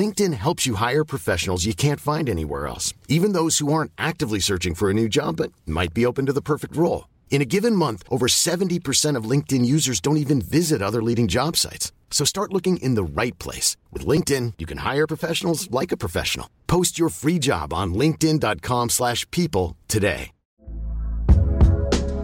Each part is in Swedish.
LinkedIn helps you hire professionals you can't find anywhere else, even those who aren't actively searching for a new job but might be open to the perfect role. In a given month, over 70% of LinkedIn users don't even visit other leading job sites. So start looking in the right place. With LinkedIn, you can hire professionals like a professional. Post your free job on linkedin.com/people slash people today.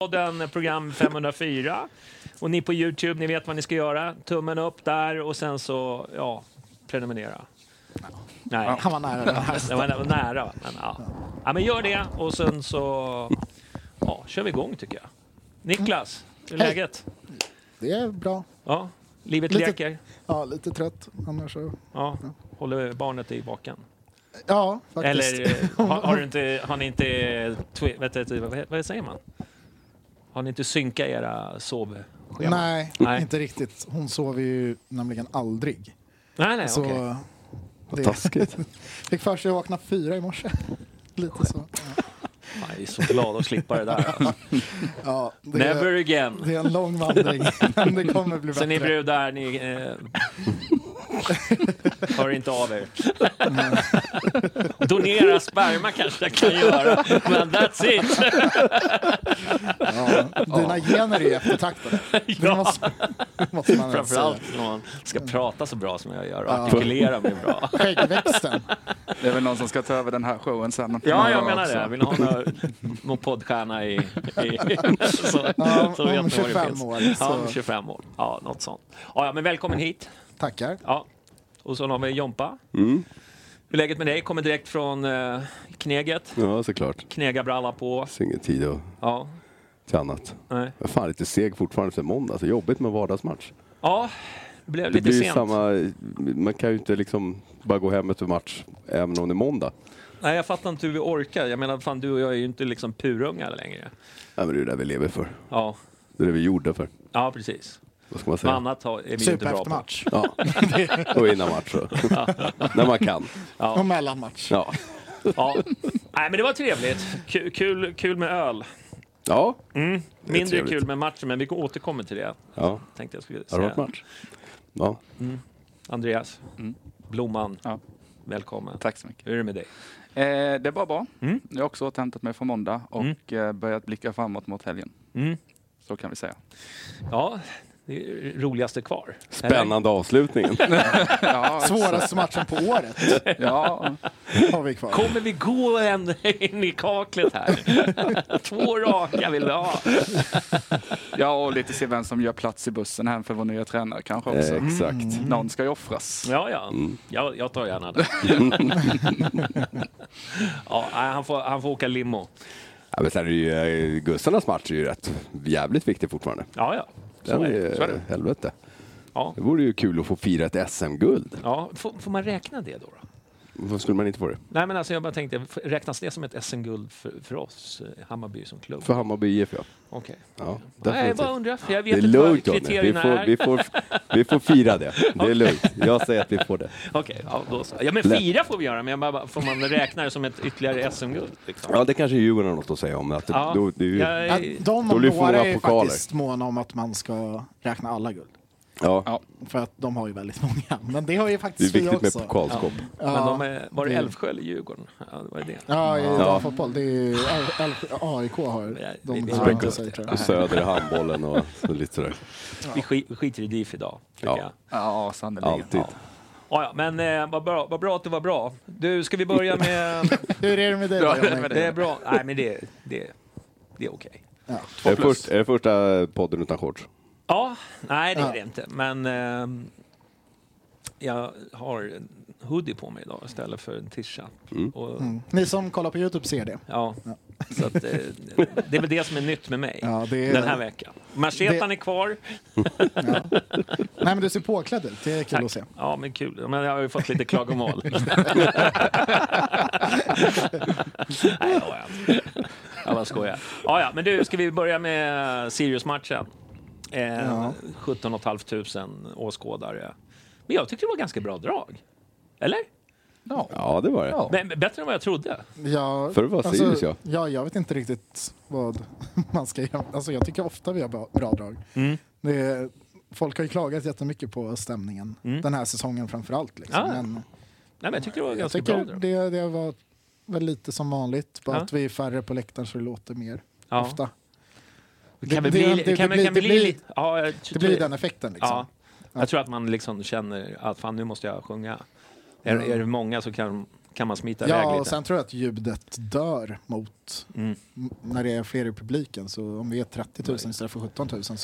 podden program 504. Och ni på Youtube, ni vet vad ni ska göra. Tummen upp där och sen så, ja, prenumerera. Nej, Han var nära den här. det var nä- nära. va? Men, ja. ja, men gör det och sen så ja, kör vi igång tycker jag. Niklas, hur är Hej. läget? Det är bra. Ja, livet Lite- leker. Ja, lite trött annars. så- Ja, håller barnet i baken. Ja, faktiskt. Eller eh, har, har, du inte, har ni inte, eh, twi- vet, vet, vad, vad säger man? Har ni inte synkat era sovscheman? Nej, Nej. inte riktigt. Hon sover ju nämligen aldrig. Nej, nej, Så okej. det Taskigt. fick för sig att vakna fyra i morse. Lite så. Ja. Fan, Jag är så glad att slippa det där. alltså. Ja, det, Never är, again. det är en lång vandring, men det kommer bli Så ni bättre. brudar, ni... Eh, hör inte av er. Mm. Donera sperma kanske jag kan göra, men that's it. Dina gener är ju eftertraktade. Det Ja. måste, måste man väl säga. Framförallt när man ska Mm. prata så bra som jag gör och artikulera mig bra. Skäggväxten. Det är väl någon som ska ta över den här showen sen. Ja, jag menar det. Vill ni ha någon, någon poddstjärna i... i så, Ja, så vet ni om vad det 25 finns. år, Ja, om så- 25 år. Ja, något sånt. Ja, ja, men välkommen hit. Tackar. Ja. Och så har vi Jompa. Mm. Hur är läget med dig? Kommer direkt från eh, Kneget. Ja, såklart. Knegarbralla på. Så ingen tid att, Ja. till annat. Nej. Jag är fan lite seg fortfarande efter måndag. Så jobbigt med vardagsmatch. ja, det blev Det lite blir ju sent. samma... Man kan ju inte liksom bara gå hem efter match även om det är måndag. Nej, jag fattar inte hur vi orkar. Jag menar, fan, du och jag är ju inte liksom purungar längre. Ja, men det är ju det vi lever för. Ja, Det är det vi är gjorda för. ja precis. Vad ska man Men säga? annat har- är vi ju inte Supa bra efter på. match. Ja. Och innan match så. När man kan. Och mellanmatch. Ja. Ja. Nej, men det var trevligt. Kul, kul, kul med öl. Ja. Mm. är Mindre trevligt. kul med matchen, men vi återkommer till det. ja. Tänkte jag skulle Har det varit säga. Mm. match? Ja. Andreas Mm. Blomman, Ja. välkommen. Tack så mycket. Hur är det med dig? Mm. Eh, det är bara bra. Jag har också återhämtat mig från måndag och eh, börjat blicka framåt mot helgen. Mm. Så kan vi säga. Ja, det är det roligaste kvar. Spännande avslutningen. Ja, Svåraste matchen på året ja. har vi kvar. Kommer vi gå ända in i kaklet här? Två raka vill vi ha. ja, och lite se vem som gör plats i bussen hem för vår nya tränare kanske också. Mm. Exakt. Någon ska ju offras. Eh, Ja, ja. Jag, jag tar gärna det. ja, nej, han, får, han får åka limo. Ja, men sen är det ju... eh, Gussarnas match är ju rätt jävligt viktig fortfarande. Ja, ja. Den Så är, är det. Så är är det. helvete. Ja. Det vore ju kul att få fira ett SM-guld. Ja, får, får man räkna det då? då? Vad skulle man inte få det? Nej, men alltså jag bara tänkte, f- räknas det som ett SM-guld för, för oss, eh, Hammarby som klubb? För Hammarby IF ja. Okej. ja Nej, jag definitivt. bara undrar, för jag Det vet är inte vad lugnt Johnny. Vi kriterierna får, är. vi, får, vi får fira det. Det är lugnt. Jag säger att vi får det. Okej, ja, då så. Ja, men Lätt. fira får vi göra, men jag bara, får man räkna det som ett ytterligare SM-guld? Liksom? Ja, det kanske Djurgården har något att säga om. Att det, Ja, då, det är ju, ja. jag, Ja, de Då om lyfter några många är ju pokaler. faktiskt måna om att man ska räkna alla guld. Ja. För att de har ju väldigt många. Men det har ju Det är faktiskt vi viktigt också. med pokalskåp. men de är, var det det- Älvsjö eller Djurgården? Ja, det var det. Ja, i Ja. fotboll. Det är ju L- L- AIK har vi- de vi- bestämde sig tror jag. Och Söder i handbollen och så lite sådär. Vi, skit, vi skiter i DIF idag, tycker Ja. jag. Ja, sannerligen. Alltid. Ja, ja, men eh, vad bra, vad bra att det var bra. Du, ska vi börja med... Hur är det med dig Bra, då? det är Jonny? med dig. det är bra. Nej, men det, det, det är okej. Är det, först, är det första podden utan shorts? Ja, nej det är Ja. det inte. Men ehm, jag har en hoodie på mig idag istället för en tisha. Och, Mm. Ni som kollar på Youtube ser det. ja, Så att, eh, det är väl det som är nytt med mig Ja, det är- den här veckan. Machetan Det- är kvar. Nej men du ser påklädd ut, det är kul Tack. att se. Ja, men kul. Men jag har ju fått lite klagomål. Nej, det har jag inte. Jag bara skojar. Ja, ja, men du, ska vi börja med Sirius-matchen? Eh, 17 500 åskådare. Men jag tyckte det var ganska bra drag. Eller? Ja, det var det. Ja. Men, men bättre än vad jag trodde. Jag, För att vara Sirius, ja. alltså, ja. Jag vet inte riktigt vad man ska göra. Alltså jag tycker ofta vi har bra, bra drag. Mm. Det är, folk har ju klagat jättemycket på stämningen den här säsongen framför allt. Liksom. Mm. Ah, men Nej, men jag tyckte det var jag ganska bra tycker drag. det, det var väl lite som vanligt. Bara Ja. att vi är färre på läktaren så det låter mer. Ja. Ofta. Kan vi det- bli- det- det kan vi- blir- kan vi bli det blir- lite- Ja, jag Det tror- blir den effekten liksom. Ja. Jag tror att man liksom känner att fan, nu måste jag sjunga. Är, är det många så kan, kan man smita iväg Ja, lite. Mm. och sen tror jag att ljudet dör mot m- när det är fler i publiken. Så om vi är 30 000 istället för 17 000 så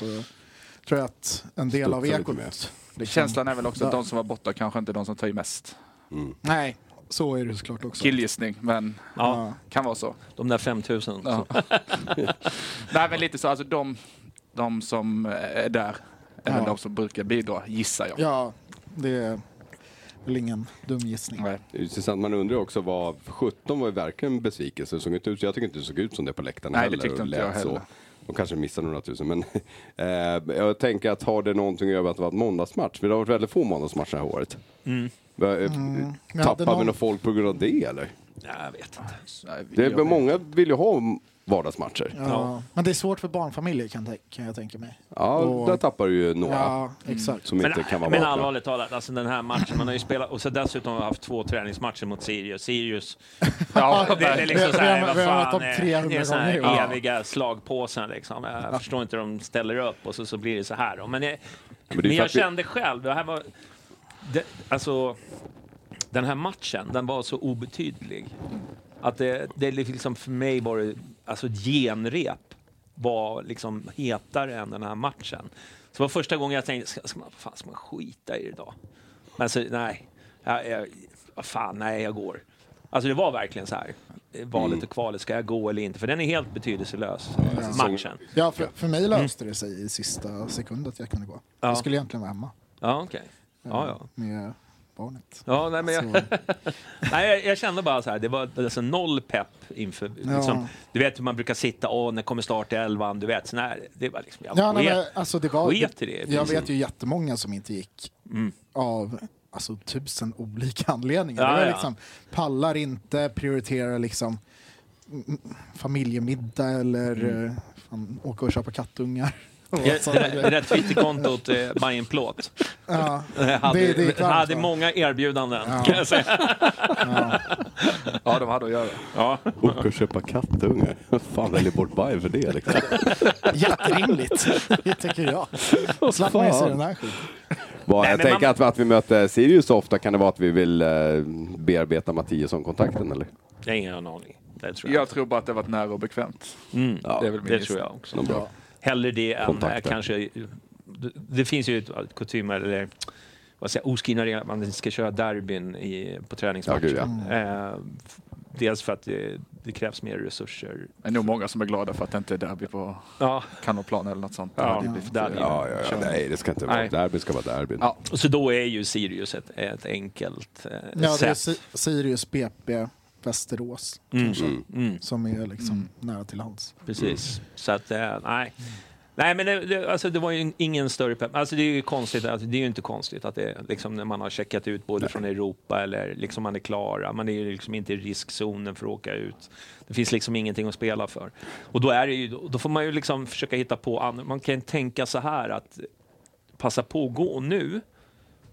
tror jag att en del av Studsar lite ekot... mer. liksom- Känslan är väl också att dör. de som var borta kanske inte är de som tar i mest. Mm. Nej, så är det såklart också. Killgissning, men Ja, kan vara så. de där 5000. Ja. Nej, men lite så. Alltså de, de som är där är väl Ja. de som brukar bidra, gissar jag. Ja, det är väl ingen dum gissning. Nej. Det är intressant. Man undrar också vad... 17 var ju verkligen en besvikelse. Det såg inte ut, jag tycker inte det såg ut som det på läktaren Nej, det heller. tyckte och inte jag lät heller. Så. De kanske missade några tusen, men eh, jag tänker att har det någonting att göra med att det var en måndagsmatch? För det har varit väldigt få måndagsmatcher det här året. Mm. Men hade Tappar vi någon- några folk på grund av det eller? Nej, jag vet inte. Nej, vi- Det jag är, vet. många vill ju ha vardagsmatcher. Ja, Ja. Men det är svårt för barnfamiljer kan, tän- kan jag tänka mig. Och- där tappar du ju några Ja, exakt. som inte kan vara Men, vakna. men allvarligt talat, alltså den här matchen, man har ju spelat och så dessutom har haft två träningsmatcher mot Sirius. Sirius, Ja, det, det är liksom Vi- så vi här, har- vad vi har mött fan, dem eh, 300 det är såna här gånger. Ja. eviga slagpåsar liksom. Jag förstår inte hur de ställer upp och så, så blir det så här. då. Men, jag, det är men, ju för jag att vi- kände själv, det här var, det, alltså, den här matchen, den var så obetydlig. Att det, det är liksom för mig var det, alltså ett genrep var liksom hetare än den här matchen. Så det var första gången jag tänkte, ska, ska, man, fan, ska man skita i det idag? Men så, nej, jag, jag, vad fan, nej, jag går. Alltså det var verkligen så här, eh, valet och kvalet, ska jag gå eller inte? För den är helt betydelselös, Alltså, matchen. Mm. Ja, för, för mig löste det sig i sista sekund att jag kunde gå. Ja. Jag skulle egentligen vara hemma eh, Ja, okej. Ja, ja. med barnet. Ja, nej, men jag, Så- nej, jag, jag kände bara så här, det var alltså noll pepp inför, liksom, du vet hur man brukar sitta, åh, när kommer start i elvan, du vet, sån här, det var liksom, jag Ja, nej, sket. men, alltså, det var, sket i det, Jag precis. vet ju jättemånga som inte gick av alltså, tusen olika anledningar. Ja, det var ja. liksom, pallar inte, prioriterar liksom mm, familjemiddag eller eh, fan, åka och köpa kattungar. Och Mm. Ja, det sådana där- det grejer. där Twitterkontot, eh, Bajen Plåt, ja, hade, Det- det gick varmt, hade va? många erbjudanden, kan jag säga. ja, de hade att göra. Ja. Åka och köpa kattungar. Fan väljer bort Bajen för det liksom. jätterimligt, det tycker jag. Slapp man ju se den här skiten. Bara, Nej, jag men tänker man- att, att vi möter Sirius så ofta kan det vara att vi vill eh, bearbeta Mattias som kontakten eller? Jag har ingen aning. Det tror jag. Mm, Jag tror bara att det varit nära och bekvämt. Ja, det är väl min det gissning. tror jag också. bra. Hellre det än Kontakter. eh, kanske... Det, det finns ju ett ett kutym, eller vad säger jag, oskrivna regler, att man ska köra derbyn i, på träningsmatcher. Ja, gud, Eh, f- Dels för att det, det krävs mer resurser. Det är nog många som är glada för att det inte är derby på Ja, kanonplan eller något sånt. Ja, Det hade blivit, derby. eh, Ja, ja, ja, nej, det ska inte vara Nej. ett derby, ska vara derby. Ja. och så då är ju Sirius ett, ett enkelt eh, Ja, det är sätt. Mm. Si- Sirius, BP, Västerås kanske. Som är liksom Mm. nära till hands. Precis. Så att, eh, nej. Nej, men det, det, alltså, det var ju ingen större pepp. Alltså, det är ju konstigt, att, det är ju inte konstigt att det liksom när man har checkat ut både från Europa eller liksom man är klara. Man är ju liksom inte i riskzonen för att åka ut. Det finns liksom ingenting att spela för. Och då är det ju, då får man ju liksom försöka hitta på annat. Man kan ju tänka så här att passa på att gå nu.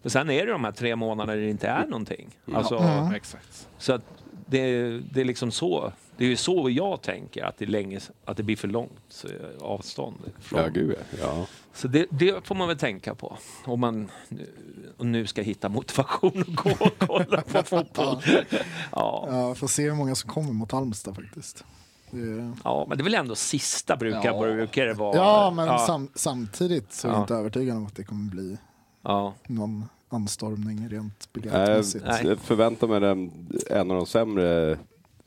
För sen är det de här tre månaderna där det inte är någonting. Alltså, Mm. Ja, exakt. så att det, det är liksom så. Det är ju så jag tänker, att det, är länge, att det blir för långt eh, avstånd. Från. Ja, gud ja. ja. Så det, det får man väl tänka på, om man nu, och nu ska hitta motivation att gå och kolla på fotboll. Ja. Ja, får se hur många som kommer mot Halmstad faktiskt. Det är... ja, men det är väl ändå sista brukar, Ja. brukar det vara. Ja, men ja. Sam, samtidigt så är jag Ja. inte övertygad om att det kommer bli Ja. någon någon anstormning rent Eh, biljettmässigt. nej. Jag förväntar mig den, en av de sämre,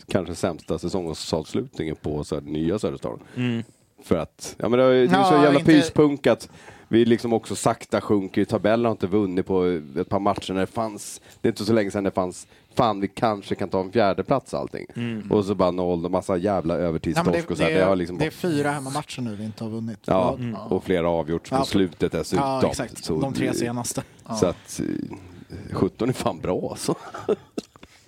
kanske sämsta säsongsavslutningen på så här, nya Söderstaden. Mm. För att, ja men det, är- det är så Ja, jävla inte- pyspunk att vi liksom också sakta sjunker i tabellen, har inte vunnit på ett par matcher när det fanns, det är inte så länge sedan det fanns, fan vi kanske kan ta en fjärde plats allting. Och så bara noll och massa jävla Ja, men övertidstorsk det, och så här, det, det har är, liksom det är fyra hemmamatcher nu vi inte har vunnit. Ja, Mm. och flera avgjorts på Ja. slutet dessutom. ja exakt. Så De tre det- senaste. Så att, eh, 17 är fan bra alltså.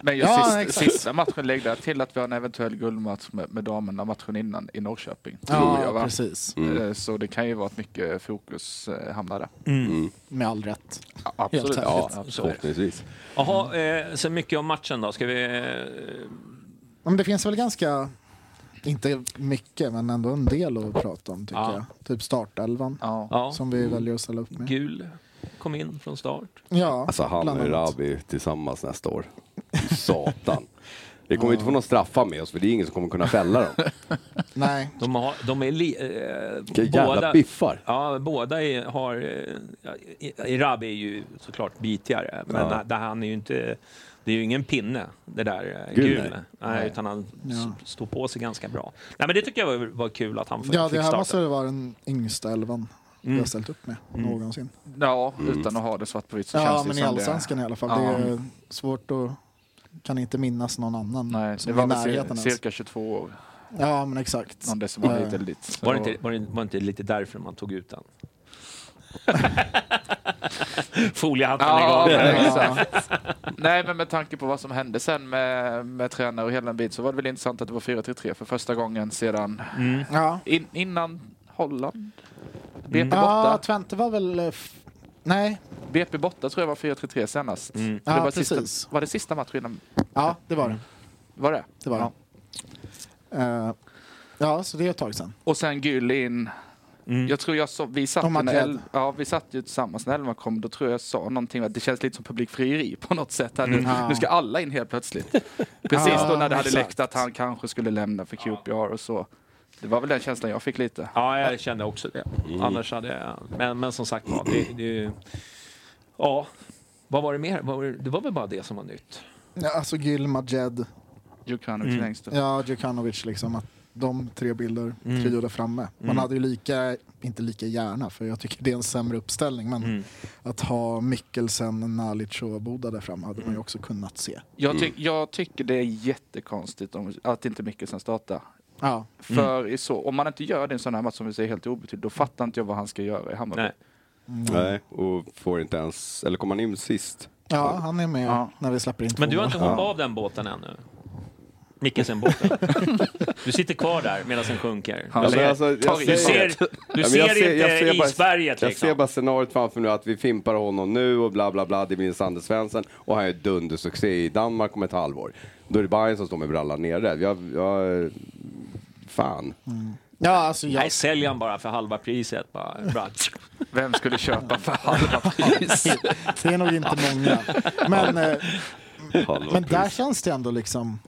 Men just Ja, sist, exakt. sista matchen lägg där till att vi har en eventuell guldmatch med, med damerna matchen innan i Norrköping. tror jag, Ja, va? precis. Eh, Så det kan ju vara att mycket fokus eh, hamnar där. Med all rätt. Ja, Absolut. Helt Ja, ärligt. förhoppningsvis. Jaha, eh, så mycket om matchen då. Ska vi... Eh, Mm. Ja, Men det finns väl ganska, inte mycket, men ändå en del att prata om tycker Ja. jag. Typ startelvan Ja. Mm. ja, som vi väljer att ställa upp med. gul kom in från start. Ja, Alltså han bland och annat. Rabi tillsammans nästa år. Satan. Vi kommer inte få någon straffa med oss för det är ingen som kommer kunna fälla dem. Nej, De, har, de är... Li, eh, Vilka jävla biffar. Ja, båda är, har... eh, ja, I- Irabi är ju såklart bitigare, men Ja. ja. där han är ju inte... Det är ju ingen pinne, det där eh, Gul, gul. nej. Nej. utan han Ja. ja. står på sig ganska bra. Nej, men det tycker jag var, var kul att han fick ja, det fick här starta. måste vara den yngsta elvan vi har ställt upp med någonsin. Mm. Ja, utan att ha det svart på vitt så Ja, känns det men i som allsvenskan i alla fall. Ja. Det är svårt att... Kan inte minnas någon annan Nej, det som var är i väl närheten cir- ens. cirka 22 år, Ja, men exakt. Eh. någon decibel Ja. hit eller dit. Så Var det, inte, var, det, var det inte lite därför man tog ut den? Foliehatten Ja, igång. men Ja. exakt. Nej, men med tanke på vad som hände sen med, med tränare och hela den biten så var det väl intressant att det var 4-3-3 för första gången sedan Ja. in, innan Holland. BP Ja, borta. Twente var väl... eh, f- Nej, BP borta tror jag var 4-3-3 senast. Så Ja, det var, precis. sista, var det sista matchen innan? ja det var det. Var det? Det var Ja. det. Eh, ja, så det är ett tag sedan. Och sen Gül in. Mm. Jag tror jag så, vi Om satt, man en träd. el, ja, vi satt ju tillsammans när elvan kom. Då tror jag sa någonting att det känns lite som publikfrieri på något sätt. Här. Nu, Mm. Ja. nu ska alla in helt plötsligt. Precis Ja, då när det hade exakt. läckt att han kanske skulle lämna för QPR och så. Det var väl den känslan jag fick lite. Ja, jag kände också det. Annars hade jag... Men, men som sagt var, det, det, är ju- Ja, vad var det mer? Vad var det, det var väl bara det som var nytt? Ja, alltså Gil, Majed, Djukanovic längst upp. Mm. ja, Djukanovic, liksom. Att de tre bilder, trio där framme. Man hade ju lika, inte lika gärna, för jag tycker det är en sämre uppställning, men att ha Mikkelsen, Nalic och Boda där framme hade man ju också kunnat se. Jag, ty, jag tycker det är jättekonstigt om, att inte Mikkelsen startar. Ja, Mm. För i så, om man inte gör det i en sån här match som vi säger helt obetydlig, då fattar inte jag vad han ska göra i Hammarby. Nej. Mm. Nej, och får inte ens, eller kommer han in sist? ja han är med Ja. när vi släpper in två Men du har inte mål. hoppat av den båten ännu? Mikkelsen-båten. Du sitter kvar där medan den sjunker. Han Du lägger- ser, alltså, tar jag i du säger- ser, du Ja, men jag ser ser- jag ser inte bara- isberget Jag ser liksom. bara scenariot framför nu att vi fimpar honom nu och bla bla bla, det blir en Sander Svensson och han är dundersuccé i Danmark om ett halvår. Då är det Bayern som står med brallan nere. Jag, jag, fan. Ja, alltså jag, Nej, sälj han bara för halva priset. Bara. Bra. Vem skulle köpa för halva pris? det är nog inte många. Men, eh, Halva men där pris. känns det ändå liksom...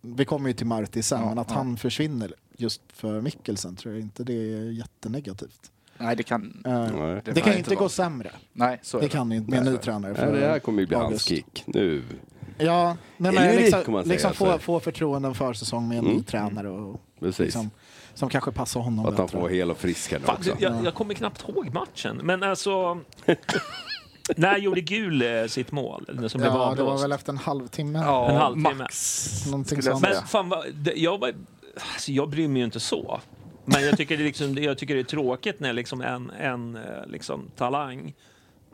Vi kommer ju till Marti sen, men att han försvinner just för Mikkelsen tror jag inte det är jättenegativt. Nej, det kan... Eh, Nej. det kan kan ju inte inte vara. gå sämre. Nej, så är Det det. Alltså, äh, kan ju inte med en ny tränare. Nej, det här kommer ju bli hans August. kick. Nu, Ja, nej, Det är men ju liksom, risk, kan man säga, liksom få, alltså. få Mm. förtroenden för säsong med en ny tränare och Precis. liksom, som kanske passar honom Att han bättre. får vara hel och frisk här nu Fan, också. jag, jag kommer knappt ihåg matchen, men alltså... när gjorde Gul eh, sitt mål? eller Som blev ja, det var avblåst? väl efter en halvtimme. En Ja, halvtimme. max. Någonting skulle jag sånt. Men fan, vad, det- jag, var- alltså, jag bryr mig ju inte så. Men jag tycker, det liksom, jag tycker det är tråkigt när liksom en, en eh, liksom, talang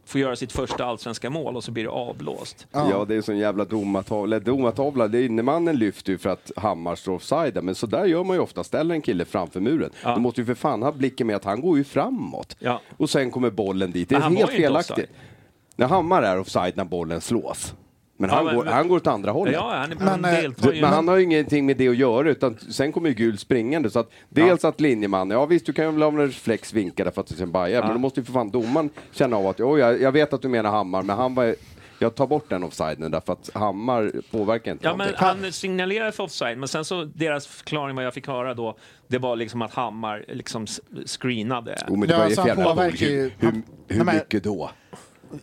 får göra sitt första allsvenska mål och så blir det avblåst. Ja. det är sån jävla domartavla. Eller Domartavla, det är innemannen lyfter ju för att Hammar står offside. Men så där gör man ju ofta, ställer en kille framför muren. Ja. Du måste ju för fan ha blicken med att han går ju framåt. Ja. Och sen kommer bollen dit. Det är Men han helt var ju inte felaktigt. offside. När Hammar är offside när bollen slås. Men, Ja, han, men- går, han går åt andra Ja, hållet. han, han Men, eh, deltar Du, ju. men han har ju ingenting med det att göra utan sen kommer ju gul springande. Så att dels att linjeman, ja visst du kan väl ha en reflex vinka därför att du sen bajar. Men då måste ju för fan domaren känna av att oj, jag, jag vet att du menar Hammar men han var, jag tar bort den offsiden därför att Hammar påverkar inte Ja, men någonting. han signalerade för offside, men sen så deras förklaring vad jag fick höra då, det var liksom att Hammar liksom s- screenade. Jo, men Ja, det var ju alltså, han ett jävla boll. påverkar ju- Hur, han- hur, Nej, hur men- mycket då?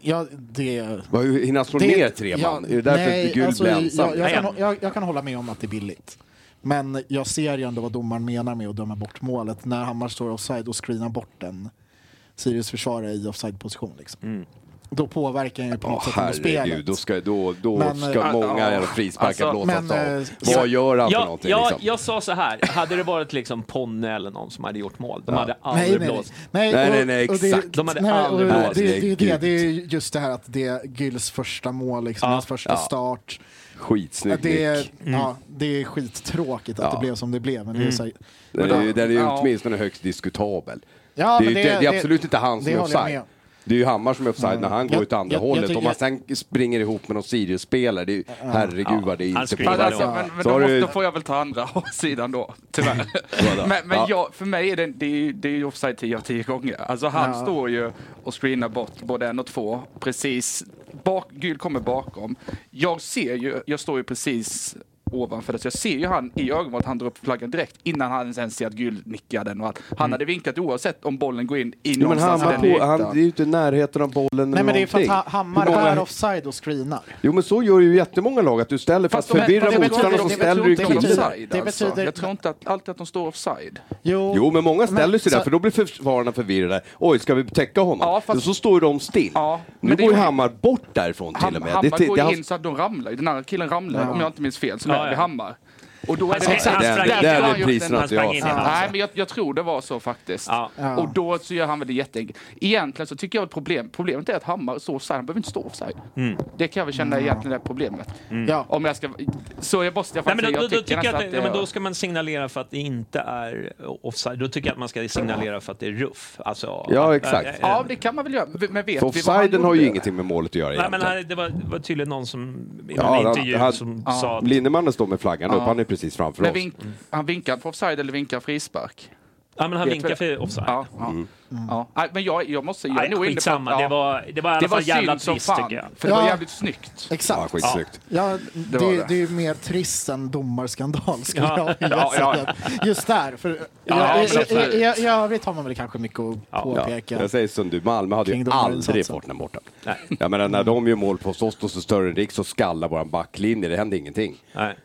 Ja, det... Vad, Hur hinner han slå ner tre man? är det därför nej, gul alltså, blir jag, ensam? jag, kan, Nej. jag, jag kan hålla med om att det är billigt. Men jag ser ju ändå vad domaren menar med att döma bort målet. När Hammar står offside och screenar bort den Sirius försvarare i offside-position. Liksom. Då påverkar han ju på något Ja, sätt ändå Mm. herregud, spelet. då ska, då, då Men, ska eh, många ja, jävla frisparkar alltså, blåsas men, eh, av. jag- Vad gör han för Jag, någonting? jag, liksom? jag sa så här, hade det varit liksom Ponne eller någon som hade gjort mål, de hade Nej, aldrig nej, nej. blåst. Nej, nej, och- nej, och det- exakt. De hade nej, och aldrig det- blåst. Det, det, det, det är ju just det här att det är Gyls första mål, liksom, hans första start. Skitsnygg Det är, nick. Mm. ja, det är skittråkigt att det blev som det blev. Men det är så här, Den är, ju- den är ju Ja. åtminstone högst diskutabel. Ja, det, men är ju det- inte, det är det- absolut inte han som det är håller jag med offside. om. Det är ju Hammar som är offside när han Jag- går åt andra jag- jag hållet. tycker- Om han sen springer ihop med någon Sirius-spelare, det är ju, herregud vad det Han inte screenar Men, påverkar. alltså, men, men Så då, har måste, du- då får jag väl ta andra sidan då, tyvärr. Vadå? men men Ja. jag, för mig är det, det, är ju, det är ju offside 10 av 10 gånger. Alltså han står ju och screenar bort både en och två, precis. Bak, gul kommer bakom. Jag ser ju, jag står ju precis ovanför det, så jag ser ju han i ögonen att han drar upp flaggan direkt innan han ens ens ser att gul nickar den. Och att han hade vinkat oavsett om bollen går in i Mm. Jo, men någonstans i Hammar den på, ytan. han det är ju inte i närheten av bollen nej, eller men det är för att någonting. ha- Hammar Hur många- är offside och screenar. Jo men så gör ju jättemånga lag, att du ställer för Fast att de- förvirra det betyder- motståndaren så det ställer du betyder killen. killen offside, där. Det alltså. betyder- Jag tror inte att, alltid att de står offside. Jo men många ställer sig där så- för då blir för- försvararna förvirrade. Oj, ska vi täcka honom? Ja, fast- Så står ju de still. Ja, nu men det går ju är ju- Hammar bort därifrån till Ham, och med. Hammar det, går det, ju han- in så att de ramlar ju. Den andra killen ramlar Ja. om jag inte minns fel, som Ja, är ja. vid Hammar. Och då är det sprang- liksom- han den- sprang- där där har är han gjort reprisen den- han att sprang jag in i har den. sett. Nej, men jag, jag tror det var så faktiskt. Ja. Och då så gör han väl det jätteenkelt. Egentligen så tycker jag att problem, problemet är att Hammar står offside. Han behöver inte stå offside. Mm. Det kan jag väl känna egentligen är problemet. Mm. Ja. Om jag ska... Så jag måste jag Nej, faktiskt men då, säga, då, jag då, tycker jag nästan att, ja, men är- då ska man signalera för att det inte är offside. Då tycker jag att man ska signalera för att det är ruff. Alltså, att- Ja, exakt. äh, äh, Ja, det kan man väl göra. Men vet vi För vad han offsiden har ju gjorde? ingenting med målet att göra Nej, men egentligen. här, det var, det var tydligen någon som i Ja, en han- intervju han- som Ja. sa att Lindemannen står med flaggan upp, han är precis framför Men oss. vink, han vinkar på offside eller vinkar frispark? ja, men han Vet vinkar vi- för offside. Ja, ja, Mm. ja. Nej, men jag, jag måste... Jag är Nej, nog inne på... skitsamma, ja. det, var, det var i alla Det var fall jävla synd som trist fan, tycker jag. för det var Ja. jävligt snyggt. Ja, Exakt. skitsnyggt. Ja, det, var det. det. är ju mer trist än domarskandal skulle Ja. jag vilja Ja, ja, säga. Just där. För, ja, men ja, i, i, i, absolut. I övrigt har man väl kanske mycket att Ja. påpeka. Jag säger som du, Malmö hade Kring ju de här aldrig insatserna. fått den borta. Jag menar, när de gör mål på oss, då står större än Riks och skallar våran backlinje, det hände ingenting. Nej.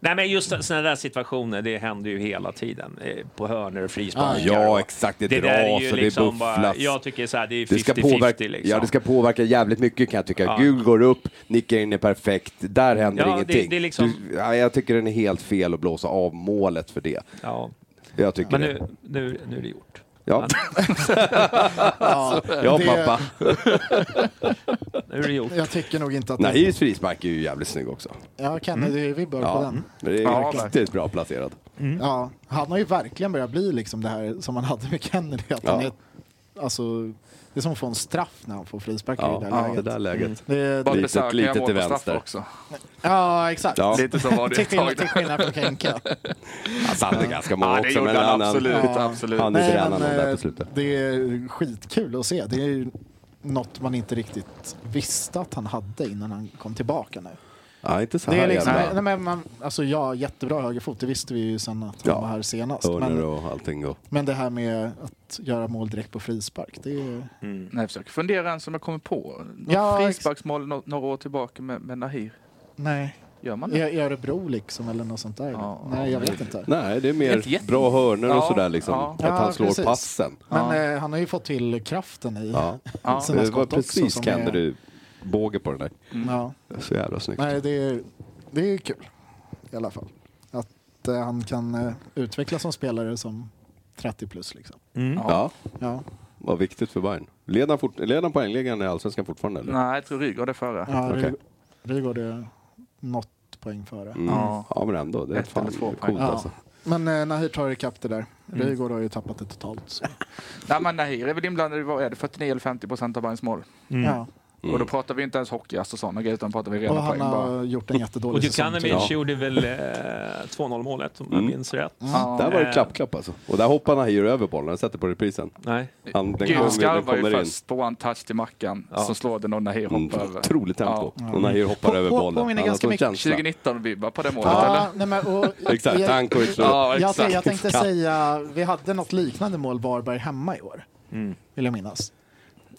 Nej, men just sådana där situationer, det händer ju hela tiden. eh, På hörnor och frisparkar. Ah, Ja, och- exakt. Det, Det där är dras ju och det liksom bufflas. bara, jag tycker så här, det är 50-50 det ska, påverka, liksom. ja, det ska påverka jävligt mycket kan jag tycka. Gul går upp, nickar in är perfekt, där händer Ja, det- ingenting. det är liksom- du, ja, jag tycker den är helt fel att blåsa av målet för det. Ja. Jag tycker Men det. nu, nu, nu är det gjort. Ja, Ja, ja det- pappa. Nu är det gjort. Jag tycker nog inte att... Nahirs frispark är ju jävligt snygg också. Ja, Kenny, det är vi bör på Ja, den. men det är Mm. Ja, Mm. riktigt bra placerad. Ja, han har ju verkligen börjat bli liksom det här som han hade med Kennedy. Att han är, Ja. alltså, det är som att få en straff när han får frispark i det där Ja, det läget. Mm. där läget. Det är, Bara Litet- besöka lite jag mål till på straff vänster. Också. ja, exakt. Ja. Lite så var det Till ett tag. skillnad, till skillnad från Kenka. Alltså, Han satte ganska många Ja, det också, gjorde men han han, absolut. han, absolut. han är men, brännan där eh, på slutet. det är skitkul att se. Det är ju något man inte riktigt visste att han hade innan han kom tillbaka nu. Ja, inte så Det är här liksom, nej, jävla men man, alltså ja, jättebra högerfot, det visste vi ju sen att han Ja. var här senast. hörnor Men, och allting. Och. men det här med att göra mål direkt på frispark, det är Nej, jag försöker fundera en som jag kommer på. Något Ja, ex- frisparksmål nå- några år tillbaka med, med Nahir. Nej. Gör man I, det? I Örebro liksom eller något sånt där? Ja, Nej, jag vet inte. Nej, det är mer Inte jätte- bra hörnor och Ja, sådär liksom. ja. Att Ja, han slår precis. passen. Men Ja. eh, han har ju fått till kraften i Ja. Ja. sina Det skott var också, precis som är- Mm. Kanderyd-båge på den där. Ja. Så jävla snyggt. Nej, det är, det är ju kul i alla fall. Att eh, han kan eh, utvecklas som spelare som 30 plus liksom. Mm. Ja, Ja, vad viktigt för Bayern. Leder han, fort, leder han poängligan i Allsvenskan fortfarande eller? Nej, jag tror Rygaard är före. ja Okej. Ryg- Rygaard är något poäng före. Mm. Ja. Ja men ändå, det är Ett fan eller två Mm. coolt poäng. alltså. Ja. Men eh, Nahir tar ikapp det där. Rygaard har ju tappat det totalt. Så. Nej, men Nahir är väl inblandad i vad är det, 49 eller 50 procent av Bayerns mål. Ja. Och då pratar vi inte ens hockeyass och sådana grejer, utan pratar vi Och rena han poäng bara. har gjort en jättedålig Och säsong. Djukanovic Ja. gjorde väl eh, 2-0 målet om jag Mm. minns rätt. Där var det Eh. klapp-klapp alltså. Och där hoppar Nahir över bollen, jag har sett det på reprisen. Nej. Han, den Gud kommer, den skarvar ju kommer in. först på one touch till Mackan, som slår den och Nahir Mm, hoppar över. otroligt tempo. Ja. Och Nahir hoppar På- över på- bollen. påminner Han har ganska sån mycket- känsla. 2019-vibbar på det målet, Ja, eller? nej, men, och, Exakt, jag, Tankovic slår upp. Ja, jag, exakt. jag tänkte säga, vi hade något liknande mål Varberg hemma i år, Mm. vill jag minnas.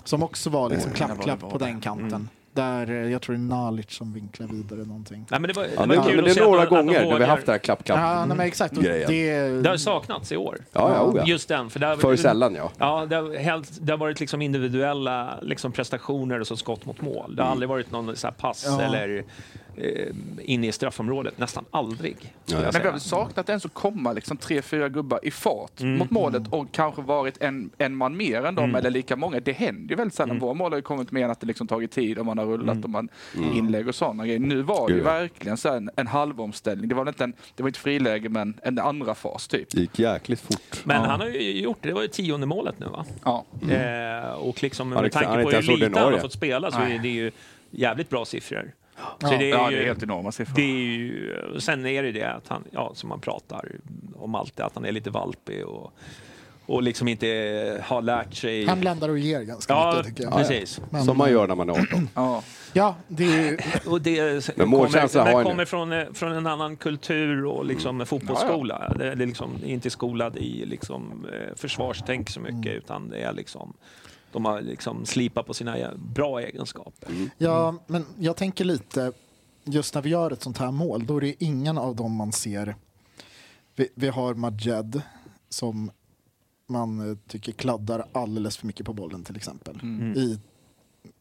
Som också var liksom klapp-klapp på den kanten. Där eh, jag tror det är Nalic som vinklar vidare någonting. Nej, men det var, Ja, det det, var kul men det att se är att några de- att de gånger när vi vågar- haft det här klapp-klapp. Ja, Ja, nej, men exakt. Och Grejen. Det, Det har saknats i år. ja, oh, ja. Just den. För, där, För sällan ja. Ja, det har, helt, det har varit liksom individuella liksom prestationer och så skott mot mål. Det Mm. har aldrig varit någon så här pass Ja. eller eh, inne i straffområdet. Nästan aldrig. skulle Ja, jag Men vi har säga. väl saknat ens att komma liksom tre, fyra gubbar i fart Mm. mot målet och kanske varit en, en man mer än dem eller lika många. Det händer ju väldigt sällan. Mm. Våra mål har ju kommit mer än att det liksom tagit tid och man har rullat och man inlägg och sådana grejer. Nu var det ju Mm. Gud, ja. verkligen så här en, en halvomställning. Det var väl inte, en, det var inte friläge men en andra fas typ. Det gick jäkligt fort. Men han har ju gjort det. Det var ju tionde målet nu va? Ja. Eh, och liksom, är med inte- han tanke är på inte hur ens lite han har ordinarie. fått spela så Nej. är det ju jävligt bra siffror. Så Ja, det är, helt enorma siffror. Det är ju, sen är det det att han, ja, som man pratar om alltid, att han är lite valpig och, och liksom inte har lärt sig. han bländar och ger ganska ja, mycket tycker jag. precis. Men- Som man gör när man är 18. Ja. Ja, det är ju... Och det Men målkänsla kommer, har men Mm. han ju. kommer från, eh, från en annan kultur och liksom fotbollsskola. Det, det är liksom inte skolad i liksom, eh, försvarstänk så mycket, Mm. utan det är liksom de har liksom slipat på sina eh, bra egenskaper. Mm. Ja, men jag tänker lite, just när vi gör ett sånt här mål, då är det ju ingen av dem man ser. Vi, vi har Majed som man eh, tycker kladdar alldeles för mycket på bollen till exempel. I,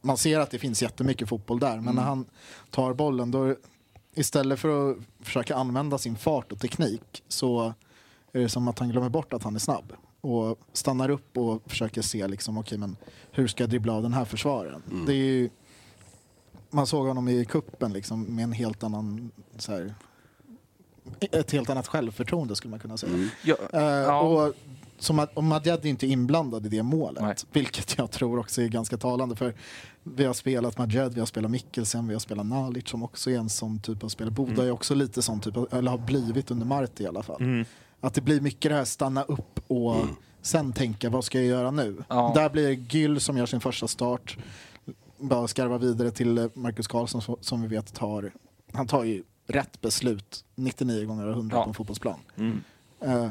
man ser att det finns jättemycket fotboll där, men när han tar bollen då istället för att försöka använda sin fart och teknik så är det som att han glömmer bort att han är snabb och stannar upp och försöker se liksom, okej men hur ska jag dribbla av den här försvararen? Det är ju, man såg honom i kuppen liksom, med en helt annan, så här, ett helt annat självförtroende skulle man kunna säga. Ja. Eh, Ja. Och som att, och Madjad är inte inblandad i det målet, Nej. vilket jag tror också är ganska talande. För Vi har spelat Madjad, vi har spelat Mikkelsen, vi har spelat Nalic som också är en sån typ av spelare. Boda Mm. är också lite sån typ, av, eller har blivit under Marti i alla fall. Att det blir mycket det här stanna upp och sen tänka vad ska jag göra nu? Mm. Ja. Där blir det Gyll som gör sin första start, bara skarva vidare till eh, Marcus Karlsson som- som vi vet tar, han tar ju rätt beslut 99 gånger av 100 Ja. Mm. på en fotbollsplan. Eh,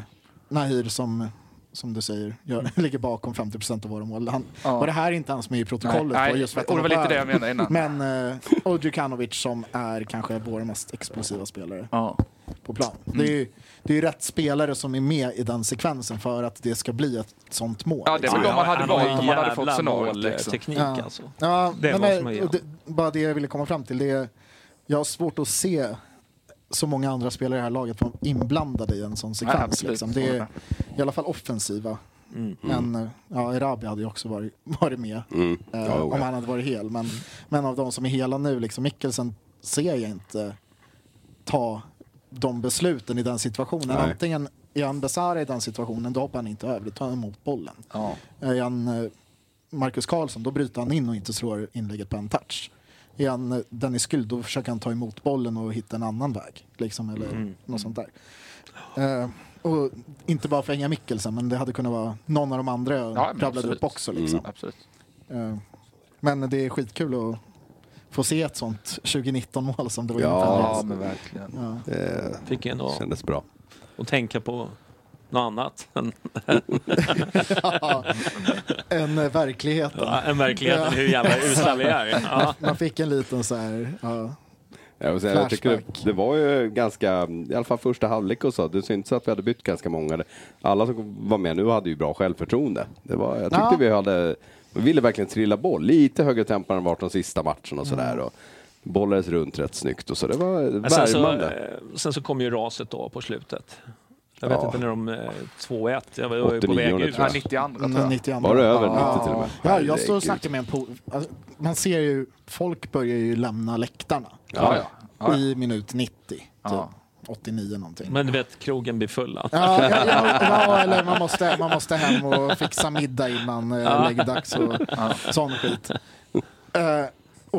Nahir som, som du säger, gör, ligger bakom 50 procent av våra mål. Han, Ja. Och det här är inte ens med i protokollet. Nej, då, just för att och det var han lite det jag menade innan. Men eh, och Djukanovic som är kanske vår mest explosiva spelare Ja. Mm. på plan. Det är ju det är ju rätt spelare som är med i den sekvensen för att det ska bli ett sånt mål. Ja, det är väl liksom. de man hade Han har valt en om man hade fått jävla scenariot, mål, eh, liksom. Teknik Ja. alltså. Ja, Det det är vad som är men, och det, bara det jag ville komma fram till. Det är, jag har svårt att se så många andra spelare i det här laget vara inblandade i en sån sekvens. absolut. liksom. Det är i alla fall offensiva. Mm. Mm. Men eh, ja, Erabi hade ju också varit, varit med eh, Ja, om jo, ja. han hade varit hel. Men, men av de som är hela nu, liksom, Mikkelsen ser jag inte ta de besluten i den situationen. Nej. Antingen är han Besara i den situationen, då hoppar han inte över, då tar han emot bollen. Ja. Är han eh, Marcus Karlsson, då bryter han in och inte slår inlägget på en touch. Är han eh, Dennis Skuld, då försöker han ta emot bollen och hitta en annan väg. Liksom, eller Mm. något sånt där. Eh, och inte bara för Inga Mikkelsen, men det hade kunnat vara någon av de andra jag men rabblade absolut. Mm. upp också. Liksom. Absolut. Eh, men det är skitkul att få se ett sånt 2019-mål som det var Ja, inför. Ja, Alltså. men verkligen. Det Eh, Fick en att, kändes bra. att tänka på något annat än, En eh, verklighet. än verkligheten, hur jävla usla vi är. Ja. Man fick en liten så här... Ja. Ja, och sen, jag tycker det, Flashback. det var ju ganska, i alla fall första halvlek och så, det syntes att vi hade bytt ganska många. Alla som var med nu hade ju bra självförtroende. Det var, jag tyckte Ja. vi hade, vi ville verkligen trilla boll, lite högre tempo än vart de sista matcherna och sådär. Mm. Och bollades runt rätt snyggt och så, det var Men Sen så, värmande. eh, sen så kom ju raset då på slutet. Jag vet Ja. inte när de eh, 2-1, jag var jag var ju på 89 väg ut. tror Ja, jag. 92 tror Mm, jag. 92. Var det över 90 Ja. till och med? Ja, jag stod och Herregud. snackade med en po- alltså, Man ser ju, folk börjar ju lämna läktarna Ja, ja. Ja, ja. i minut 90, typ. Ja. 89 någonting. Men du vet, krogen blir full. va? Ja, ja, ja, ja, eller man måste, man måste hem och fixa middag innan eh, läggdags och sån skit. Eh,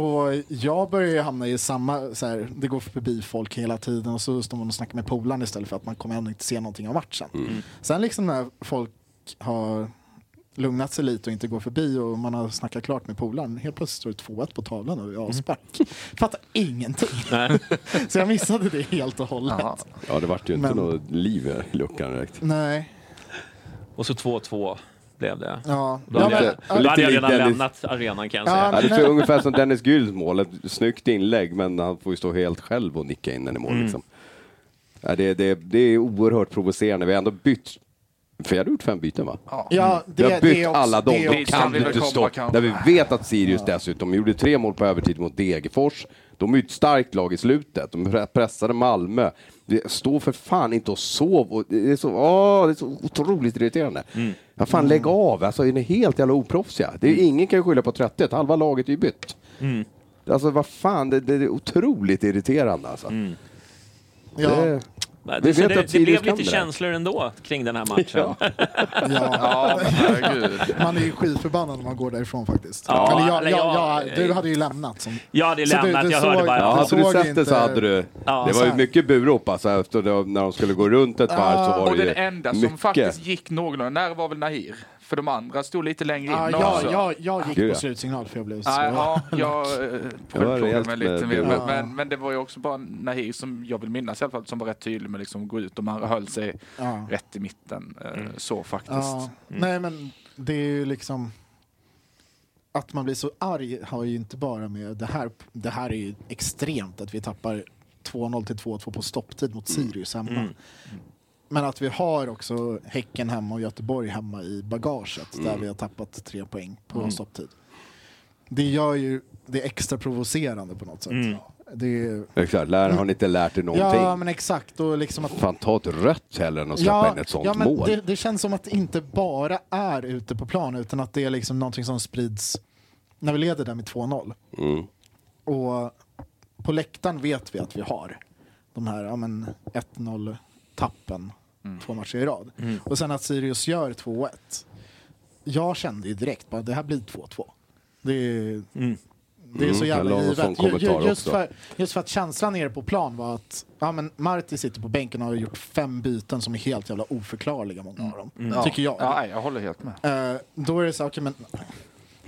och jag börjar ju hamna i samma, så här, det går förbi folk hela tiden och så står man och snackar med polaren istället för att man kommer ändå inte se någonting av matchen. Mm. Sen liksom när folk har lugnat sig lite och inte går förbi och man har snackat klart med polaren, helt plötsligt står det 2-1 på tavlan och jag Mm. har avspark. Fattar ingenting. så jag missade det helt och hållet. Ja. Ja, det vart ju inte Men- något liv i luckan direkt. Nej, Och så 2-2 blev det. ja. Då ja, hade, men, jag, ja, då hade jag lite redan Dennis- lämnat arenan kan jag Ja, säga. Ja, det är ungefär som Dennis Gyls mål, ett snyggt inlägg men han får ju stå helt själv och nicka in den i Mm. mål. Liksom. Ja, det, det, det är oerhört provocerande. Vi har ändå bytt, för jag hade gjort fem byten va? Ja, det, Mm. vi har bytt det är också, alla dem, det är då också- kan Det vi kan inte väl stå. komma, kan- När vi vet att Sirius dessutom gjorde tre mål på övertid mot Degerfors. De är ju ett starkt lag i slutet. De pre- pressade Malmö. Det- Stå för fan inte och sov. Och det, är så, åh, det är så otroligt irriterande. Ja, fan, lägg av. Alltså, är ni helt jävla oproffsiga? Det är, ju- Ingen kan ju skylla på trötthet. Halva laget är ju bytt. Alltså vad fan, det, det är otroligt irriterande alltså. Ja, Det, Men Mm. Vi det, så vet det, att det Sirius blev kan lite det där. känslor ändå kring den här matchen. Ja, ja. Ja, men herregud. Man är ju skitförbannad när man går därifrån faktiskt. Ja, Eller jag, eller jag, jag- jag, du hade ju lämnat. Som, jag hade Så du- lämnat, du jag såg- hörde bara... Ja, Ja, hade du såg sett det så inte- hade du... Ja, det var ju exakt. mycket burop alltså, efter det, när de skulle gå runt ett varv Ah, så var Och det ju den enda som mycket. faktiskt gick någorlunda nära var väl Nahir. För de andra stod lite längre in Ah, ja, också. jag, jag, jag gick Gud, ja. på slutsignal för jag blev så... Nej, ja, jag eh, rejält självplågade mig lite med mer. Men, bilder. men, men det var ju också bara Nahir som jag vill minnas i alla fall som var rätt tydlig med liksom att gå ut och man höll sig Ja. rätt i mitten. eh, Mm. Så faktiskt. Mm. Ja. Nej, men det är ju liksom... Att man blir så arg har ju inte bara med det här... Det här är ju extremt att vi tappar 2-0 till 2-2 på stopptid mot Sirius hemma. Men att vi har också Häcken hemma och Göteborg hemma i bagaget där vi har tappat tre poäng på stopptid. Det gör ju det extra provocerande på något sätt. Det är, Exakt, lär, har ni inte lärt er någonting? ja, men exakt. Och liksom att Fan, ta ett rött hellre än att släppa in ett sånt ja, men mål. Det, det känns som att det inte bara är ute på plan utan att det är liksom någonting som sprids när vi leder där med 2-0. Mm. Och på läktaren vet vi att vi har de här ja, men 1-0-tappen två matcher i rad. Och sen att Sirius gör 2-1. Jag kände ju direkt bara det här blir 2-2. Det är, det är så Mm, jag jävla la någon sån givet. Ju- kommentar ju- Just också. för, just för att känslan nere på plan var att ja, men Marti sitter på bänken och har gjort fem byten som är helt jävla oförklarliga, många av dem. Mm. Tycker jag. Mm. Ja, nej, jag håller helt med. Eh, då är det så, okej men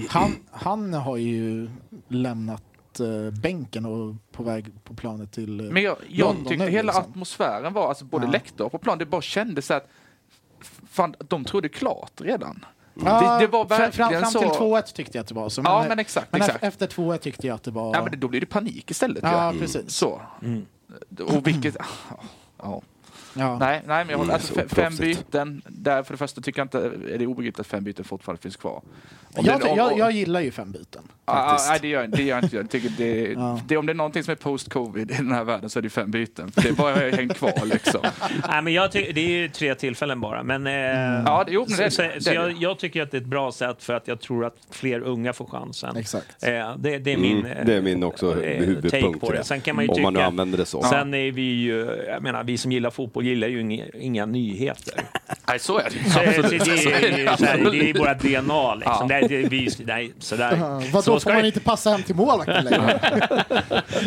han, han har ju lämnat eh, bänken och på väg på planet till eh, Men jag, jag London tyckte nu, hela liksom. atmosfären var, alltså både Ja. läktare och på plan, det bara kändes så att f- fan, de trodde klart redan. Ja, det, det var fram- verkligen fram, fram så... till 2-1 tyckte jag att det var så. Ja, men exakt, Men ef- exakt. efter 2-1 tyckte jag att det var... Ja, men det- då blir det panik istället. Ja, ju. precis. Så. Mm. Och vilket... Ja. ja. Nej, nej, men jag håller, Mm, alltså, så fe- fem proffsigt. byten. Där för det första tycker jag inte är det obegripligt att fem byten fortfarande finns kvar. Om jag, det- om- jag, om- jag gillar ju fem byten. Ah, ah, faktiskt. nej, det gör jag inte. Det gör jag inte. Jag tycker det, Ja. det, om det är någonting som är post-covid i den här världen så är det fem byten. För det är bara jag hängt kvar liksom. Nej, men jag ty- det är ju tre tillfällen bara. Men, eh, Mm. Ja, det, jo, men det, är så, det, så det, är jag, det. jag tycker att det är ett bra sätt för att jag tror att fler unga får chansen. Exakt. Eh, det, det är min, Mm, det är min också eh, take huvudpunkt på i det. det. Sen kan man ju Om man nu tycka- använder det så. Sen är vi ju, jag menar, vi som gillar fotboll gillar ju inga, inga nyheter. Nej, så är det ju. Så det, Absolut. det, Så är, ju så här, absolut. det är våra DNA liksom. Det, det, vi, nej, sådär. Ja, Vadå, så får ska man det- inte passa hem till målvakten längre?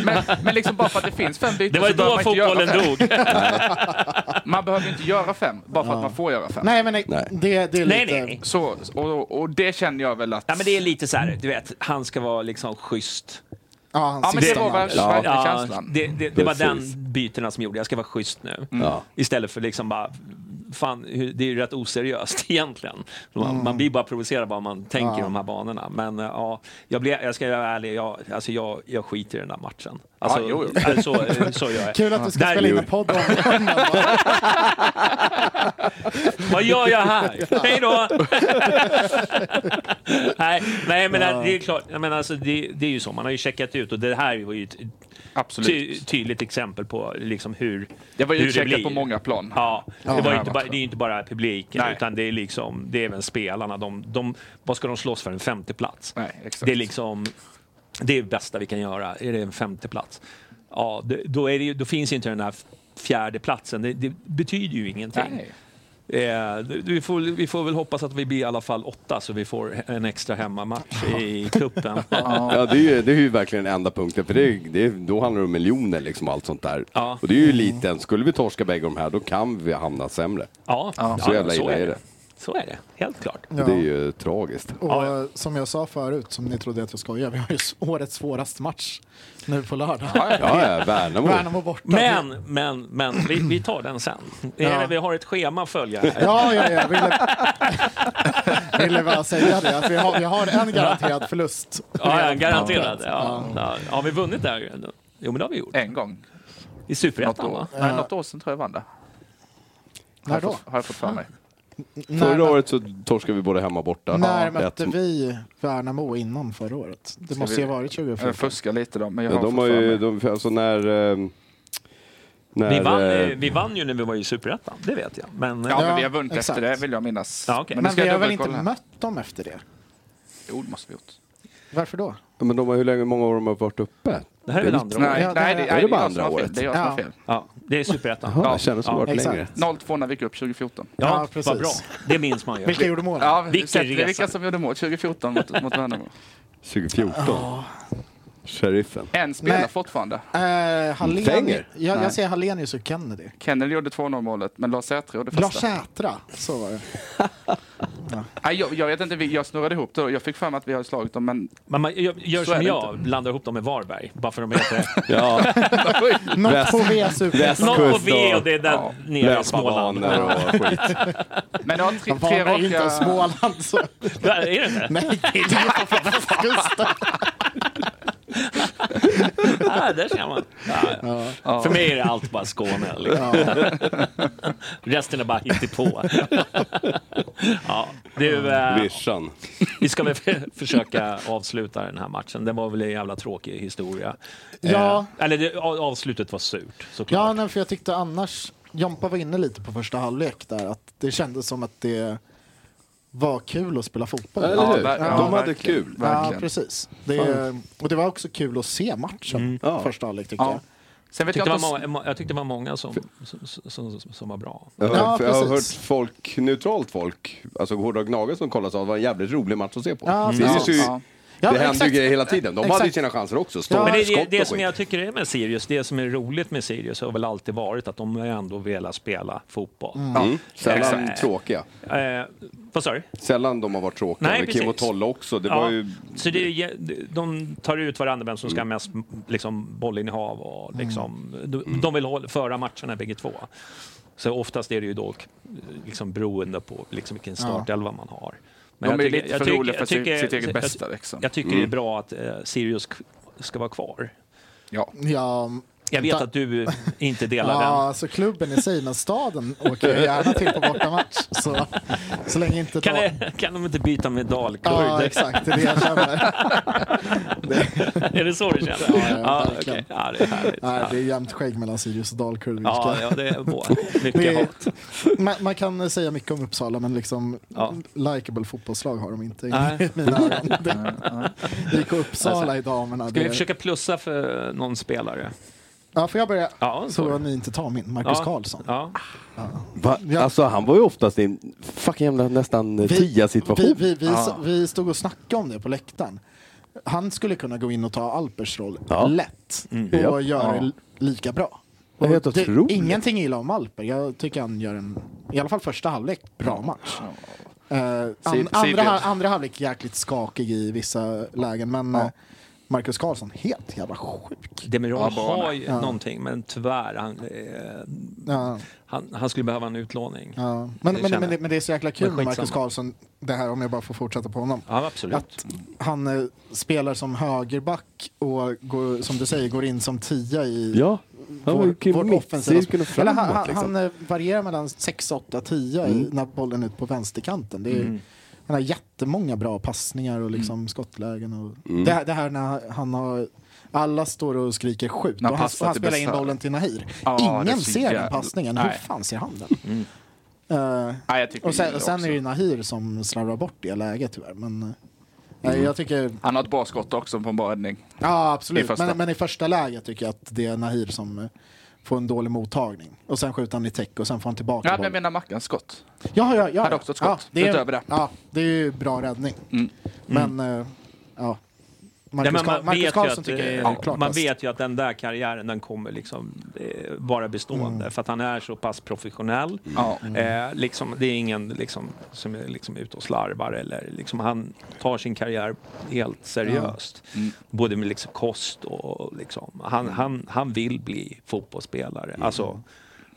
Men, men liksom bara för att det finns fem byten Det var ju så behöver då man inte göra fotbollen fem. dog. Man behöver inte göra fem, bara för att man får göra fem. nej, men nej, Nej. Det, det är Nej, lite... nej, nej. Så, och, och det känner jag väl att... Ja, men det är lite så här, du vet, han ska vara liksom schysst. Ja, han Ja, men det sista var namn. verkligen verkligen Ja, känslan. det, det, det var Precis. den bytena som gjorde, jag ska vara schysst nu. Ja. Istället för liksom bara, fan, hur- det är ju rätt oseriöst egentligen. Man, Mm. man blir bara provocerad vad man tänker i de här banorna. Men eh, ja, jag, blir, jag ska vara ärlig, jag, alltså jag, jag skiter i den där matchen. Alltså, Ja, jo, jo. eh, Så, eh, så gör jag. Kul att du ska Där spela in ju. en podd om honom. Vad gör jag här? Hej då! nej, nej, men det är klart. Jag menar, alltså, det, det är ju så. Man har ju checkat ut och det här var ju ett ty, Absolut. tydligt exempel på liksom hur Det var hur ju blir. checkat på många plan. Ja, det, det var ju här inte var bara, så. det är ju inte bara publiken Nej. utan det är, liksom, det är även spelarna. De, de, vad ska de slåss för? En femteplats? Nej, exakt. Det är liksom det är det bästa vi kan göra. Är det en femteplats? Ja, det, då, är det ju, då finns ju inte den här fjärde platsen. Det, det betyder ju ingenting. Nej. Eh, vi, får, vi får väl hoppas att vi blir i alla fall åtta så vi får en extra hemmamatch i cupen. Ja, det är, ju, det är ju verkligen den enda punkten, för det är, det är, då handlar det om miljoner liksom allt sånt där. Ja. Och det är ju eliten, skulle vi torska bägge de här då kan vi hamna sämre. ja, Så jävla illa är det. Så är det, helt klart. Och Det är ju tragiskt. Och Ja, ja. eh, som jag sa förut, som ni trodde att jag skojar, vi har ju s- årets svåraste match nu på lördag. Ja, ja, Värnamo. Värnamo borta. Men, men, men, vi, vi tar den sen. Eller, Vi har ett schema att följa. här. Ja, ja, ja. Ville, ville bara säga det. Att vi, har, vi har en garanterad förlust. Ja, ja, garanterat. Ja, ja. Har vi vunnit där? Jo, men det har vi gjort. En gång. I Något Superettan, år. va? Nej, något år sedan tror jag vann det. När då? Har jag fått för mig. Förra när, året så torskade vi både hemma och borta. när Ja, mötte ett- vi Värnamo innan förra året? Det måste ju ha varit Jag 2014. fuskar lite då, men jag Ja, har de fått har för ju, mig. de, alltså när... ehm, när Vi vann, eh, eh, vi vann ju när vi var i Superettan, det vet jag. Men, Ja, Ja, men vi har vunnit exakt. efter det vill jag minnas. Ja, okej. Men, det Men ska vi jag har väl inte dubbelkolla här. mött dem efter det? Jo, det måste vi ha gjort. Varför då? men de har, hur länge, många år de har varit uppe? det här är väl andra året? Nej, Ja, det- nej, det, Är nej, det det bara är jag andra som har fel. året? Det är jag som har Ja. fel. Ja, det är Superettan. Jaha, det kändes som det har varit exakt. längre. 02 när vi gick upp 2014. Ja, Ja, precis. vad bra. Det minns man ju. Vilka gjorde målen? Ja, Vilken sätter vi resa. vilka som gjorde mål 2014 mot, mot Värnamo? 2014. Sheriffen. En spelar Nej. fortfarande. Eh, Hallén, Wenger? jag, Nej. jag säger Hallenius och Kennedy. Kennedy gjorde 2-0 målet, men Lars Sätre gjorde Lars första. Sätra, så var det. Nej, jag, jag vet inte, vi- jag snurrade ihop det. Jag fick för mig att vi hade slagit dem, men... Men man, jag, gör Så är som det jag, blandar ihop dem med Varberg. Bara för de heter Ja, Något Väst- på VS väst- något på V och Kustdag. det är där Ja. nere i Småland. löpbananer och skit. Men det var tre, tre Varberg är inte av raka... Småland så... Ja, Är det inte? Nej, det är ju från Gustav. Ah, där ser man. Ja. För mig är det allt bara Skåne. Liksom. Resten är bara hittepå. ja, du, eh, Vischan. vi ska väl för- försöka avsluta den här matchen. Den var väl en jävla tråkig historia. Ja. Eh, eller det, a- avslutet var surt såklart. Ja, nej, för jag tyckte annars... Jompa var inne lite på första halvlek där, att det kändes som att det var kul att spela fotboll. Eller hur? ver- ja, De hade verkligen. kul. Ja, Verkligen. precis. Det, och det var också kul att se matchen, Mm. Ja. första halvlek tycker Ja. Sen vet Jag jag tyckte, inte... det var många, jag tyckte det var många som, som, som, som var bra. Jag har, Ja, jag har hört precis. folk, neutralt folk, alltså Hårda och Gnaga som kollade sa att det var en jävligt rolig match att se på. Mm. Ja, det precis. syns ju, Ja. Ja, det händer ju exakt. grejer hela tiden. De hade ju Exakt. sina chanser också. Men Stolpskott det, och är det, det som skit. jag tycker är med Sirius, det som är roligt med Sirius har väl alltid varit att de har ändå velat spela fotboll. Mm. Sällan Exakt. tråkiga. Eh, vad sa du? Sällan de har varit tråkiga. Nej, Nej, Kim och precis. Tolle också. Det Ja, var ju... Så det är, ju- de tar ut varandra vem som ska ha Mm. mest liksom, bollinnehav och liksom, Mm. de, de vill hålla, föra matcherna bägge två. Så oftast är det ju då eh, liksom, beroende på liksom, vilken startelva man har. De är ju lite för tycker- roliga för jag sitt- tycker- sitt eget jag- bästa, liksom. Jag tycker det är bra att eh, Sirius k- ska vara kvar. Ja. Ja, Jag vet da- att du inte delar Ja, den. alltså klubben i sig, men staden åker jag gärna till på bortamatch. Så, så länge inte... Kan, ta- det, kan de inte byta med dalkurd? Ja, exakt. Det är det jag känner. är det så du känner? Ja, ja, ja, okej. verkligen. ja det är härligt. Nej, Ja. det är jämnt skägg mellan Sirius och Dalkurd. Ja, ja, det är vår. Det mycket är, hat. man, man kan säga mycket om Uppsala, men liksom Ja. likeable fotbollslag har de inte i Nej. Alltså, mina öron. Det- IK Uppsala i damerna. Ska vi Det, försöka plussa för någon spelare? ja, får jag börja? Ja, Så får ni inte tar min, Marcus Karlsson. Ja. Va? Ja. Alltså han var ju oftast i en fucking jävla nästan Vi, tia-situation. vi, vi, Ah. vi stod och snackade om det på läktaren. Han skulle kunna gå in och ta Alpers roll Ja. lätt och Ja. göra det lika bra. Det är helt Och otroligt. ingenting illa om Alper. Jag tycker han gör en, i alla fall första halvlek, Mm. bra match. Eh, an, Siv- andra, Sivert. andra halvlek jäkligt skakig i vissa lägen, men eh, Marcus Karlsson, helt jävla sjuk. Demiral Ja, barnen. har ju Ja. någonting, men tyvärr, han, eh, Ja, han, han skulle behöva en utlåning. Ja, ja. Men, Det men, känner men, det, jag. men det är så jäkla kul Men med Marcus skitsamma. Karlsson, det här om jag bara får fortsätta på honom. absolut. Att han eh, spelar som högerback och går, som du säger, går in som tia i Ja, han var ju vår, kul vårt offensiva mittcirkeln och spel. Eller framåt. han, han, liksom. Mm. han eh, varierar mellan 6, 8, 10 i, när bollen är ut på vänsterkanten. Det är, Mm. Han har jättemånga bra passningar och Mm. liksom skottlägen. Och, det, här- det här när han har... Alla står och skriker skjut När och han, passar han till spelar in Besara. bollen till Nahir. Ja, det är Ingen så ser den jävla- passningen. Hur Nej. Mm. fan ser han den? Eh, Nej, jag tycker och sen, det och sen också. är det ju Nahir som slarvar bort det läget tyvärr. Men, eh, nej, jag tycker... Han har ett bra skott också på en bra räddning. Ja, I absolut. första. men, men i första läget tycker jag att det är Nahir som eh, får en dålig mottagning. Och sen skjuter han i täck och sen får han tillbaka Ja, men jag bollen. menar Mackans skott. Ja, ja, ja. Hade också ett skott, ja, det är, utöver det. Mm. Ja, det är ju bra räddning. Men, eh, ja. Marcus, Nej, men Ka- Marcus vet ju Karlsson att, tycker jag är eh, klart alltså. Man bäst. vet ju att den där karriären den kommer liksom eh, vara bestående Mm. för att han är så pass professionell. Ja. Eh, liksom, det är ingen liksom, som är liksom ute och slarvar eller liksom, han tar sin karriär helt seriöst. Mm. Både med liksom kost och liksom, han, han, han vill bli fotbollsspelare. Alltså,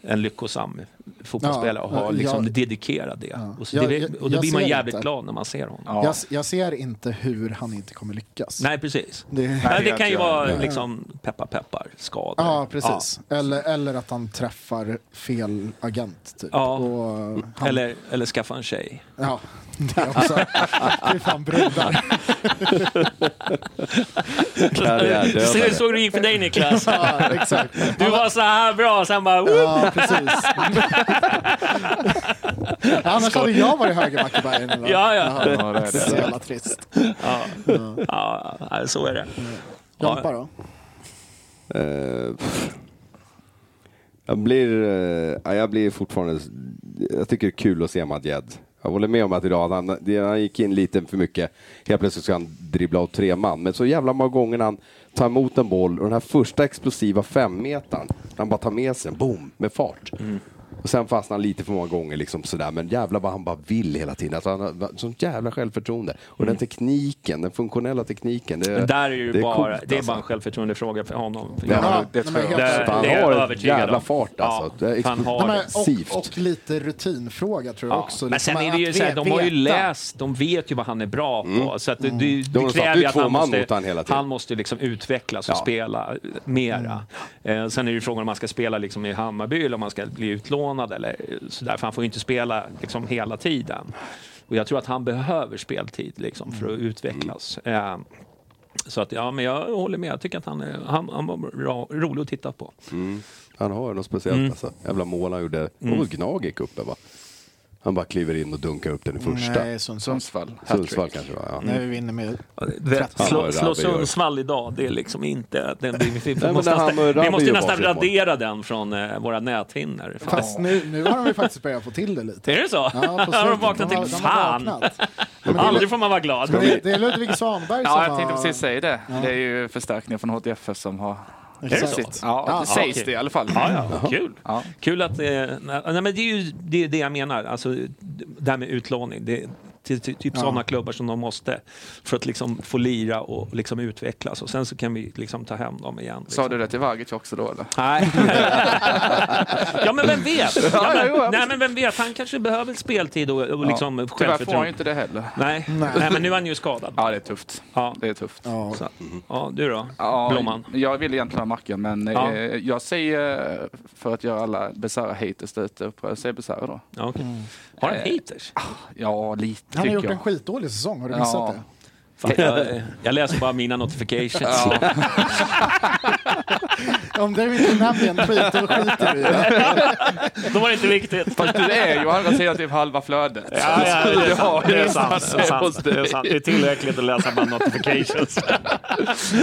en lyckosam fotbollsspelare och Mm. Ja, ha jag- liksom dedikerat det. Och, så Jag- det. jag- och då jag blir man ser jävligt inte. glad när man ser honom. Ja. Jag, jag ser inte hur han inte kommer lyckas. Nej, precis. Det- Nej, det det kan vet ju jag. vara liksom peppar peppar skador. Ja, precis. Eller, eller att han träffar fel agent. Typ. Ja. Och Ja. han, Eller, eller skaffa en tjej. Ja, det också. Fy fan brudar. Karriärdödare. Så jag såg du gick för dig Niklas. Ja, exakt. Du var så här bra, sen bara... "Woo!" Ja, precis. Annars hade jag varit högerback i Bayern idag. Ja, ja. Ja, det är Det är så jävla trist. Ja, ja, så är det. Jompa då? Eh, pff. jag blir, eh, ja, jag blir fortfarande, jag tycker det är kul att se Madjed. Jag håller med om att idag, han, det- han gick in lite för mycket. Helt plötsligt ska han dribbla åt tre man. Men så jävla många gånger när han tar emot en boll och den här första explosiva femmetaren, när han bara tar med sig den, boom, med fart. Mm. Och sen fastnar han lite för många gånger liksom sådär, men jävla vad han bara vill hela tiden. Alltså han har sånt jävla självförtroende. Och den tekniken, den funktionella tekniken. Det, Mm. Men där är ju bara, coolt, det är alltså. bara en självförtroendefråga för honom. Ja, Ja, det nej, tror men jag. helt- Där- Fan, det är han har jag en övertygad jävla om. fart Ja, alltså. Det är fan explo- har det. Nej, men, och, Passivt. och lite rutinfråga tror jag Ja. också. liksom, Men sen är det ju att så här, de har ju veta. läst, de vet ju vad han är bra på. Så att det, det, det Mm. De satte kräver ju ju att två han man måste, mot han hela tiden. han måste liksom utvecklas och Ja. spela mera. Mm. Eh, sen är det ju frågan om man ska spela liksom i Hammarby eller om man ska bli utlånad eller sådär. För han får ju inte spela liksom hela tiden. Och jag tror att han behöver speltid liksom för Mm. att utvecklas. Eh, så att, ja, men jag håller med. Jag tycker att han, är, han, han var bra, rolig att titta på. Mm. Han har ju något speciellt alltså. Jävla mål han gjorde. Det var Gnag i cupen va? Han bara kliver in och dunkar upp den i första. Nej, Sundsvall. Sundsvall. Sundsvall Hattrick. kanske det var, ja. Nu vinner med... Vet, Ja, slå Rabbi slå gör- Sundsvall idag, det är liksom inte... Det, vi, vi, men måste när han och nästan, Rabbi vi måste gör nästan varsitt mål. radera den från eh, våra näthinnor. Fan. Fast nu, nu har de ju faktiskt börjat få till det lite. Är det så? Ja, på har de slutet. vaknat har- till? de har Fan! vaknat. Men det är- Aldrig får man vara glad. Det, det är Ludvig Svanberg som Ja, jag tänkte har- precis säga det. Det är ju förstärkningen från HTFF som har... det så? sitt- Ja, det sägs okej. det i alla fall. Ja, ja, kul. Ja. Kul att... Eh, nej, nej, men det är ju det, är det jag menar, alltså det här med utlåning. Det, till, till, typ sådana klubbar som de måste för att liksom få lira och liksom utvecklas och sen så kan vi liksom ta hem dem igen. Liksom. Sa du det till Vagic också då eller? Nej. ja, men vem vet? Ja, ja, jo, ja, men, nej, men vem vet? Han kanske behöver speltid och, och liksom Tyvärr får han ju självförtroende. inte det heller. Nej. Nej. men nu är han ju skadad. Ja, det är tufft. Ja. Det är tufft. Ja. Så, ja, du då? Ja, Blomman? Jag vill egentligen ha Macken, men Ja. eh, jag säger, eh, för att göra alla Besara-haters där ute upprörda, jag säger Besara då. Eh, Ja, okej. Har han haters? Ja, Han Ah, lite har tycker gjort jag. en skitdålig säsong, har du missat Ja. det? Fan, jag, jag läser bara mina notifications. Om du inte nämner en tweet, då skiter vi i det. Då var det inte viktigt. Fast du är ju å andra sidan typ halva flödet. Ja, ja, det, är sant. det, är sant. det, är hos sant. dig. det är sant. Det är tillräckligt att läsa bara notifications.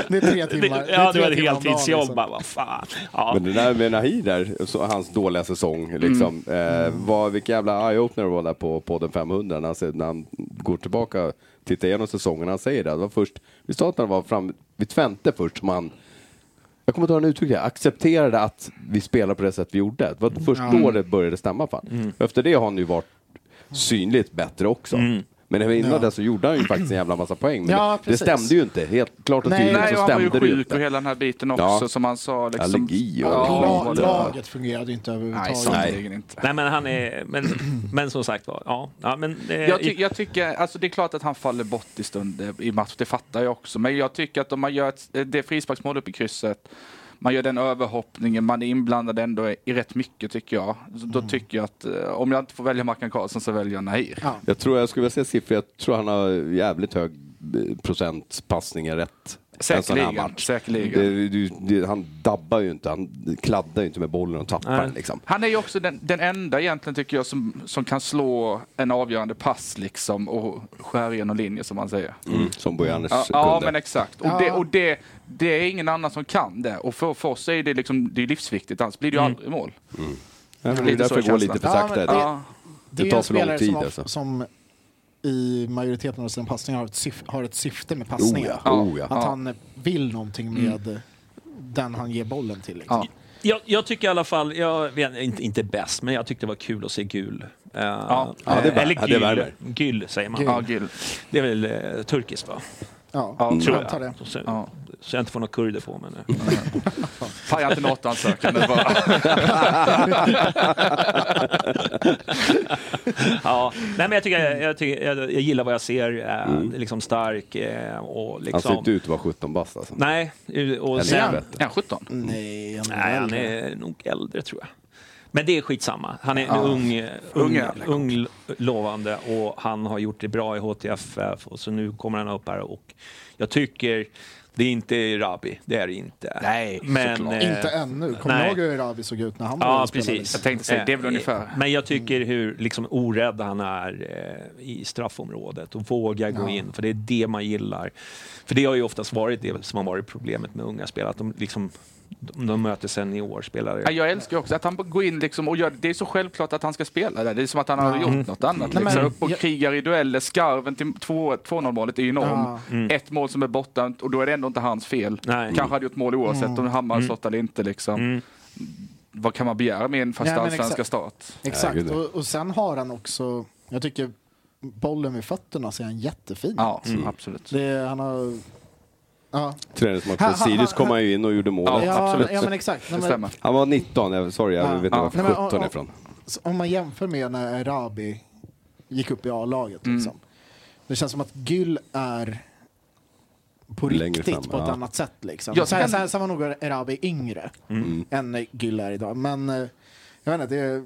Det är tre Det, timmar. ja, det tre var ett timmar om dagen, heltidsjobb. liksom. Bara, vad fan. Ja. Men det där med Nahir där, så, hans dåliga säsong Mm. liksom. Eh, vad, vilken jävla eye-opener det var där på podden 500 när han, ser- när han går tillbaka och tittar igenom säsongen. Han säger det, det var först, vi sa att han var fram vid Twente först som han jag kommer inte ihåg hur han uttryckte det. Accepterade att vi spelar på det sätt vi gjorde. Det Mm. Mm. var först då det började stämma. Fan. Efter det har han ju varit synligt bättre också. Men innan Ja. det så gjorde han ju faktiskt en jävla massa poäng. Men Ja, det, det precis. stämde ju inte. Helt klart och Nej. tydligt Nej, så och han var ju stämde det ju sjuk och inte. hela den här biten också Ja. som han sa. Liksom, Allergi och- Ja, La, vad det var. laget fungerade inte Nej, överhuvudtaget. sannerligen inte. Nej, men han är... Men, men som sagt var, ja. ja men, eh, Jag, ty- jag tycker, alltså det är klart att han faller bort i stunder i match, det fattar jag också. Men jag tycker att om man gör ett, eh, det frisparksmål uppe i krysset, man gör den överhoppningen, man är inblandad ändå i rätt mycket tycker jag. Så Då Mm. tycker jag att eh, om jag inte får välja Mackan Karlsson så väljer jag Nahir. Ja. Jag tror, jag skulle vilja säga siffror, jag tror han har jävligt hög eh, procent passningar rätt. en sån här Säkerligen, match. säkerligen. Det, du, det, han dabbar ju inte, han kladdar ju inte med bollen och tappar Nej. den liksom. Han är ju också den, den enda egentligen tycker jag som, som kan slå en avgörande pass liksom och skära igenom linjer som man säger. Mm. Som Bojanes Ja, kunde. ja men exakt. Och, det, och det, det är ingen annan som kan det. Och för, för oss är det, liksom, det är livsviktigt, annars blir det ju Mm. aldrig mål. Nej, men det är lite så därför det går känslan. lite för Ja, sakta. men idag. Ja. Det, Det är tar en för lång spelare tid, som, har, alltså. som i majoriteten av sina passningar har ett, syf- har ett syfte med Oh passningen. ja, oh ja. Att han vill någonting med den han ger bollen till. Liksom. Ja. jag, jag tycker i alla fall, jag vet inte, inte bäst, men jag tyckte det var kul att se gul. Eh, Ja, det är bra. eller Ja, det gyll, värmer. gyll säger man. Ja, Gil. Det är väl eh, turkiskt va? Ja. Ja, jag tror jag. antar det. Så, Ja. så jag inte får några kurder på mig nu. Paja inte NATO-ansökan nu bara. Ja, nej, men jag, tycker, jag, jag, tycker, jag, jag gillar vad jag ser. Eh, Mm. Liksom stark eh, och Han ser liksom... inte ut att vara 17 bast alltså. Nej, och Eller sen... vet. Är han 17? Nej, han är Nej, han äldre. är nog äldre tror jag. Men det är skitsamma. Han är en Ja. ung, eh, Ung ung, jävla ung lo- lovande och han har gjort det bra i HTFF och så nu kommer han upp här och jag tycker det är inte Rabi, det är det inte. Nej, men, såklart. eh, Inte ännu. Kommer du nej. ihåg hur Rabi såg ut när han Ja, började spela? liksom? precis. Jag tänkte säga, det är väl Eh, ungefär. Men jag tycker hur liksom, orädd han är eh, i straffområdet och vågar gå in, för det är det man gillar. För det har ju oftast varit det som har varit problemet med unga spelare, att de liksom de, de möter seniorspelare. Ja, Jag älskar ju också att han bara går in liksom och gör det. är så självklart att han ska spela där. Det är som att han har gjort något annat. Mm. Nej, men- Liksom. Upp och jag- krigar i dueller. Skarven till 2-0 målet är ju enorm. Ja. Ett mål som är borta och då är det ändå inte hans fel. Nej. Mm. Kanske hade gjort mål oavsett Mm. om Hammar slått eller inte. Liksom. Vad kan man begära med en fast Ja, men allsvenska exakt. start? Nej, Exakt. gud, nej. Och, och sen har han också, jag tycker bollen med fötterna ser han jättefin ut. Ja, absolut. Det, han har... Ja, Träningsmatch Ha, ha, mot ha, Sirius kom ha. han ju in och gjorde målet. ja, absolut. ja men exakt. Nej, Det men, stämmer. Han var 19, jag, sorry, jag Ja. vet inte Ja. varför Nej, men, och- 17 och- ifrån. Så om man jämför med när Rabi gick upp i A-laget. Mm. Liksom. Det känns som att Gyll är på Längre riktigt fram, på ett ja. annat sätt. Liksom. Jag Sen, kan- sen, sen var nog Rabi yngre än Gyll är idag. Men eh, jag vet inte, det är,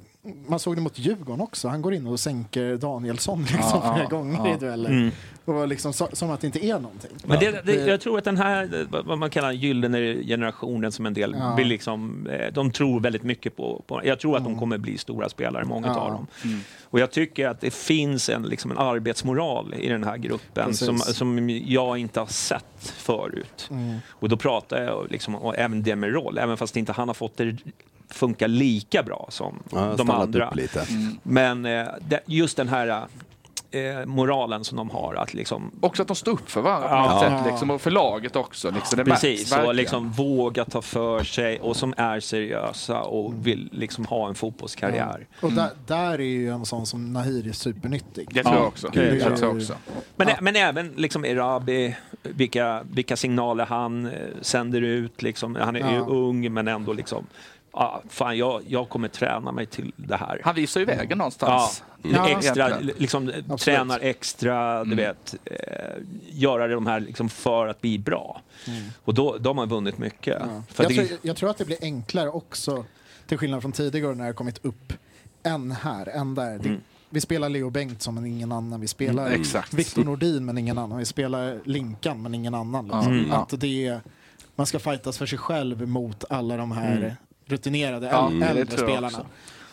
man såg det mot Djurgården också. Han går in och sänker Danielsson liksom, Ja, flera ja, gånger ja. Mm. i dueller. Och var liksom, så, som att det inte är någonting. Men det, det, jag tror att den här, eh, vad man kallar gyllene generationen som en del, Ja. vill liksom, eh, de tror väldigt mycket på, på jag tror att de kommer bli stora spelare, många Ja. av dem. Och jag tycker att det finns en, liksom en arbetsmoral i den här gruppen Precis. som, som jag inte har sett förut. Mm. Och då pratar jag liksom, och även Demirol, även fast inte han har fått det funka lika bra som Ja, de stannat andra. upp lite. Mm. Men eh, det, just den här eh, moralen som de har, att liksom Också att de står upp för varandra på något sätt. Liksom, och för laget också. Liksom. Det märks Precis, och verkligen. liksom våga ta för sig och som är seriösa och vill liksom ha en fotbollskarriär. Och där, där är ju en sån som Nahir är supernyttig. Mm. Det tror jag också. det Det gör- tror jag också. Men, men även liksom Erabi, vilka, vilka signaler han eh, sänder ut. Liksom. Han är ju Ja. ung men ändå liksom, ah, fan jag, jag kommer träna mig till det här. Han visar ju vägen Ja, någonstans. Ja. extra, Egentligen. liksom, tränar extra, Mm. du vet, eh, göra de här liksom för att bli bra. Och då, de har vunnit mycket. För Mm. Jag, det, tror, jag tror att det blir enklare också, till skillnad från tidigare när det har kommit upp en här, en där. Det, Vi spelar Leo Bengtsson men ingen annan. Vi spelar Mm, exakt. Victor Nordin men ingen annan. Vi spelar Linkan men ingen annan. Liksom. Mm. Att det är, man ska fightas för sig själv mot alla de här rutinerade Mm. Ja, äl- det äldre tror jag spelarna. också.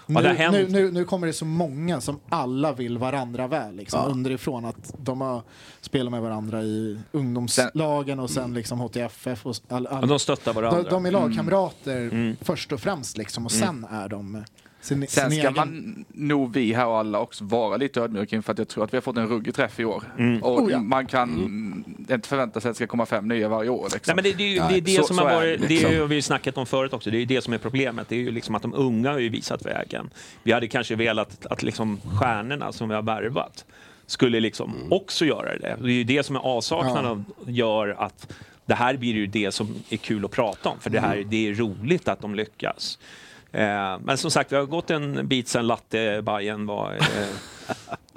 Ja, det har Nu, hänt. nu, nu, nu kommer det så många som alla vill varandra väl. Liksom, Underifrån att de har spelat med varandra i ungdomslagen och Mm. sen liksom HTFF. Och s- all, all, och de stöttar varandra. Mm. de, de är lagkamrater först och främst liksom, och sen är de sin, Sen sin ska egen... man nog, vi här och alla också, vara lite ödmjuka inför att jag tror att vi har fått en ruggig träff i år. Mm. Och Oh ja. man kan inte förvänta sig att det ska komma fem nya varje år. Liksom. Nej, men det, det är ju det, är det så- som så har är varit, det, det är ju, liksom. och vi har snackat om förut också, det är ju det som är problemet. Det är ju liksom att de unga har ju visat vägen. Vi hade kanske velat att liksom stjärnorna som vi har värvat skulle liksom Mm. också göra det. Det är ju det som är avsaknaden av, gör att det här blir ju det som är kul att prata om, för det, Mm. här, det är roligt att de lyckas. Eh, men som sagt, vi har gått en bit sen latte Bajen var, eh,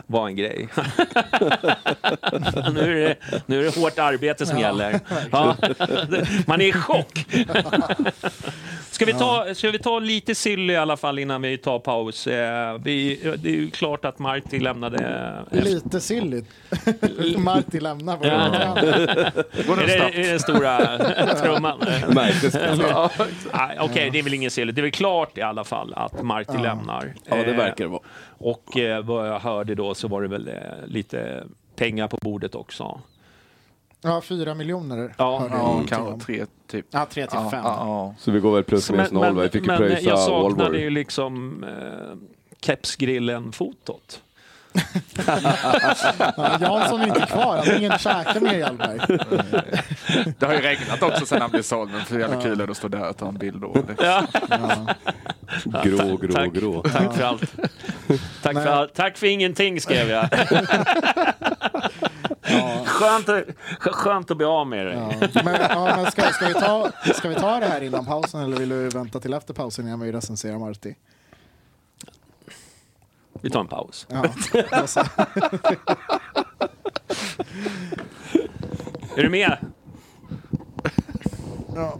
var en grej. nu, är det, nu är det hårt arbete som gäller. Ja. Man är i chock. Ska vi, ta, ska vi ta lite sill i alla fall innan vi tar paus? Eh, vi, det är ju klart att Marty lämnade... Lite silligt. Marty lämnar vår Går Är den det, snabbt? är det den stora trumman? Märktes kanske. Ja. Nej, Okej, det är väl ingen sill. Det är väl klart i alla fall att Marty lämnar. Ja, det Eh, verkar det vara. Och eh, vad jag hörde då så var det väl eh, lite pengar på bordet också. Ja, fyra miljoner. Ja, hörde jag Ja, någonting om. kanske tre typ. Ja, tre till Ja, fem. ja, Så vi går väl plus Men- minus noll. men- va? Vi fick ju men jag pröjsa saknade Volvo. ju liksom eh, kepsgrillen-fotot. Ja, Jansson är inte kvar, han har ingen käke med Hjalmberg. ja. Det har ju regnat också sen han blev såld, men för jävla kul är det att stå där och ta en bild då. Grå, grå, Tack. grå. Tack för allt. Tack för, Nej. allt. Tack för ingenting skrev jag. Skönt, att- skönt att bli av med dig. Ja. Men, ja, men ska, ska, vi ta, ska vi ta det här innan pausen eller vill du vänta till efter pausen innan vi recenserar Marty? Vi tar en paus. Ja, alltså, Är du med? ja.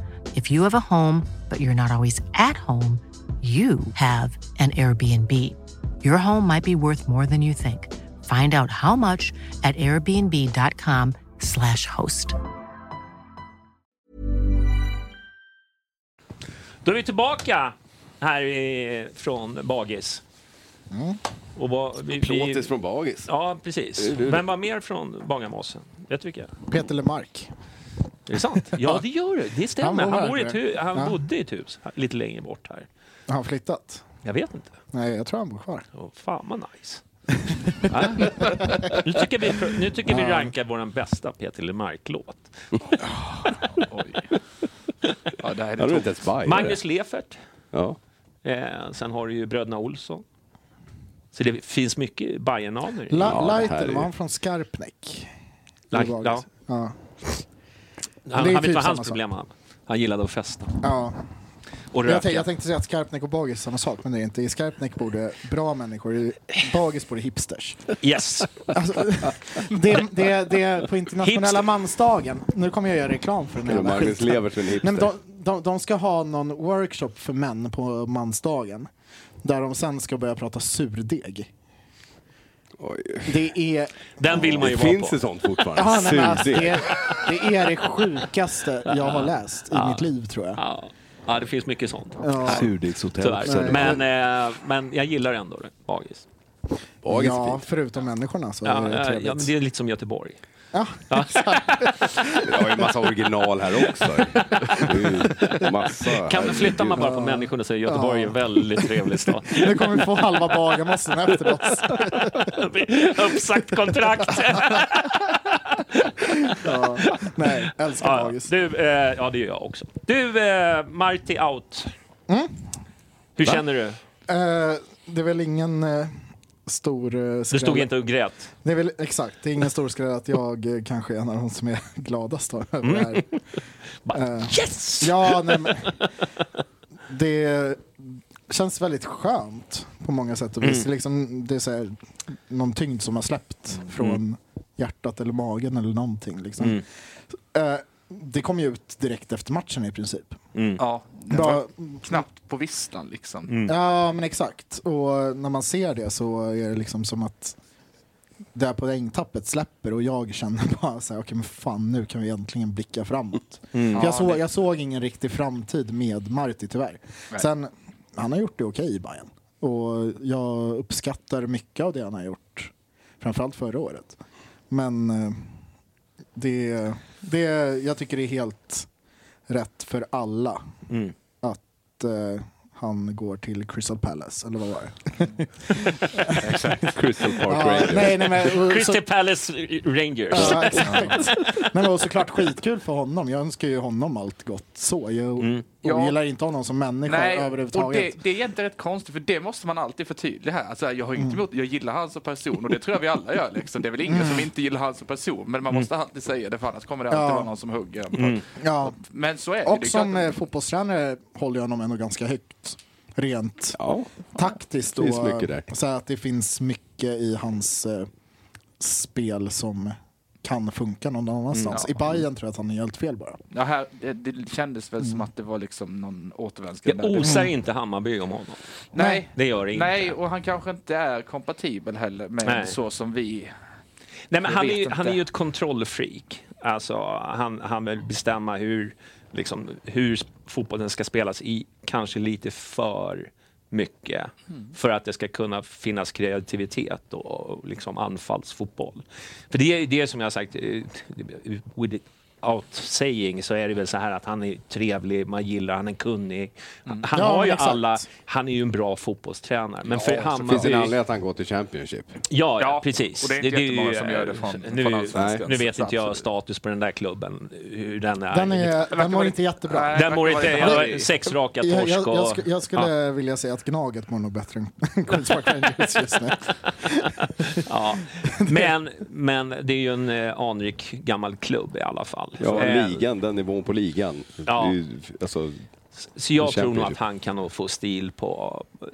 If you have a home, but you're not always at home, you have an Airbnb. Your home might be worth more than you think. Find out how much at airbnb.com/slash host. Då är vi tillbaka här i, från Bagis. Mm. Och vad, vi, vi, Plåtis från Bagis. ja, precis. Vem var mer från Bagarmossen? Vet du vilka? Peter LeMarc. Är det sant? Ja, det gör det. Det Han stämmer. bor Han, här, bor i ett tror jag. hu- han Ja. bodde i ett hus lite längre bort här. Har han flyttat? Jag vet inte. Nej, jag tror han bor kvar. Åh, fan vad nice. Ja. nu tycker vi, nu tycker vi rankar vår bästa Peter LeMarc-låt. Oj. Ja, det här är Ja, det det var tomt. inte ens Bajen. Magnus Lefert. Ja. Eh, sen har du ju bröderna Olsson. Så det finns mycket Bajen-anor. i- La- Ja, det här är Leiter, ju- var han från Skarpnäck? Like, Bolaget. ja. Ja. Han, Det är han vet typ vad samma hans sak. problem han. Han gillade att festa ja. och Jag, röka. tänkte, jag tänkte säga att Skarpnäck och Bagis är samma sak, men det är inte. I Skarpnäck bor det bra människor, i Bagis bor det hipsters. Yes! Alltså, det, det, det är på internationella Hipster. mansdagen. Nu kommer jag göra reklam för den här Eller jävla Magnus skiten. Levert som en Nej, hipster. men de, de, de ska ha någon workshop för män på mansdagen. Där de sen ska börja prata surdeg. Det är, Den vill man ju Det vara finns på. det sånt fortfarande? ja, nej, men alltså, Surdeg. det, är- det är det sjukaste jag har läst i mitt liv tror jag. Ja. ja, det finns mycket sånt. Ja. Surdegshotell. Tyvärr. Men, eh, men jag gillar ändå det, Bagis. var ganska ja, fint. förutom människorna så Ja, är det ja, trevligt. ja, men det är lite som Göteborg. Ja. Jag har ju en massa original här också. Det är ju Massa. Kan vi flytta man bara på människorna så är Göteborg en väldigt trevlig stad. Nu kommer vi få halva Bagarmossen efter oss. Uppsagt kontrakt! Ja. Nej, älskar Ja, Bagis. Du, eh, ja, det gör jag också. Du, eh, Marty out. Mm. Hur känner du? Eh, det är väl ingen eh, stor uh, Du stod inte och grät. Det är väl, exakt, det är ingen stor skräll att jag eh, kanske är en av de som är gladast då, över det här. Eh, Yes! ja, nej, men, det känns väldigt skönt på många sätt och vis. Det är Liksom, det är så här, någon tyngd som har släppt från hjärtat eller magen eller någonting. Liksom. Eh, det kom ju ut direkt efter matchen i princip. Mm. Ja, det Bra, var knappt på visslan liksom. Ja, men exakt. Och när man ser det så är det liksom som att det här poängtappet släpper och jag känner bara så här, okej men fan nu kan vi äntligen blicka framåt. För jag, såg, jag såg ingen riktig framtid med Marti tyvärr. Sen, han har gjort det okej i Bayern. Och jag uppskattar mycket av det han har gjort. Framförallt förra året. Men eh, det, det, jag tycker det är helt rätt för alla att eh, han går till Crystal Palace, eller vad var det? Crystal Park Ja, Rangers. nej, nej, men, och, så, Crystal Palace Rangers. ja, exakt. nej, men, och såklart skitkul för honom. Jag önskar ju honom allt gott så. Jag Ja. ogillar inte honom som människa och det, överhuvudtaget. det är egentligen rätt konstigt, för det måste man alltid förtydliga här. Alltså, jag har Mm. inget emot, jag gillar han som person och det tror jag vi alla gör. Liksom. Det är väl ingen som inte gillar han som person, men man måste alltid säga det för annars kommer det alltid Mm. Ja. vara någon som hugger en. Mm. Ja. Men så är det. Och det är som klart- eh, fotbollstränare håller jag honom ändå ganska högt. Rent Ja. taktiskt. det finns och, mycket där. Så att det finns mycket i hans eh, spel som kan funka någon annanstans. Mm. I Bayern tror jag att han är helt fel bara. ja, här, det, det kändes väl Mm. som att det var liksom någon återvändsgränd. Det där. osar inte Hammarby om honom. Nej. Det gör det inte. Nej, och han kanske inte är kompatibel heller med Nej. så som vi... Nej, men Jag han, är vet ju, inte. han är ju ett kontrollfreak. Alltså, han, han vill bestämma hur, liksom, hur s- fotbollen ska spelas i kanske lite för mycket Mm. för att det ska kunna finnas kreativitet och, och liksom anfallsfotboll. För det är ju det som jag har sagt, eh, without saying så är det väl så här att han är trevlig, man gillar, han är kunnig. Mm. Han Ja, har ju exakt. alla, han är ju en bra fotbollstränare. Men för Finns det en Hammarby... anledning att han går till Championship? Ja, Ja, ja, precis. och det är inte ju, eh, jättemånga som gör det från- nu, från allsvenskan. nu vet Nej. inte jag Absolut. status på den där klubben, hur den är. Den, är, den mår inte jättebra. Nej, den mår verkar inte... vara Jag har i- sex raka Jag, torsk jag, och... jag, sku, jag skulle vilja säga att Gnaget mår nog bättre än Queens Park Rangers just nu. Ja. Men, men det är ju en eh, anrik gammal klubb i alla fall. Ja, Eh, ligan, den nivån på ligan. Ja. Det är ju, alltså, Så jag tror nog Championship. att han kan nog få stil på... eh,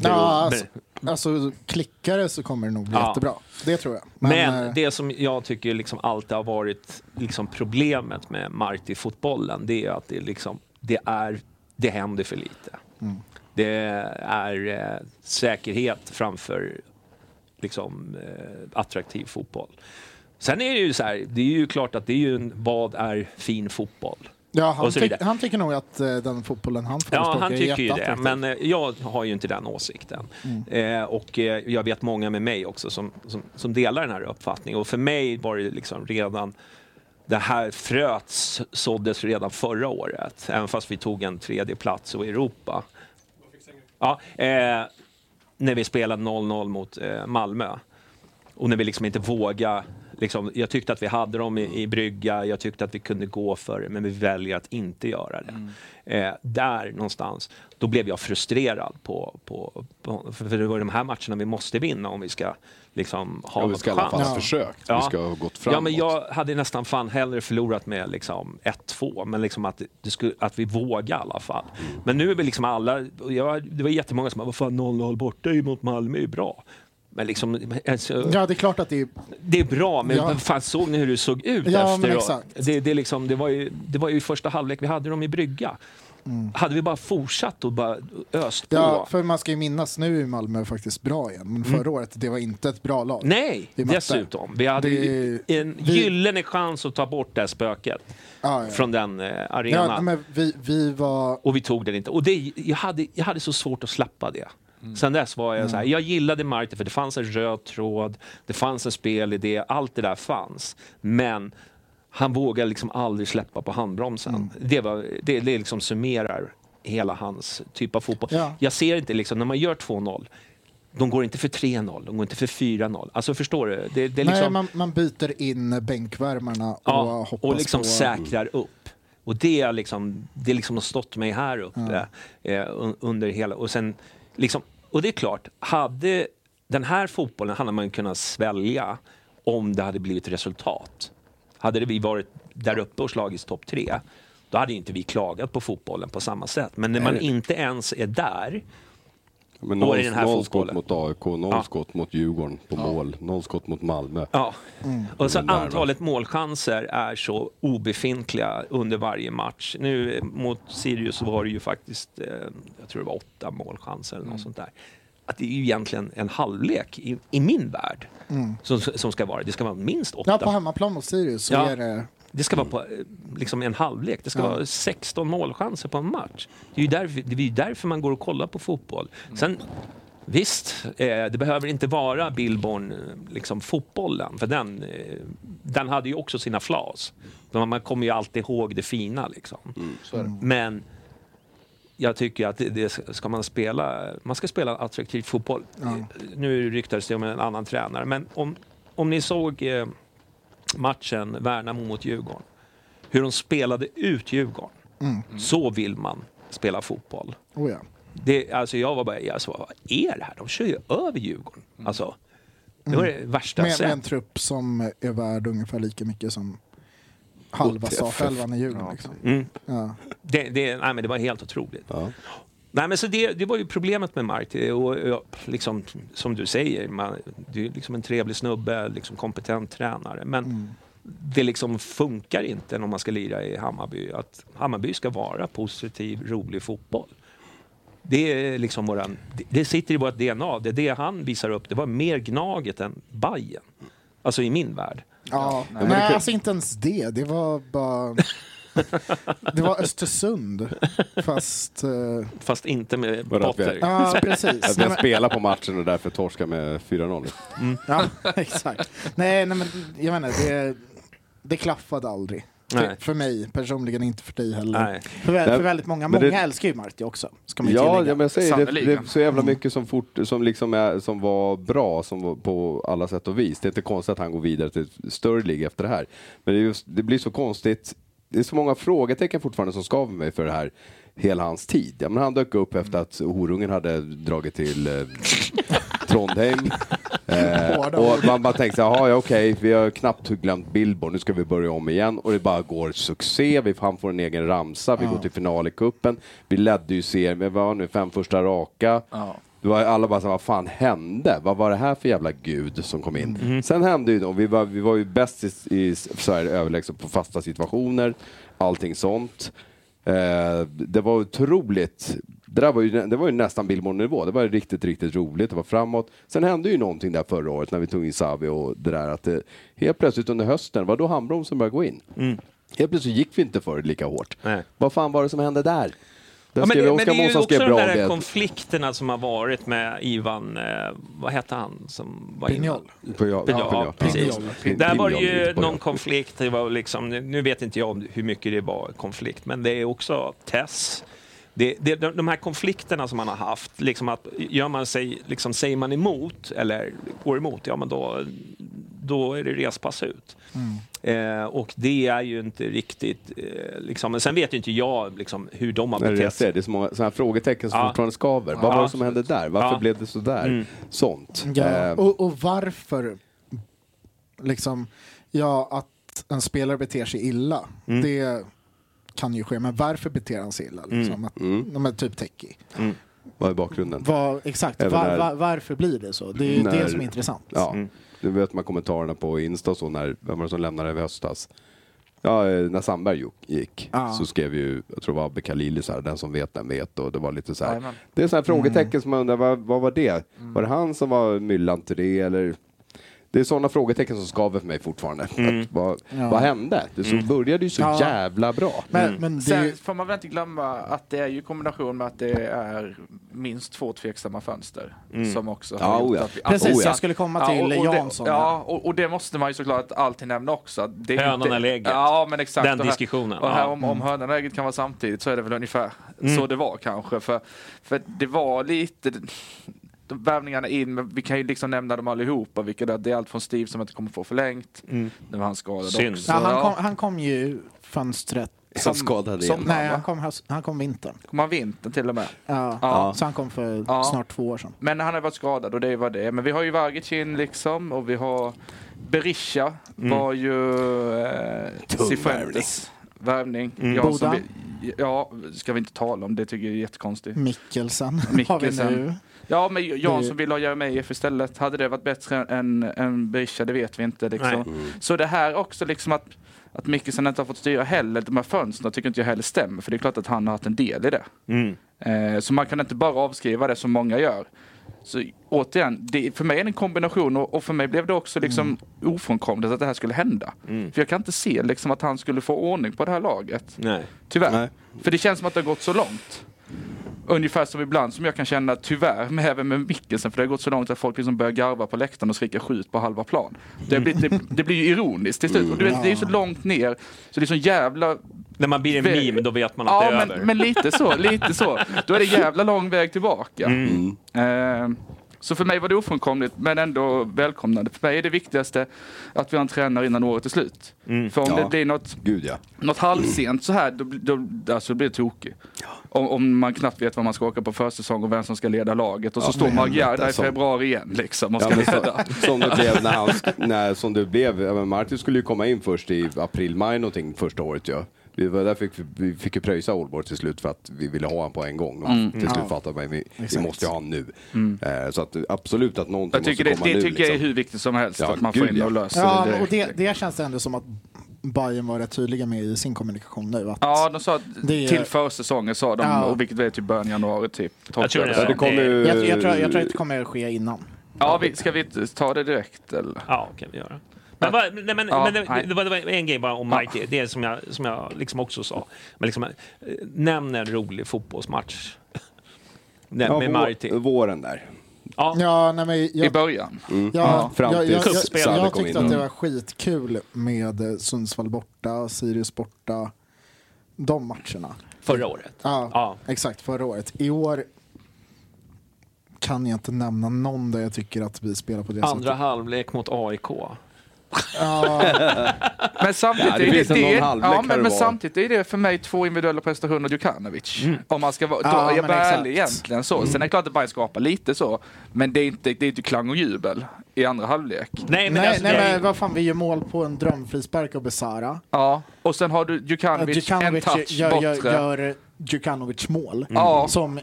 Ja, alltså, alltså klickar det så kommer det nog bli Mm. Ja. jättebra. Det tror jag. Men, Men, eh, det som jag tycker liksom alltid har varit liksom problemet med Marti-fotbollen, det är att det, liksom, det, är, det händer för lite. Mm. Det är eh, säkerhet framför liksom, eh, attraktiv fotboll. Sen är det ju så här, det är ju klart att det är ju en, vad är fin fotboll? ja, han, och så tyck- vidare. han tycker nog att eh, den fotbollen han Ja, förespråkar han är tycker ju det, jätteattraktiv. men eh, jag har ju inte den åsikten. Eh, och eh, jag vet många med mig också som, som, som delar den här uppfattningen. Och för mig var det liksom redan det här fröet s- såddes redan förra året, även fast vi tog en tredje plats i Europa. Ja, eh, när vi spelade 0-0 mot eh, Malmö. Och när vi liksom inte vågade. Liksom, jag tyckte att vi hade dem i, i brygga, jag tyckte att vi kunde gå för det, men vi väljer att inte göra det. Mm. Eh, där någonstans, då blev jag frustrerad på, på, på för, för det var de här matcherna vi måste vinna om vi ska liksom, ha ja, vi något ska i alla fall chans. ha försökt. Ja. Vi ska ha gått framåt. Ja, men jag hade nästan fan hellre förlorat med liksom 1-2, men liksom att, det skulle, att vi vågar i alla fall. Mm. Men nu är vi liksom alla, och jag, det var jättemånga som bara, vad fan 0-0 borta ju mot Malmö är ju bra. Men liksom, alltså, Ja, det är klart att det är... det är bra, men Ja. vad fan såg ni hur det såg ut Ja, men efteråt? exakt. Det, det, är liksom, det, var ju, det var ju i första halvlek vi hade dem i brygga. Hade vi bara fortsatt och bara öst på? Mm. Ja, för man ska ju minnas, nu är Malmö faktiskt bra igen, men förra året, det var inte ett bra lag. Mm. Nej, Vi mötte. dessutom. Vi hade Det- ju en vi- gyllene chans att ta bort det här spöket Ja, ja. från den eh, arenan. Ja, men vi, vi var... Och vi tog den inte. Och det, jag, hade, jag hade så svårt att släppa det. Mm. Sen dess var jag så här, jag gillade Marty för det fanns en röd tråd, det fanns en spelidé, allt det där fanns. Men han vågade liksom aldrig släppa på handbromsen. Mm. Det, var, det, det liksom summerar hela hans typ av fotboll. Ja. Jag ser inte liksom, när man gör 2-0, de går inte för 3-0, de går inte för 4-0. Alltså förstår du? Det, det är Nej, liksom, man, man byter in bänkvärmarna och Ja, hoppas och liksom på... Mm. säkrar upp. Och det är liksom, det är liksom har stått mig här uppe eh, un- under hela... Och, sen, liksom, och det är klart, hade den här fotbollen hade man ju kunnat svälja om det hade blivit resultat. Hade det vi varit där uppe och slagits topp tre, då hade ju inte vi klagat på fotbollen på samma sätt. Men när man inte ens är där, Men Då är noll, det den här noll skott fotbollen. mot AIK, noll Ja. skott mot Djurgården på mål, noll skott mot Malmö. Ja. Och så Den där, va? antalet målchanser är så obefintliga under varje match. Nu eh, mot Sirius så var det ju faktiskt, eh, jag tror det var åtta målchanser eller något sånt där. Att det är ju egentligen en halvlek i, i min värld som, som ska vara. Det ska vara minst åtta. Mm. Ja, på hemmaplan mot Sirius så Ja. är det... Det ska vara på, eh, liksom en halvlek. Det ska Ja. vara 16 målchanser på en match. Det är ju därför, det är ju därför man går och kollar på fotboll. Sen, visst, eh, det behöver inte vara Billborn, eh, liksom fotbollen. För den, eh, den hade ju också sina flas. Men Man kommer ju alltid ihåg det fina liksom. Men jag tycker att det, det ska man spela, man ska spela attraktiv fotboll. Nu ryktades det om en annan tränare, men om, om ni såg eh, matchen Värnamo mot Djurgården, hur de spelade ut Djurgården, så vill man spela fotboll. Mm. Oh ja. Det, alltså jag var bara, alltså, vad är det här? De kör ju över Djurgården. Alltså, det var det värsta jag Mm. Med, med en sett. trupp som är värd ungefär lika mycket som halva startelvan i Djurgården. Liksom. Mm. Det, det, nej, men det var helt otroligt. Nej, men så det, det var ju problemet med Marty. Och, och, liksom, som du säger, man, du är liksom en trevlig snubbe, liksom kompetent tränare. Men det liksom funkar inte när man ska lira i Hammarby. Att Hammarby ska vara positiv, rolig fotboll. Det, är liksom våran, det- det sitter i vårt DNA. Det, det han visar upp, det var mer Gnaget än Bajen. Alltså i min värld. Ja. Nej, alltså inte ens det. Det var bara... Det var Östersund, fast... eh, Fast inte med Bara att vi- Potter. Ja, precis. Att Nej, vi men, spelar på matchen och därför torskar med 4-0. ja, exakt. Nej, nej, men jag menar, det, det klaffade aldrig. Nej. För, för mig personligen, inte för dig heller. Nej. För, vä- för väldigt många. Men det- Många älskar ju Marti också, ska man ju Ja, tillägga. ja, men jag säger det, det Sannerligen. är så jävla mycket som, fort, som, liksom är, som var bra som var på alla sätt och vis. Det är inte konstigt att han går vidare till ett större lig efter det här. Men det, är just, det blir så konstigt. Det är så många frågetecken fortfarande som skaver mig för det här hela hans tid. Ja, men han dök upp efter att horungen hade dragit till eh, Trondheim. Eh, Hårda och man bara tänkte så här, "Jaha, ja okej, vi har knappt glömt Billboard, nu ska vi börja om igen. Och det bara går succé, vi, han får en egen ramsa, vi går till final i cupen. Vi ledde ju serien, vi var nu fem första raka. Det var alla bara så här, vad fan hände? Vad var det här för jävla gud som kom in? Mm. Sen hände ju då, vi var, vi var ju bäst i, i Sverige överlägset på fasta situationer, allting sånt. Eh, det var otroligt. Det, där var ju, det var ju nästan Billborn-nivå. Det var riktigt, riktigt roligt. Det var framåt. Sen hände ju någonting där förra året när vi tog in Savi och det där att det, helt plötsligt under hösten var då handbromsen började gå in. Helt plötsligt gick vi inte för det lika hårt. Mm. Nej. Vad fan var det som hände där? Där Ja, men, skrev det- men det Oskar är ju Månsson också skrev de bra om där det. konflikterna som har varit med Ivan, eh, vad hette han som var innan? Pignol. Pinjol. Ja, ja, precis. Pin- Där var det Pinjol, ju Pinjol. någon konflikt, det var liksom, nu vet inte jag om hur mycket det var konflikt, men det är också Tess. Det, det, de de här konflikterna som man har haft, liksom att gör man sig, liksom, säger man emot eller går emot, ja men då, då är det respass ut. Mm. Eh, och det är ju inte riktigt... Eh, liksom, men sen vet ju inte jag liksom, hur de har Nej, det, är det, jag betett sig. säger, det är så många såna här frågetecken som Ja. fortfarande skaver. Vad Ja, var det som hände absolut. där? Varför Ja. Mm. blev det så där? Sånt. Ja. Eh, Och, och varför, liksom, ja att en spelare beter sig illa, det kan ju ske. Men varför beter han sig illa? Liksom? Mm. Att, ja, men typ techie. Mm. vad är bakgrunden? Var, exakt, Även var, när- var, varför blir det så? Det är ju När- det som är intressant. Mm. Ja. Mm. Nu vet man kommentarerna på Insta och så när, vem var det som lämnade i höstas? Ja, eh, när Sandberg gick, gick Ja. så skrev ju, jag tror det var Abbe Khalili så här, den som vet den vet och det var lite så här. Jajamän. Det Mm. Mm. är så här frågetecken som man undrar, vad, vad var det? Var det han som var myllan till det eller? Det- Det är sådana frågetecken som skaver för mig fortfarande. Mm. Att Vad, Ja. vad hände? Det så började ju så Ja. jävla bra. Men, men det är ju, Mm. Sen får man väl inte glömma att det är ju i kombination med att det är minst två tveksamma fönster som också har Ja, gjort oja. att vi, att- precis, oh ja. jag skulle komma till och, och Jansson. Det, ja, och, och det måste man ju såklart alltid nämna också. att Det är Hönan eller ägget. Ja, men exakt. Den Och här- diskussionen, Och här, ja. om, om hönan och ägget kan vara samtidigt så är det väl ungefär så det var kanske. För, för det var lite... de Värvningarna in, men vi kan ju liksom nämna dem allihopa. Vilket är, det är allt från Steve som inte kommer få förlängt. Nu var han skadad Synd. också. ja, han, Ja. kom, han kom ju fönstret. Som skadade som- igen. Nej, va? han kom, höst- han kom vintern. Kommer han vintern till och med? Ja. Ja. Så han kom för Ja. snart två år sedan. Men han har varit skadad och det var det. Men vi har ju Vargicin liksom och vi har Berisha var ju eh, Cifuentes värvning. Jansson, Bodan. vi- ja, ska vi inte tala om det tycker jag är jättekonstigt. Mikkelsen har vi Mikkelsen. nu. Ja, men Jansson ville ha Jeremejeff istället. Hade det varit bättre än, än Berisha? Det vet vi inte. Liksom. Så det här också liksom att, att Mikkelsen inte har fått styra heller. De här fönstren tycker inte jag heller stämmer. För det är klart att han har haft en del i det. Mm. Eh, så man kan inte bara avskriva det som många gör. Så återigen, det, för mig är det en kombination och, och för mig blev det också liksom Mm. ofrånkomligt att det här skulle hända. För jag kan inte se liksom att han skulle få ordning på det här laget. Nej. Tyvärr. Nej. För det känns som att det har gått så långt. Ungefär som ibland som jag kan känna tyvärr, med, även med Mickelsen, för det har gått så långt att folk liksom börjar garva på läktaren och skrika skjut på halva plan. Det, blir, det, det blir ju ironiskt till slut. Och du vet, det är ju så långt ner, så det är så jävla När man blir en Ve- meme, då vet man att det Ja, är över. men, men lite så, lite så. Då är det jävla lång väg tillbaka. Eh, så för mig var det ofrånkomligt, men ändå välkomnande. För mig är det viktigaste att vi har en tränare innan året är slut. För om Ja. det blir något, Gud ja. något halvsent så här, då, bli- då, alltså, då blir det tokigt. Om, om man knappt vet vad man ska åka på försäsong och vem som ska leda laget. Och så står Magyar där i som- februari igen liksom och Ja, ska men leda. så, som det blev när han, sk- när, som det blev, ja, men Martin skulle ju komma in först i april, maj någonting första året ja. Vi var där fick vi, vi fick ju pröjsa Aalborg till slut för att vi ville ha han på en gång. va? Mm. Till slut Ja. fattade man, vi, vi Exakt. måste ju ha han nu. Eh, så att, absolut att någonting Jag tycker det, måste komma det nu. tycker jag är liksom. hur viktigt som helst Ja, att man gud, får in ja. och löser Ja, det. och det, det känns ändå som att Bayern var rätt tydliga med i sin kommunikation nu. Att Ja, de sa att Det är- till försäsongen sa de, Ja. och vilket är typ början av januari typ. Jag tror det Ja, det är- kommer ju... jag, jag, tror, jag tror att det kommer att ske innan. Ja, vi, ska vi t- ta det direkt eller? Ja, kan vi göra. Men, vad- nej, men, Ja, men det, nej. det, var, det var en grej bara om Mike, det är som jag, som jag liksom också sa. Men liksom, eh, nämn en rolig fotbollsmatch. Nej, Ja, med vå- Marti. Våren där. Ja, Ja, nej, men I jag, början. Ja, Mm. Fram jag, till jag, jag, kuppspelet jag kom tyckte in. Mm. att det var skitkul med eh, Sundsvall borta, Sirius borta, de matcherna. förra året. Ja, Ja. exakt, förra året. I år kan jag inte nämna någon där jag tycker att vi spelar på det Andra sättet. halvlek mot AIK. Men samtidigt, Ja, det finns är, en det, någon halvlek ja, kan det men, men vara. samtidigt är det för mig två individuella prestationer av Djukanovic. Om man ska vara då, Ja, är jag men är exakt. ärlig egentligen så. Sen är det klart att Bayern skapar lite så, men det är inte, det är inte klang och jubel i andra halvlek. Nej, men, nej, alltså, nej det är- men vad fan, vi gör mål på en drömfrispark av Besara. Ja, och sen har du Djukanovic, en Djukanovic touch gör, bortre. Mm. gör, gör Djukanovic mål. Ja. Som,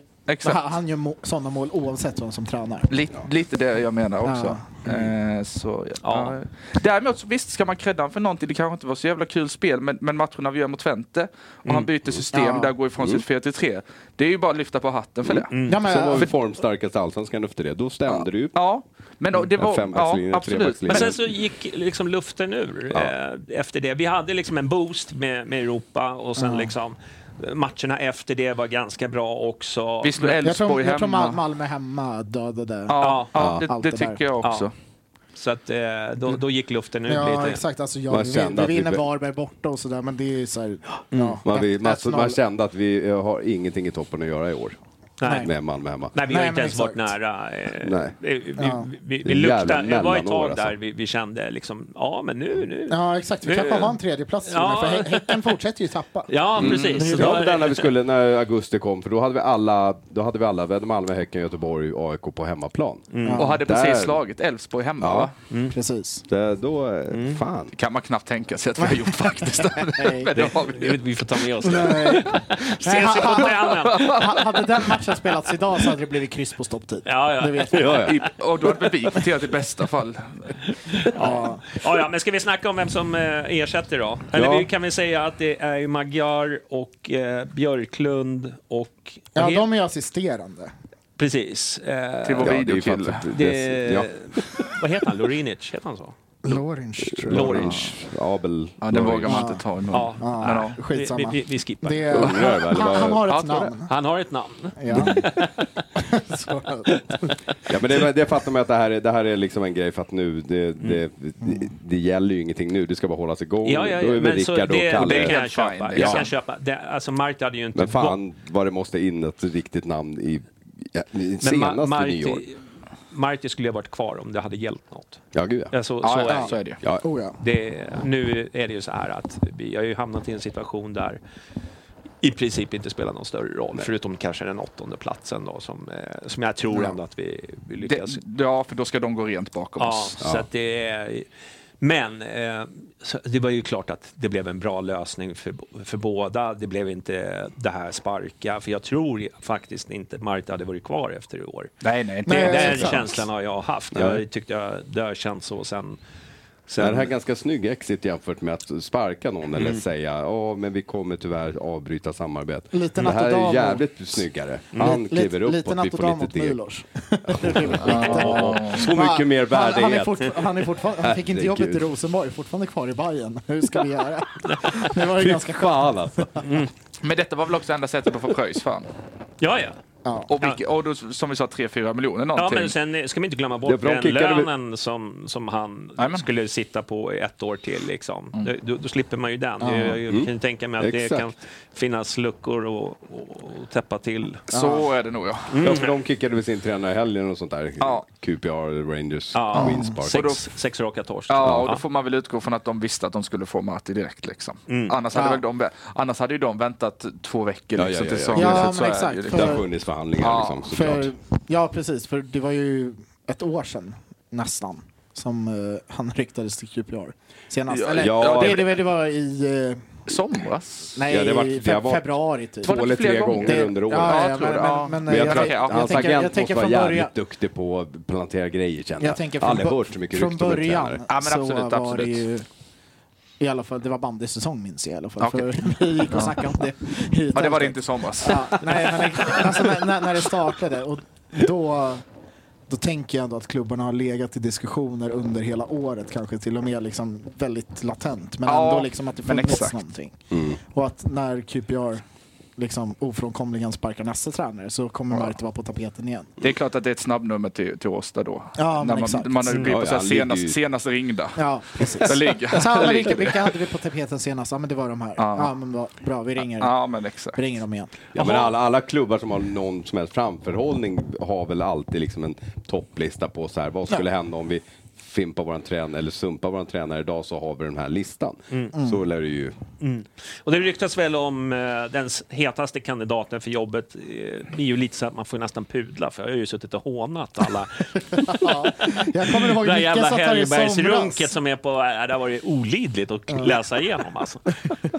Exakt. Han han gör må, sådana mål oavsett vem som tränar. Lite, lite det jag menar också. Eh, så, ja. Ja. Ja. Däremot så visst ska man credda honom för någonting. Det kanske inte var så jävla kul spel men, men matcherna vi gör mot Twente och Mm. han byter system Ja. Mm. där går ifrån sitt 4 till 3. Det är ju bara att lyfta på hatten för det. Ja, men, Så Mm. var vi formstarkast i allsvenskan efter det. Då stämde det ju. Mm. Ja, men det var... fembackslinje, ja, absolut. trebackslinje. Men Men sen sen, så gick liksom luften ur eh, efter det. Vi hade liksom en boost med, med Europa och sen liksom eh, matcherna efter det var ganska bra också. vi slår jag tror, Elfsborg jag tror Mal- hemma. Malmö hemma dödade. Ja, ja, allt det, det det där. tycker jag också. Så att eh, då, då gick luften ur Ja, lite. exakt. Alltså, Man jag, vi, kände vi att vi vinner be- Varberg borta och sådär, men det är ju såhär... Ja, Man, vi, man, 1-0. man kände att vi eh, har ingenting i toppen att göra i år. Nej. Med Malmö hemma. Nej, vi Nej, har inte men ens varit exakt. nära. eh, Nej. Vi, vi, Ja. vi, vi, Det vi är jävla luktade, det var ett mellanår, tag alltså. där vi, vi kände liksom, ja men nu, nu. Ja, Ja, exakt. Vi Nu- kanske har en tredjeplats till och med, Ja. för Hä- Häcken fortsätter ju tappa. precis. Så Mm. Ja, då- men där när vi skulle, när augusti kom, för då hade vi alla, då hade vi alla, vi hade Malmö, Häcken, Göteborg, AIK på hemmaplan. Mm. Och hade Där. precis slagit Elfsborg hemma Ja. va? Precis. Det, då, eh, fan. kan man knappt tänka sig att vi har gjort faktiskt. Nej. men det har vi. Vi- Vi får ta med oss det. Nej. Nej, Ses vi på ha- tränen? ha- hade den matchen spelats idag så hade det blivit kryss på stopptid. Ja, ja. Det vet vi. I, och då hade väl vi kvoterat i bästa fall. Ja. Ja, ja, men ska vi snacka om vem som eh, ersätter då? Eller vi kan väl säga att det är ju Magyar och eh, Björklund och... ja, de är ju assisterande. Precis. Eh, Till vår Ja, det är ju videokille. faktiskt... Det- Det, ja. Vad heter han? Lorinic? Heter han så? Lawrence tror jag. Lorinic. Abel. Ja, den vågar man Ja. inte ta i munnen. Ja. Ja, Ja, Vi- Vi, skitsamma. vi, vi skippar. Det, Ungrar, va? Eller han, vad- han har Ja, ett tror det. namn. Han har ett namn. Ja. Så, Ja, men det, det fattar man att det här, är- det här är liksom en grej för att nu, det, det, det, det gäller ju ingenting nu, det ska bara hållas igång. Ja, ja, Då är ja. väl Men så det, Rickard och det Kalle. kan jag Helt fine, köpa. liksom. det Jag kan- kan köpa. Det, alltså Mark hade ju inte... Men fan vad det måste in ett riktigt namn i, ja, i Men Ma- senaste Marty- nyår. Marty skulle ha varit kvar om det hade hjälpt något. Ja, gud ja. Ja, så, så ja, är ja, det. så är det ju. ja. oh, ja. Det, nu är det ju så här att vi har ju hamnat i en situation där i princip inte spelar någon större roll, förutom kanske den åttonde platsen då som, eh, som jag tror ändå att vi, vi Det, lyckas. ja, för då ska de gå rent bakom ja, oss. så att det är, men eh, så det var ju klart att det blev en bra lösning för, för båda. Det blev inte det här sparka, för jag tror faktiskt inte Marta hade varit kvar efter i år. Nej, nej, Det, Nej, det, den exakt. känslan har jag haft. Ja. Jag tyckte jag, det har känts så sen... Det sen Mm. här är ganska snygg exit jämfört med att sparka någon eller säga ja men vi kommer tyvärr avbryta samarbetet. Lite det här är Nattodamo. jävligt snyggare. Han kliver Lite- uppåt, vi får Nattodam mot lite del. Milos. Så mycket mer Han, han, är värdighet. fortfar- han, är fortfarande, han fick inte jobbet i Herregud. Rosenborg, fortfarande kvar i Bayern. Hur ska vi göra? Det var ju Fy ganska skönt. fan alltså. Mm. Men detta var väl också enda sättet att få pröjs för han. Ja, ja. Och, vilket, och då, som vi sa, 3-4 miljoner Ja, någonting. men sen eh, ska man inte glömma Ja, bort för de den kickade vi- lönen som, som han Jajamän. skulle sitta på i ett år till. Liksom. Mm. Då, då slipper man ju den. Jag, jag kan ju tänka mig att det Exakt. kan finnas luckor och, och, och täppa till. Mm. Så är det nog ja. Ja, för de kickade väl sin tränare i helgen och sånt där. Ja. QPR, Rangers, Ja. Queens Park. Sex, sex raka torsk. Ja, och då får man väl utgå från att de visste att de skulle få Marti direkt. Liksom. Mm. Annars, hade Ja. väl de, vä- annars hade ju de väntat två veckor Ja, liksom, ja, ja, till ja. sommaren. Ja, Så men så är exakt. det ju liksom. Det har funnits förhandlingar Ja, liksom, såklart. För, ja, precis. För det var ju ett år sedan, nästan, som eh, han ryktades till QPR. Senast. Ja, Eller, ja, det, det- det, var- det var i... eh, Somras? Nej, Ja, det var- i det fe- var- februari typ. Två det eller flera tre gånger? gånger Det- under året. Ja, Ja, ja, tror men, jag. Ja. men, men, eh, Men jag, jag, tror att jag, hans tänker- agent jag tänker måste från vara början. jävligt duktig på att plantera grejer känner Jag tänker har aldrig från, hört så mycket från rykten om en början tränare. Ja, men absolut, så var absolut. det ju i alla fall, det var bandysäsong minns jag i alla fall. Okej. För vi gick och snackade om det. i ett Ja, det var det avsnitt. inte i somras. Ja, nej, men det- alltså, när, när- när det startade och då, då tänker jag ändå att klubbarna har legat i diskussioner under hela året kanske till och med liksom väldigt latent. Men Ja, ändå liksom att det men funnits exakt. någonting. Mm. Och att när QPR liksom ofrånkomligen sparkar nästa tränare så kommer Marte vara på tapeten igen. Det är klart att det är ett snabbnummer till, till Åsta då. Ja, men När man, exakt. man har ju Ja, blivit på ja, så här han ligger senast, ju- senast ringda. Ja, precis. Där ligger Alltså, alla, där vilka, ligger vilka hade vi på tapeten senast? Ja, men det var de här. Ja, Ja. men vad bra. Vi ringer, Ja, men exakt. vi ringer dem igen. Ja, men alla, alla klubbar som har någon som helst framförhållning har väl alltid liksom en topplista på så här, vad skulle hända om vi fimpar våran tränare eller sumpar våran tränare idag så har vi den här listan. Mm. Mm. Så lär det ju... Och det ryktas väl om eh, den s- hetaste kandidaten för jobbet. Eh, blir ju lite så att man får nästan pudla för jag har ju suttit och hånat alla. Jag kommer ihåg det där Micke jävla satt här i Hellbergsrunket somras. som är på... Äh, det har varit olidligt att läsa igenom alltså.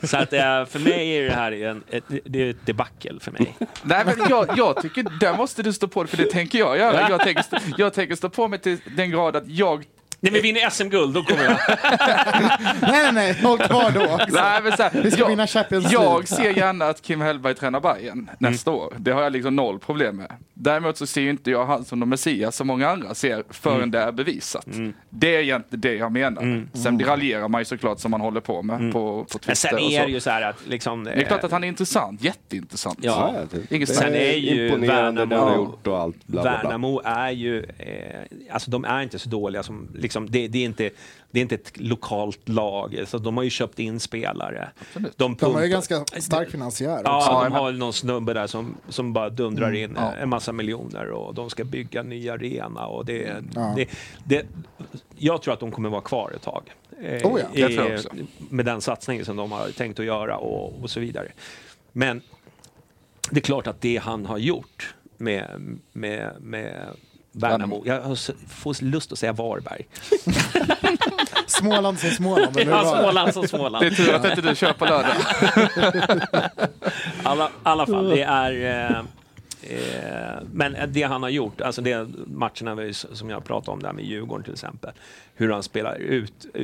Så att eh, för mig är det här en, ett, det är ett debacle för mig. Nej, men jag, jag tycker, där måste du stå på dig, för det tänker jag göra. Jag tänker, stå, jag tänker stå på mig till den grad att jag... Nej men vinner SM-guld, då kommer jag... Nej, nej, nej. Noll kvar då. Nej, men så här, Vi ska jag, vinna Champions League. jag ser gärna att Kim Hellberg tränar Mm. Bayern nästa år. Det har jag liksom noll problem med. Däremot så ser ju inte jag han som någon Messias som många andra ser förrän Mm. det är bevisat. Det är egentligen det jag menar. Sen raljerar man ju såklart som man håller på med på, på Mm. Men Twitter sen och är så. det ju så här att liksom... Det är klart att han är intressant, jätteintressant. typ. Ja. det- Inget typ. det snack. Sen är ju imponerande det han har Värnamo- gjort och allt. Bla, bla, bla. Värnamo är ju, eh, alltså de är inte så dåliga som, liksom, det, det, är inte, det är inte ett lokalt lag. Så de har ju köpt in spelare. De, De pumpar- är ju ganska stark finansiär också. Ja, Ja, de men- har väl någon snubbe där som, som bara dundrar in Mm, ja. en massa miljoner och de ska bygga en ny arena och det, det, det Jag tror att de kommer vara kvar ett tag. eh, Oh ja, det tror jag också. Med den satsningen som de har tänkt att göra och, och så vidare. Men det är klart att det han har gjort med, med, med Värnamo, jag har s- får lust att säga Varberg. Småland som Småland. eller hur Ja, var det? Småland som Det Småland. är tur att inte du kör på lördag. alla, alla fall, det är... Eh, eh, men det han har gjort, alltså det, matcherna vi- som jag pratade om där med Djurgården till exempel, hur han spelar ut, eh,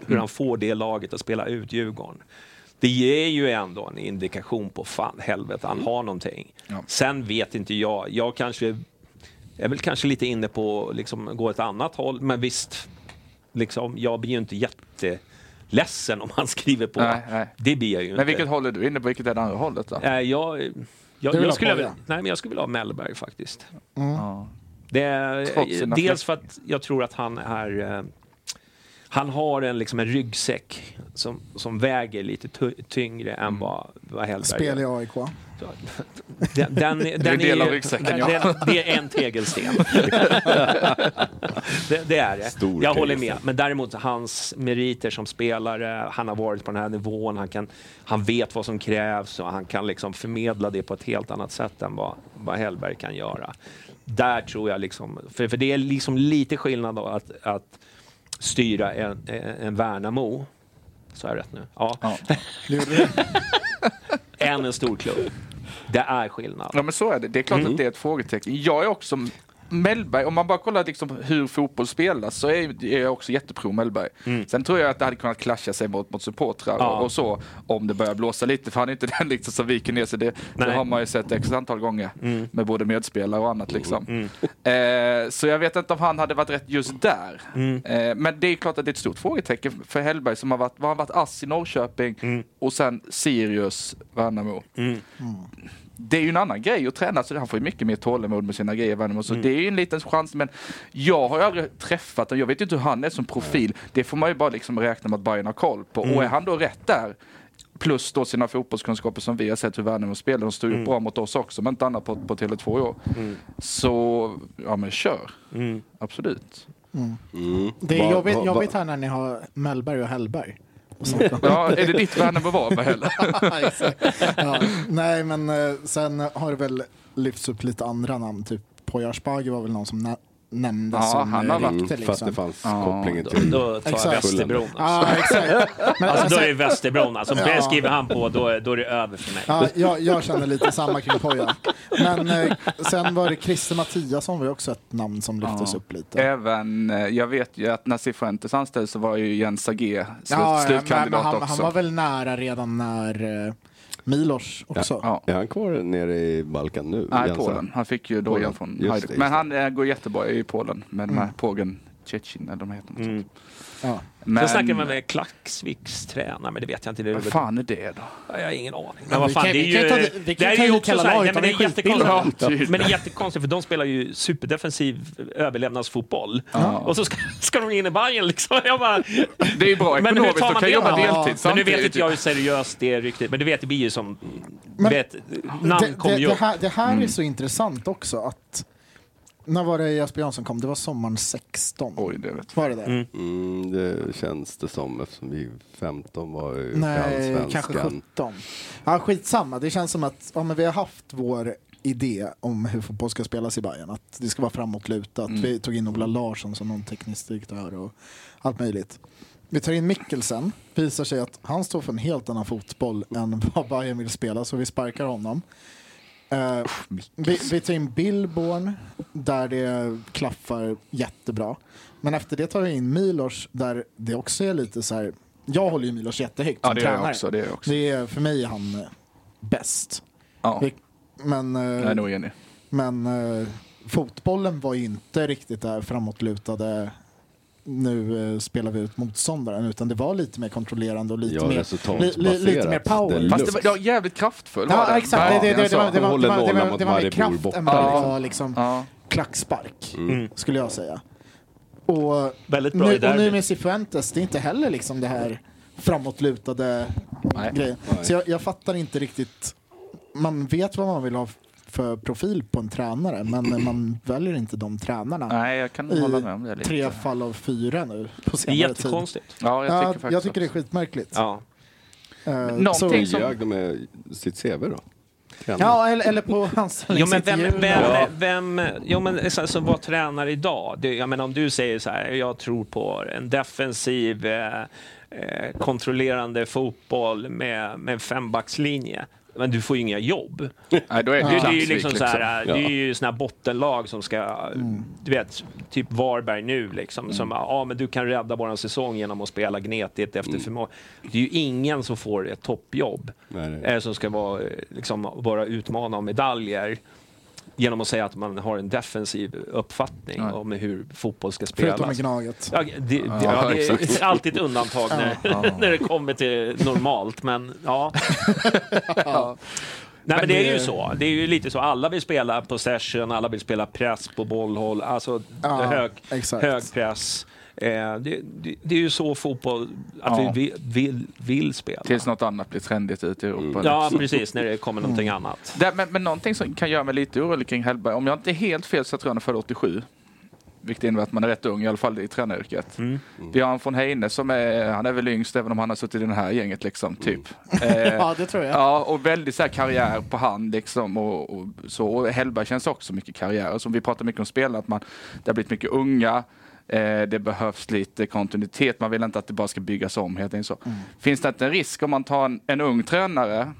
hur Mm. han får det laget att spela ut Djurgården. Det ger ju ändå en indikation på fan helvete, han har någonting. Ja. Sen vet inte jag, jag kanske Jag är väl kanske lite inne på att liksom, gå ett annat håll, men visst, liksom, jag blir ju inte jätteledsen om han skriver på. Nej, nej. Det blir jag ju Men inte. vilket håll är du inne på? Vilket är det andra hållet då? Nej, jag, jag, Du vill jag, ha skulle, Poja? väl- nej, men jag skulle vilja ha Mellberg faktiskt. Mm. Ja. Det är, eh, Trots sina dels för att jag tror att han är... eh, Han har en, liksom en ryggsäck som, som väger lite tu- tyngre Mm. än vad, vad Hellberg Spel i gör. AIK. Den, den, den en del ju- av ryggsäcken, ja. den, Det är en tegelsten. det, det är det. Stor jag håller med. tegelsten. Men däremot hans meriter som spelare, han har varit på den här nivån, han, kan, han vet vad som krävs och han kan liksom förmedla det på ett helt annat sätt än vad, vad Hellberg kan göra. Där tror jag liksom, för, för det är liksom lite skillnad då att, att styra en, en Värnamo, så jag rätt nu? Ja, Ja. än en stor klubb. Det är skillnad. Mm. Ja, men så är det. Det är klart att det är ett frågetecken. Jag är också Mellberg, om man bara kollar liksom hur fotboll spelas så är är jag också jättepro Mellberg. Sen tror jag att det hade kunnat klascha sig mot, mot supportrar Mm. Ja. och, och så om det börjar blåsa lite för han är inte den liksom som viker ner sig. Det, det Nej. har man ju sett x antal gånger Mm. med både medspelare och annat Mm. Mm. liksom. Eh, så jag vet inte om han hade varit rätt just där. Eh, men det är klart att det är ett stort frågetecken för Hellberg som har varit, har han varit ass i Norrköping och sen Sirius, Värnamo det är ju en annan grej att träna, så han får ju mycket mer tålamod med sina grejer. Värnamo, Så Det är ju en liten chans, men jag har ju aldrig träffat honom. Jag vet ju inte hur han är som profil. Det får man ju bara liksom räkna med att Bayern har koll på. Och är han då rätt där, plus då sina fotbollskunskaper som vi har sett hur Värnamo spelar, de står ju upp bra mot oss också, men inte annat på, på Tele2 i år. Så, ja men kör. Absolut. Mm. Det är Mm. Va- jobbigt, va- jobbigt va- här när ni har Mellberg och Hellberg. Ja, är det ditt Värnamo Varberg heller? Ja, exakt. ja. Nej, men eh, sen har det väl lyfts upp lite andra namn. Typ Poya Asbaghi var väl någon som nä- nämndes Ja, som han eh, har varit- rykte, För att det liksom. fanns kopplingen Då, till... då tar jag Exakt. Västerbron. Alltså. Ja, exakt. Men, Alltså, då är alltså, det Västerbron. Alltså, om det Ja. skriver han på, då är, då är det över för mig. ja, jag, jag känner lite samma kring Poya. Men eh, sen var det Christer Mattiasson var ju också ett namn som lyftes upp lite. Även, eh, jag vet ju att när Cifuentes anställdes så var ju Jens Agé slut, Ja, ja, men slutkandidat han, också. han var väl nära redan när eh, Milos också. ja. Är han kvar nere i Balkan nu? Nej, Jensen? Polen. Han fick ju dojan Polen. från Just det, Hajduk. just Men det. han eh, går jättebra i Polen med den här pågen Tjetjin, eller vad de heter. Mm. Mm. Ja. Men, Sen snackade man med Klaxviks tränare, men det vet jag inte. Det är vad väl- fan är det då? Ja, Jag har ingen aning. Men vad vi fan, kan- det är vi kan ju... ta det- vi det kan här ta är ju hit också hela så här, nej, laget, men det det är är skitbilder. Ja, typ. jättekonstigt. tydligen. Men det är jättekonstigt, för de spelar ju superdefensiv överlevnadsfotboll. Och så ska, ska de in i Bayern liksom. Jag bara, Det är ju bra men hur ekonomiskt, tar de man kan det jobba då? deltid Men nu samtidigt. vet inte jag hur seriöst det är riktigt. Men du vet, det blir ju som... Men- vet, namn det, kom det, ju det upp. här, det här Mm. är så intressant också att när var det Jesper Jansson kom? Det var sommaren 16. Oj, det vet Var det det? Mm, det känns det som eftersom vi 15 var ju Nej, allsvenskan. kanske 17. Ja, skitsamma. Det känns som att ja, men vi har haft vår idé om hur fotboll ska spelas i Bayern. Att det ska vara framåtlutat. Vi tog in Ola Larsson som någon teknisk direktör och allt möjligt. Vi tar in Mikkelsen. Visar sig att han står för en helt annan fotboll än vad Bayern vill spela, så vi sparkar honom. Eh, vi, vi tar in Billborn, där det klaffar jättebra. Men efter det tar vi in Milos, där det också är lite så här... Jag håller ju Milos jättehögt Ja, som det gör jag tränare. också, det gör jag också. Det är, för mig är han eh, bäst. Ja, Vi- Men, eh, jag är nog enig. men eh, fotbollen var ju inte riktigt det här framåtlutade nu eh, spelar vi ut motståndaren, utan det var lite mer kontrollerande och lite, Ja, mer, li, li, resultatbaserat. lite mer power. Det Fast det var, det var jävligt kraftfull. var Ja, exakt. Det, det, det, det, Alltså, var, det, var, det, Håller var, det, nollan var, mot det var mer Maribor kraft borta, än vad det liksom. var liksom Ja. klackspark, skulle jag säga. Och Väldigt bra nu, i och nu derbyt. med Cifuentes, det är inte heller liksom det här framåtlutade Nej. grejen. Så jag, jag fattar inte riktigt. Man vet vad man vill ha för profil på en tränare, men man väljer inte de tränarna. Nej, jag kan I hålla med om det lite. Tre fall av fyra nu på Det är senare tid. jättekonstigt. Ja, jag tycker Jag, ja, faktiskt jag tycker det är också. skitmärkligt. Ja. Eh, Någonting så- som- Ljög de med sitt CV då? Ja, eller, eller på Jo men, vem, anställningsintervjuerna. vem, vem, jo, men så, så vad tränar idag? Det, jag menar, om du säger så här, jag tror på en defensiv, eh, eh, kontrollerande fotboll med, med en fembackslinje. Men du får ju inga jobb. Nej, då Det, är det ju det är ju Klaksvik liksom så här, Ja. det är ju såna här bottenlag som ska, Mm. du vet, typ Varberg nu liksom, Mm. som, ja men du kan rädda våran säsong genom att spela gnetigt Mm. efter förmåga. Det är ju ingen som får ett toppjobb, Nej, nej. eh, som ska vara, eh, liksom, bara utmana om medaljer. genom att säga att man har en defensiv uppfattning Nej. om hur fotboll ska spelas. Förutom med Gnaget. Ja, det, det, ja, det är alltid ett undantag när, när det kommer till normalt, men ja. Nej, men det är ju så. Det är ju lite så. Alla vill spela possession, alla vill spela press på bollhåll, alltså Ja, hög, exakt. hög press. Eh, det, det, det är ju så fotboll, att Ja. vi vill, vill, vill spela. Mm. Tills något annat blir trendigt ute i Europa. liksom. Mm. Ja, precis, när det kommer någonting annat. Det, men, men någonting som kan göra mig lite orolig kring Hellberg, om jag inte är helt fel så tror jag han är född 87. Vilket innebär att man är rätt ung, i alla fall i tränaryrket. Vi har en från Heine som är, han är väl yngst även om han har suttit i det här gänget liksom, typ. Eh, Ja, det tror jag. Ja, och väldigt så här karriär på hand liksom och, och så. Och Hellberg känns också mycket karriär. Och som vi pratar mycket om spelare, att man, det har blivit mycket unga. Eh, det behövs lite kontinuitet. Man vill inte att det bara ska byggas om helt enkelt så. Mm. Finns det inte en risk om man tar en, en ung tränare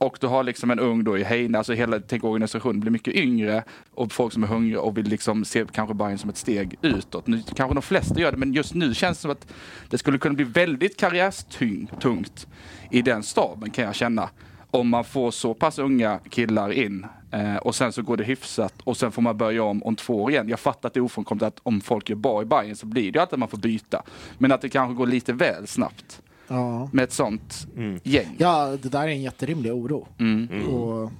och du har liksom en ung då i Heine, alltså hela tänk organisationen blir mycket yngre och folk som är hungriga och vill liksom se kanske Bayern som ett steg utåt. Nu kanske de flesta gör det, men just nu känns det som att det skulle kunna bli väldigt karriärstungt i den staben kan jag känna. Om man får så pass unga killar in eh, och sen så går det hyfsat och sen får man börja om om två år igen. Jag fattar att det är ofrånkomligt att om folk gör bra i Bayern så blir det ju alltid att man får byta. Men att det kanske går lite väl snabbt Ja. med ett sånt Mm. gäng. ja, det där är en jätterimlig oro. Och,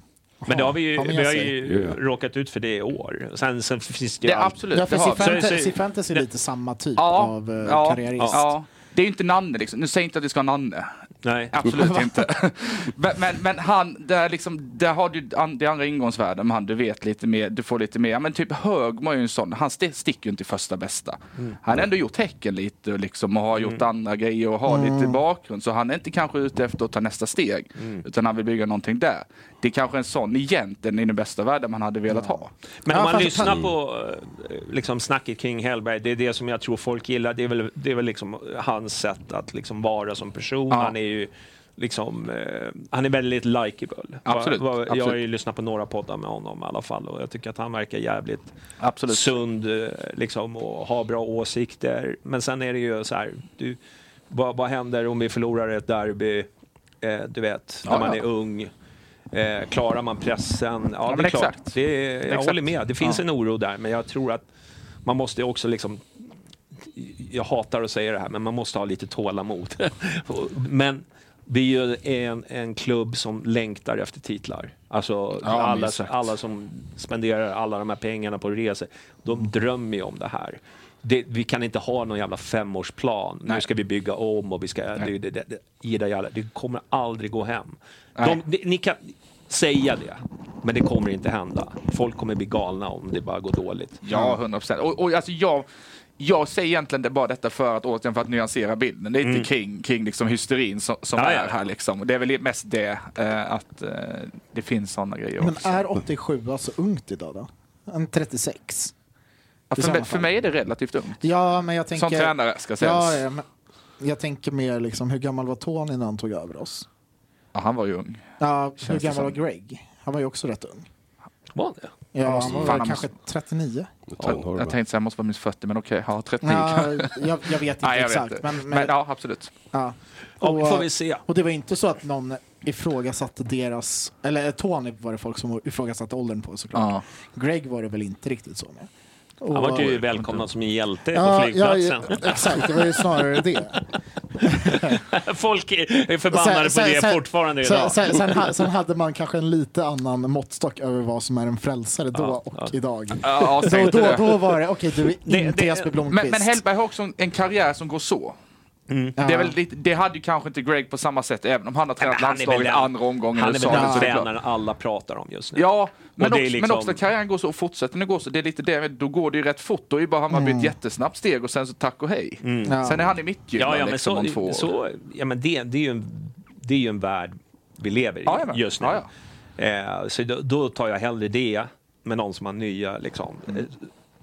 Men det har vi ju, Ja, men jag vi har ser. ju Ja. råkat ut för det i år. Sen, sen finns det ju Det, all- absolut, Ja, det för har vi. Cifuentes- Så- så- Cifuentes är lite samma typ Ja, av eh, ja, karriärist. ja. Det är ju inte Nanne liksom. Nu säger inte att vi ska ha Nanne. Nej. Absolut inte. men, men, men han, där, liksom, där har du an, det andra ingångsvärden med han. Du vet lite mer, du får lite mer. Ja, Men typ Högmo är ju en sån. Han st- sticker ju inte i första bästa. Han har ändå gjort Häcken lite liksom, och har Mm. gjort andra grejer och har Mm. lite bakgrund. Så han är inte kanske ute efter att ta nästa steg. Utan han vill bygga någonting där. Det är kanske en sån egentligen i den bästa världen man hade velat ha. Men Ja, om man fast- lyssnar på eh, liksom, snacket kring Hellberg, det är det som jag tror folk gillar. Det är väl, det är väl liksom hans sätt att liksom vara som person. Ja. Han är ju liksom, eh, han är väldigt likeable. Absolut, Vad- vad- Jag har ju absolut. lyssnat på några poddar med honom i alla fall och jag tycker att han verkar jävligt Absolut. sund eh, liksom, och har bra åsikter. Men sen är det ju så här, du, vad, vad händer om vi förlorar ett derby? Eh, du vet, när Ja, man ja. är ung. Eh, klarar man pressen? Ja, men det är klart. exakt. Det är, jag Exakt. håller med. Det finns Ja. en oro där, men jag tror att man måste också liksom... Jag hatar att säga det här, men man måste ha lite tålamod. Och- men vi är ju en, en klubb som längtar efter titlar. Alltså men alla, exakt. alla som spenderar alla de här pengarna på resor, Mm. de drömmer ju om det här. Det, vi kan inte ha någon jävla femårsplan. Nu Nej. ska vi bygga om och vi ska... Det, det, det, det, ida, jalla. det kommer aldrig gå hem. De, Nej. ni, ni kan säga det, men det kommer inte hända. Folk kommer bli galna om det bara går dåligt. Ja, 100 procent. Och, och alltså jag, jag säger egentligen det bara detta för att återigen för att nyansera bilden lite kring, kring liksom hysterin som, som Mm. Ja, ja. är här. Liksom. Och Det är väl mest det eh, att eh, det finns sådana grejer Men också. är 87 så alltså ungt idag då? En 36? Ja, i för, sådana mig, för fall. mig är det relativt ungt. Ja, men jag tänker... Som tränare ska Ja, sägas. Ja, ja, men jag tänker mer liksom, hur gammal var Tony när han tog över oss? han var ju ung. Ja, hur det gammal som. var Greg? Han var ju också rätt ung. Var det? Ja, måste- han var fan, väl han kanske 39? Jag, jag tänkte säga jag måste vara minst 40 men okej, ja 30 Ja, kanske. jag, jag vet inte Nej, jag exakt. vet inte. Men, Men, men, ja, absolut. ja. Ja, Och- får vi se. Och det var inte så att någon ifrågasatte deras, eller eh, Tony var det folk som ifrågasatte åldern på såklart. Ja. Greg var det väl inte riktigt så med. Och- Han var ju välkomnad som en hjälte på Ja, ja, flygplatsen. exakt, det var ju snarare det. Folk är förbannade på det fortfarande sen, idag. Sen, sen, ha- sen hade man kanske en lite annan måttstock över vad som är en frälsare då Ja, och ja. idag. Ja, säg Då, inte då, det. då var det, okej du är Det- inte det- Jesper Men, Blomqvist. men Hellberg har också en- en karriär som går så. Mm. Det, är väl lite, det hade ju kanske inte Greg på samma sätt, även om han har tränat han är väl landslaget i den- andra omgången. Han i är USA, väl den så det är klart. tränaren alla pratar om just nu. Ja, men det är också, men liksom- också att karriären går så och fortsätter den går så. Det är lite det, då går det ju rätt fort. Då är ju bara Hammarby Mm. ett jättesnabbt steg och sen så tack och hej. Ja. Mm. Sen är han i mittgyllan Ja, ja, men liksom om två så, år. så, ja, men det, det, är ju en, det är ju en värld vi lever i Ja, jajamän. just nu. Ja, Eh, så då, då tar jag hellre det med någon som har nya, liksom, Mm. eh,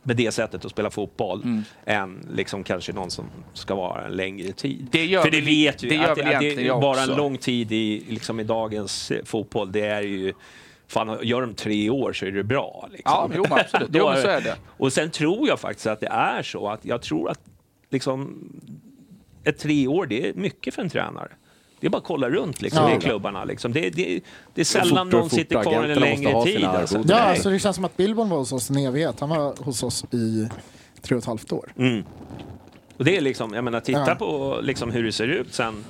med det sättet att spela fotboll, än liksom kanske någon som ska vara en längre tid. Det gör För det väl- vet det ju gör att, väl att det egentligen jag bara en också. lång tid i, liksom i dagens eh, fotboll, det är ju Fan, gör de tre år så är det bra. Liksom. Ja, jo, men absolut. Då Jo, men så är det. Och sen tror jag faktiskt att det är så att jag tror att liksom, ett tre år, det är mycket för en tränare. Det är bara att kolla runt liksom, Ja. i klubbarna. Liksom. Det, det, det är sällan Fortare och någon sitter fortare. kvar en Agenterna måste längre ha tid. sina Alltså. arvoden. Ja, Nej. alltså det känns som att Billborn var hos oss en evighet. Han var hos oss i tre och ett halvt år. Mm. Och det är liksom, jag menar, titta Ja. på liksom hur det ser ut sen.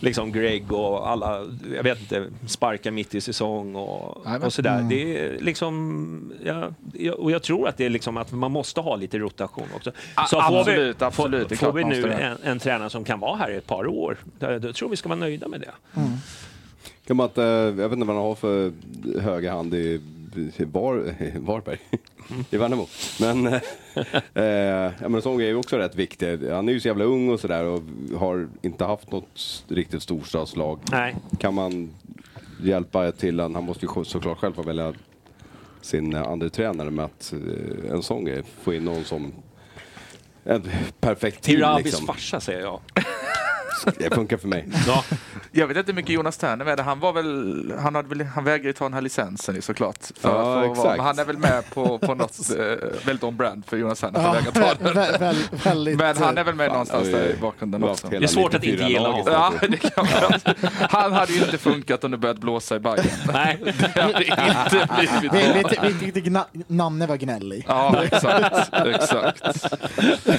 Liksom Greg och alla, jag vet inte, sparkar mitt i säsong och, Nej, men- och Mm. sådär. Det är liksom, ja, jag- och jag tror att det är liksom att man måste ha lite rotation också. A- absolut, får vi, absolut, det Får, får är klart vi man nu måste det. en, en tränare som kan vara här i ett par år, då, då tror vi ska vara nöjda med det. Kan man inte, jag vet inte vad han har för höger hand i i Var, i Varberg, i Värnamo. Men, eh, eh, ja, men en sån grej är ju också rätt viktig. Han är ju så jävla ung och sådär och har inte haft något s- riktigt storstadslag. Nej. Kan man hjälpa till, han han måste ju sj- såklart själv få välja sin eh, andra tränare med att eh, en sån grej, få in någon som ett perfekt Till team Rabis liksom. farsa säger jag. Det funkar för mig. Ja, Jag vet inte hur mycket Jonas Terner med det. Han, var väl, han, hade väl, han vägrade ju ta den här licensen ju såklart. För Ja, att få exakt. Vara, men han är väl med på, på något eh, väldigt on-brand för Jonas Terner. att han vägrar ta den. vä- väl- väldigt, eh, Men han är väl med Fan, någonstans oj, oj, oj. där i bakgrunden Vi har haft också. hela Det är svårt att inte 94 gilla laget. Ja, det kan man. Han hade ju inte funkat om det börjat blåsa i Bajen. nej. Det hade inte blivit Vi, vi, bra. vi tyckte gna- Nanne var gnällig. Ja, exakt. exakt.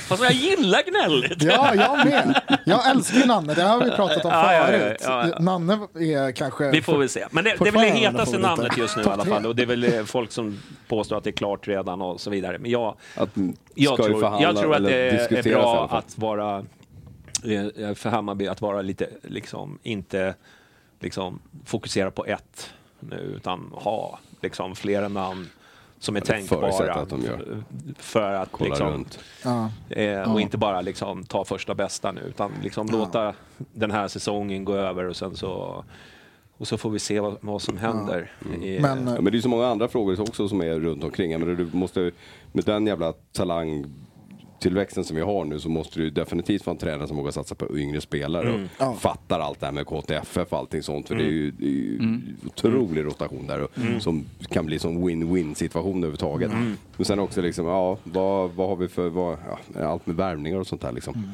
Fast jag gillar gnälligt. Ja, jag med. Jag älskar ju Nanne, det har vi pratat om Ja, ja, ja, förut. ja, ja. Nanne är kanske... Vi får väl se. Men det, det är väl det Fortfarande hetaste favoriter. namnet just nu i alla fall. Och det är väl eh, folk som påstår att det är klart redan och så vidare. Men jag, Att mm, jag, ska ju tror, förhandla jag tror att eller det är diskuteras i bra alla fall. att vara eh, för Hammarby att vara lite, liksom, inte liksom, fokusera på ett nu, utan ha liksom, flera namn som är det förutsätter tänkbara. att de gör. f- För att kolla liksom, runt. Ja. Eh, och inte bara liksom ta första bästa nu, utan liksom låta den här säsongen gå över och sen så, och så får vi se vad, vad som händer. I, Mm. Men, Mm. eh, Ja, men det är ju så många andra frågor också som är runt omkring. Jag menar, du måste, med den jävla talangtillväxten som vi har nu så måste du definitivt vara en tränare som vågar satsa på yngre spelare och Ja. fattar allt det här med KTFF och allting sånt. För det är ju, det är ju otrolig rotation där och, som kan bli som win-win situation överhuvudtaget. Men sen också liksom, ja, vad, vad har vi för, vad, ja, allt med värvningar och sånt där liksom.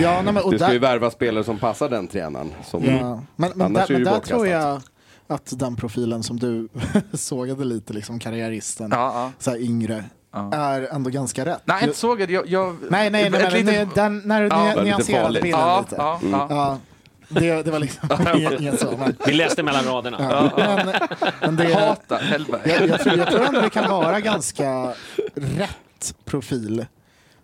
ja, nej, men, och Det ska ju där, värva spelare som passar den tränaren. Som, ja. men, men Annars där, är det men ju där bortkastat. tror jag att den profilen som du sågade lite, liksom karriäristen, Ja, ja. så här yngre, är ändå ganska rätt. Nej, inte sågad. Jag, jag, nej, nej, nej, ett men litet- ni- den, när du Ja. ja, Väldigt nyanserade farligt. bilden ja, lite. ja, ja. Ja, det, det var liksom inget- inget så. Men, Vi läste mellan raderna. ja. men, men det, Hata Hellberg. jag, jag, tror, jag tror ändå det kan vara ganska rätt profil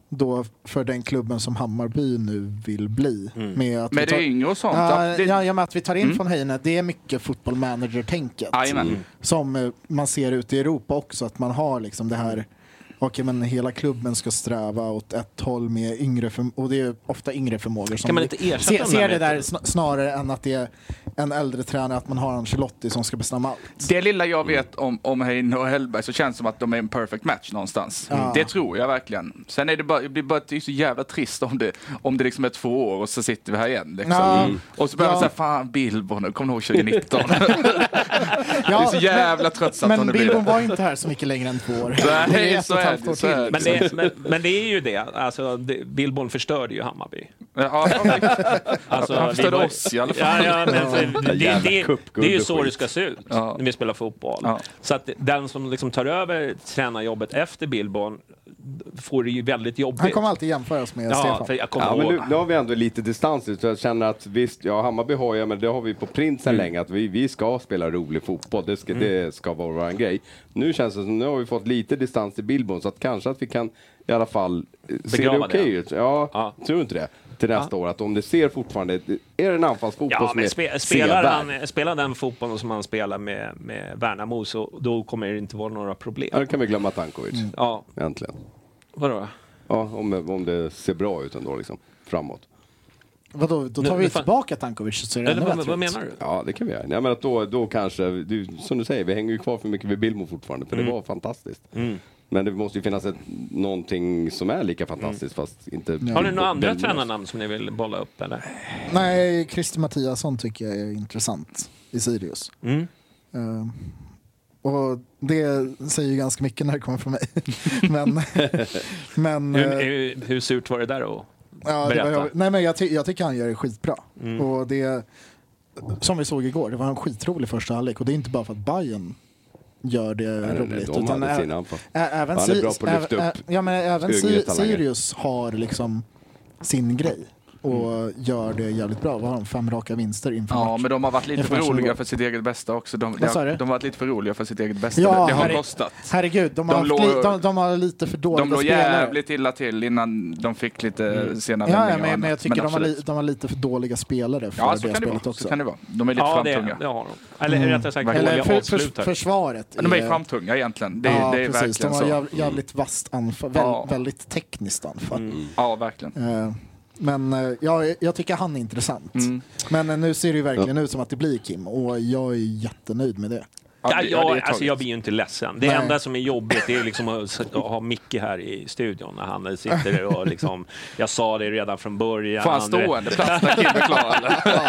då för den klubben som Hammarby nu vill bli. Med att vi Med tar- Mm. det yngre och sånt. Ja, det, Mm. ja, ja, men att vi tar in von Heine, det är mycket football manager-tänket. Jajamän. Mm. Som eh, man ser ute i Europa också, att man har liksom det här Okej, men hela klubben ska sträva åt ett håll med yngre förm- och det är ofta yngre förmågor. Som Kan man inte ersätta se, dem ser där det med- där sn- snarare än att det är en äldre tränare, att man har Ancelotti som ska bestämma allt. Det lilla jag vet om, om Heine och Hellberg så känns det som att de är en perfect match någonstans. Det tror jag verkligen. Sen är det bara, det blir bara det är så jävla trist om det, om det liksom är två år och så sitter vi här igen. Liksom. Ja. Och så börjar man Ja. säga, fan Bilbo nu, kom du ihåg 2019? det är så jävla tröttsamt om Men det blir Bilbon det. var ju inte här så mycket längre än två år. Nej, Det är ett så och ett är halvt det, år så är till. det. Men, det, men, men det är ju det, alltså, det Billborn förstörde ju Hammarby. Ja, ja, Alltså, Han vi förstörde var- oss i alla Ja, fall. ja, men, för, det, det, det, cupguld är ju och så skit. det ska se ut Ja. när vi spelar fotboll. Ja. Så att den som liksom tar över tränarjobbet efter Billborn får det ju väldigt jobbigt. Han kommer alltid jämföras med ja, Stefan. för jag kommer Ja, men ihåg. nu, nu har vi ändå lite distans ut, så jag känner att visst, ja, Hammarby har ju, men det har vi på print Mm. sedan länge, att vi, vi ska spela rolig fotboll, det ska, det ska vara vår grej. Nu känns det som, nu har vi fått lite distans till Bilbon, så att kanske att vi kan i alla fall eh, se det okej Begrava det. ut. Ja, Ja. tror du inte det? Till nästa år, att om det ser fortfarande, är det en anfallsfotboll Ja, som men är spe, spelar, sevärd? han, spelar den fotbollen som han spelar med, med Värnamo så då kommer det inte vara några Ja, problem. då kan vi glömma Tankovic, Ja, äntligen. vadå? Ja, om, om det ser bra ut ändå, liksom, framåt. Vadå, då tar Men- vi men fan- tillbaka Tankovic så är det Eller ännu vad, bättre vad ut. menar du? Ja, det kan vi göra. Nej, men att då, då kanske, du, som du säger, vi hänger ju kvar för mycket vid Bilmo fortfarande, Mm. för det var fantastiskt. Men det måste ju finnas ett, någonting som är lika fantastiskt, fast inte... Mm. Har ni några andra tränarnamn som ni vill bolla upp eller? Nej, Christer Mattiasson tycker jag är intressant i Sirius. Mm. Eh, och det säger ju ganska mycket när det kommer från mig. men men Hur, eh, hur, hur surt var det där att Ja, det var Berätta. jag, nej, men jag, ty, jag tycker han gör det skitbra. Mm. Och det, som vi såg igår, det var en skitrolig första halvlek. Och det är inte bara för att Bayern gör det nej, nej, roligt. de hade ä- sina anfall. ä- även Han är Sir- bra på att lyfta ä- upp ä- ja, men även yngre Sir- talanger. Sirius har liksom sin grej. Och Mm. gör det jävligt bra. Vad har de? Fem raka vinster inför Ja, match. men de har varit lite Inför för matchen roliga igår. för sitt eget bästa också. De, de, Vad sa har, du? de har varit lite för roliga för sitt eget bästa. Ja, det har herre- kostat. Herregud, de, De har, haft låg- li, de, de har lite för dåliga De låg spelare. jävligt illa till innan de fick lite sena Mm. Ja, ja, vändningar och men, men jag annat, tycker de, har li, absolut. de har lite för dåliga spelare för Ja, det så kan det, spelet också. vara. Mm. så kan det vara. De är lite Ja, det, framtunga. det har de. Eller rättare sagt, Verkligen. dåliga Eller för, för, avslutare. försvaret. De är är- framtunga egentligen. Det, det är verkligen De har så. jäv- jävligt vasst anfall, väl, Ja. väldigt tekniskt anfall. Mm. Ja, verkligen. Eh, Men eh, jag, jag tycker han är intressant. Mm. Men eh, nu ser det ju verkligen ut som att det blir Kim och jag är jättenöjd med det. Ja, det- jag, det är alltså, taget. jag blir ju inte ledsen. Det Nej. enda som är jobbigt det är liksom att s- att ha Micke här i studion när han sitter och liksom... Jag sa det redan från början. Får han du- stående plats när Kim är klar eller?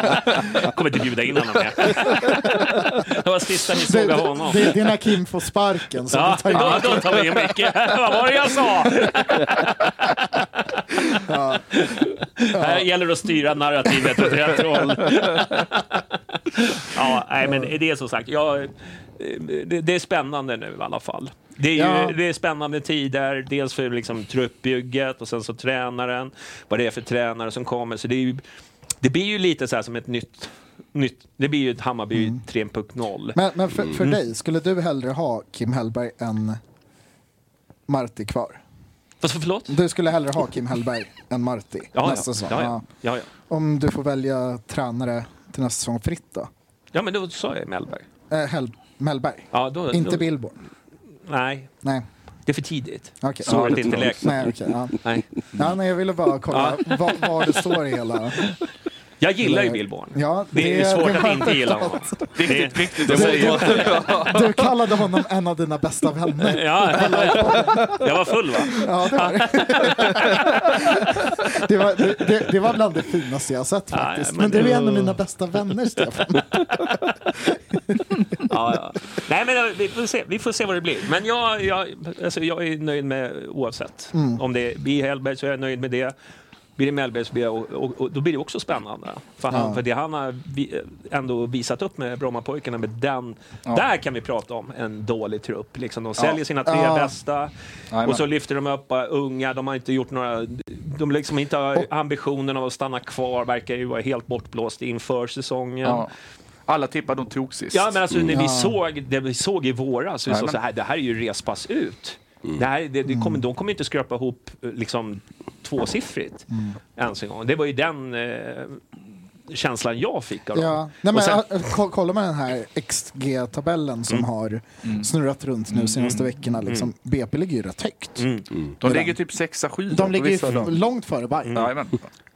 Jag kommer inte bjuda in honom mer. Det var sista ni Det, såg av det, honom. det, det är när Kim får sparken som Ja, vi tar in. ja, då tar vi in Micke. Vad var det jag sa? Här gäller det att styra narrativet åt rätt håll. Ja, nej, men det är som sagt, jag, det, det är spännande nu i alla fall. Det är, ju, Ja. det är spännande tider, dels för liksom truppbygget och sen så tränaren, vad det är för tränare som kommer. Så det, är ju, det blir ju lite så här som ett nytt, nytt det blir ju ett Hammarby 3.0. Mm. Men, men för, Mm. för dig, skulle du hellre ha Kim Hellberg än Marti kvar? Vad så, förlåt? Du skulle hellre ha Kim Hellberg än Marti Ja, nästa ja, säsong? ja, Ja. ja, ja, ja. Om du får välja tränare till nästa säsong fritt då? ja, men då sa jag Mellberg. Eh, Hell, Mellberg? Ja, då, Inte då, Billborn? Nej, Nej. det är för tidigt. Okej. Så det är inte läkt. Nej, okej. ja. Nej. ja, nej, jag ville bara kolla var, var det står i hela... Jag gillar ju Billborn. Ja, Det, är det- svårt det var- att inte gilla honom. Det är, Viktigt att säga. Du kallade honom en av dina bästa vänner. ja, jag var full va? Ja, det var det. Det var, det, det, det var bland det finaste jag har sett faktiskt. men Men du är en av det- mina bästa vänner, Stefan. Ja, ja. Nej, men eh, vi får, se. vi får se vad det blir. Men jag, jag, alltså, jag är nöjd med oavsett. Om det blir Hellberg så är jag nöjd med det. Blir det Mellberg så blir jag, och, och, och, då blir det också spännande. För, han, för det han har vi, eh, ändå visat upp med Brommapojkarna, med den, där kan vi prata om en dålig trupp. Liksom, de säljer sina tre Ja. bästa Jajamän. och så lyfter de upp bara unga, de har inte gjort några, de liksom inte har ambitionen av att stanna kvar, verkar ju vara helt bortblåst inför säsongen. Ja. Alla tippar de tog sist. Ja, men alltså när Mm. vi såg det vi såg i våras, så vi såg så här, det här är ju respass ut. Mm. Det här, det, det Mm. kommer, de kommer inte skrapa ihop eh, liksom, tvåsiffrigt Mm. ens en gång. Det var ju den eh, känslan jag fick av dem. Ja. Nej, men, Och sen- Mm. äh, ko- Kolla med den här XG-tabellen som har snurrat runt nu senaste veckorna. Liksom, BP ligger ju rätt högt. de ligger typ sexa, sjua. De ligger ju vissa f- dagar. långt före Bayern. Mm. Jajamän.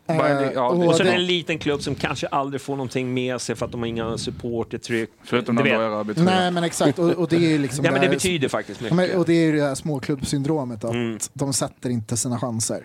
Eh, Bara det- ja, och och det- sen det- en liten klubb som kanske aldrig får någonting med sig för att de har inga supportertryck. Förutom Du när vet. Dora Rabi tror Nej, jag. men exakt. Och, och det är ju liksom Ja, men det här- betyder faktiskt Ja, men, mycket. och det är ju det här småklubbsyndromet, att Mm. de sätter inte sina chanser.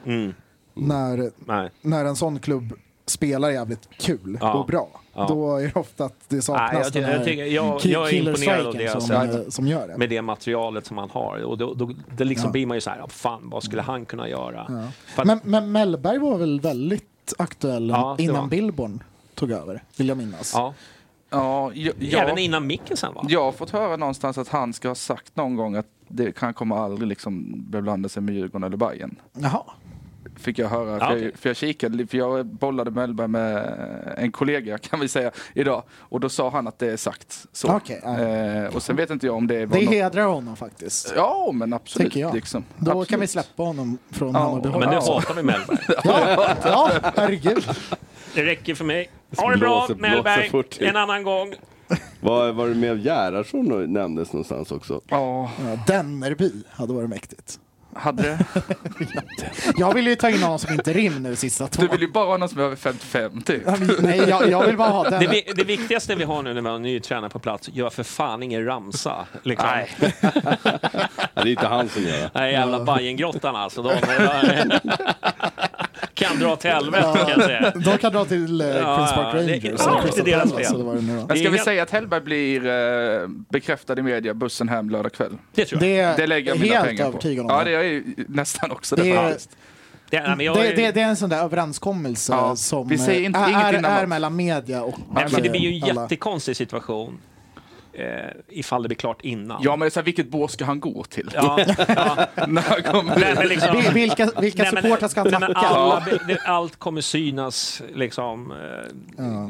När, Nej. när en sån klubb spelar jävligt kul Ja. och bra, Ja. då är det ofta att det saknas Nej, jag ty- den jag här tycker- jag- ki- jag är killer imponerad av striken det jag som, har eh, som gör det. Med det materialet som han har. Och då, då, det liksom Ja. blir man ju så här, "Ja, fan vad skulle han kunna göra? För att- Men, men Mellberg var väl väldigt aktuell Ja, det innan var. Billborn tog över, vill jag minnas. ja. Ja, ja, Även ja, innan Mickelsen va? jag har fått höra någonstans att han ska ha sagt någon gång att det, han kommer aldrig liksom beblanda sig med Djurgården eller Bayern. Jaha. Fick jag höra. Ja, för, okej. jag, för jag kikade, li- för jag bollade Mellberg med en kollega kan vi säga idag. Och då sa han att det är sagt så. Okej, ja. eh, och sen vet inte jag om det var Det något- hedrar honom faktiskt. Ja, men absolut. Tycker jag. Liksom. Då absolut. kan vi släppa honom från Ja, Hammarby Men nu Ja. hatar vi Mellberg. Ja, ja, herregud. Det räcker för mig. Ha det bra Blåser- blåser Mellberg, fort. en annan gång. Var, var det med Gerhardsson och nämndes någonstans också? Ja, Ja, Dennerby hade varit mäktigt. hade... Jag vill ju ta in någon som inte rim nu sista två. Du vill ju bara ha någon som är över 55 typ. Nej, jag, jag vill bara ha Det, den. vi, det viktigaste vi har nu när vi har en ny tränare på plats, gör för fan ingen ramsa. Liksom. Nej. Ja, det är inte han som gör det. Nej, jävla Bajengrottan alltså. De, kan dra åt helvete kan jag säga. De kan dra till eh, Ja, Queens Park ja, Rangers. det- eller ja, Crystal det är deras Palace, fel. eller vad det nu var. Men ska vi helt- säga att Hellberg blir eh, bekräftad i media, bussen hem lördag kväll? Det tror jag. Det är Det lägger jag mina helt pengar på. övertygad om. Ja, det är jag ju nästan också det, Det är- faktiskt. Det, nej, men jag, Det, det, det är en sån där överenskommelse Ja, som vi säger eh, inte- är, ingenting är annat. mellan media och nej, men det blir ju en alla. jättekonstig situation eh, ifall det blir klart innan. Ja, men så här, vilket bås ska han gå till? Ja, ja. När han kommer Nej, men ut. liksom, Vil- Vilka, vilka Nej, men- supportrar ska han nej, men tacka? alla, det- Allt kommer synas, liksom,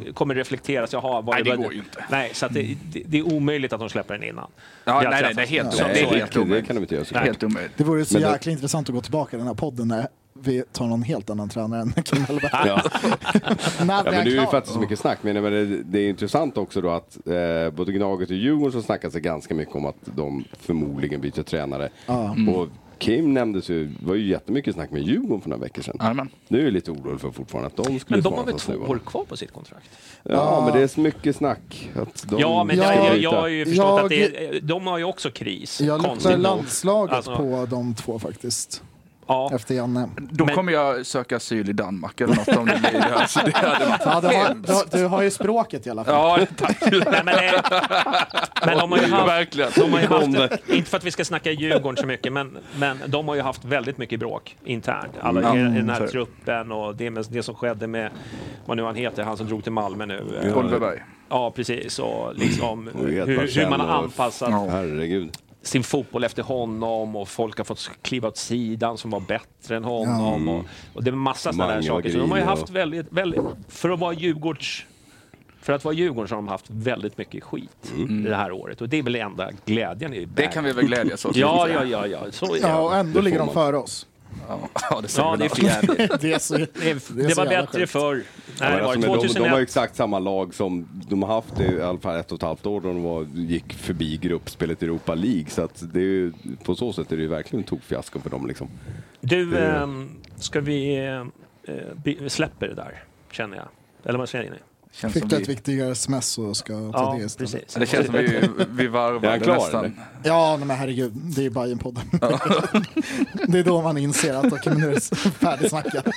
eh, kommer reflekteras. Jaha, vad Nej, det vad- går ju inte. Nej, så att det, det, det är omöjligt att de släpper den innan. Ja, Jag nej, nej, träffas. det är helt, Så- det är så är helt det, det omöjligt. kan de inte göra såklart. Helt omöjligt. Det vore så Men det- jäkla intressant att gå tillbaka i den här podden när vi tar någon helt annan tränare än Kim Hellberg. Ja. När Ja, blir men han det är ju klar? för att det är så mycket snack. Men jag menar, det, det är intressant också då att eh, både Gnaget och Djurgården så snackas det ganska mycket om att de förmodligen byter tränare. Och Kim nämndes ju, det var ju jättemycket snack med Djurgården för några veckor sedan. Jajamän. Nu är jag lite orolig för fortfarande att de skulle Men de svara har väl oss två nu, va? år kvar på sitt kontrakt? Ja, men det är så mycket snack. Att de Ja, men ska jag, jag, byta. jag har ju förstått Jag- att det är, de har ju också kris. Jag luktar konstigt nog. landslaget Alltså, på de två faktiskt. Ja, Efter Janne. Då Men- kommer jag söka asyl i Danmark eller något om det blir alltså, det. Hade varit Ja, du, har, hemskt. du, har, du har ju språket i alla fall. Ja, tack. Nej, men, det, men de har ju haft... Verkligen. De har ju haft, inte för att vi ska snacka Djurgården så mycket, men, men de har ju haft väldigt mycket bråk internt. Alla i- i den här Mm. truppen och det, med, det som skedde med, vad nu han heter, han som drog till Malmö nu. Eh, Oliver Berg. Ja, precis. Och liksom Och vet hur, hur vad man har känner och- anpassat Herregud. sin fotboll efter honom och folk har fått kliva åt sidan som var bättre än honom. Och, och det är massa sådana där Mange saker. Så de har ju Wagrin haft och- väldigt, väldigt, för att vara Djurgårds för att vara Djurgården så har de haft väldigt mycket skit det här året och det är väl enda glädjen i Det kan vi väl glädjas åt. Ja, ja, ja, ja, så är det. Ja, Ja, och ändå ligger de man. före oss. ja det säger det är väl för jävligt. Det är så, Det, det så var jävla bättre sjukt. förr. Ja, Nej, men det var alltså, men de, de har ju 2001. exakt samma lag som de har haft i alla fall ett och ett halvt år då de var, gick förbi gruppspelet i Europa League. Så att det är ju, på så sätt är det ju verkligen en tokfiasko för dem. Liksom. Du, ehm, ska vi eh, eh, by- släpper det där, känner jag. Eller vad säger ni? Känns som Fick du ett vi, viktigare sms och ska ta Ja, det istället? precis. det känns som vi, vi Är han varvade klar, nästan. Ja, nej, men herregud, det är ju Bajenpodden. det är då man inser att okej, men nu är det färdigsnackat.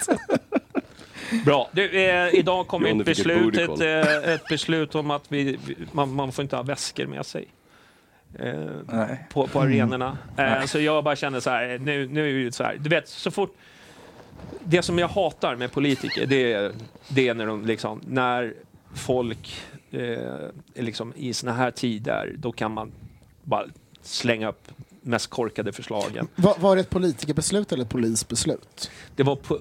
Bra. Du, eh, idag kom Johnny ett fick ett beslut, booty ett, call. eh, ett beslut om att vi, vi- man, man får inte ha väskor med sig. Eh, Nej. på, på arenorna. Eh, så jag bara känner så här, eh, nu, nu är det ju så här, du vet så fort... Det som jag hatar med politiker, det är, det är när de liksom, när folk eh, är liksom i såna här tider, då kan man bara slänga upp mest korkade förslagen. Var, var det ett politikerbeslut eller ett polisbeslut? Det var på,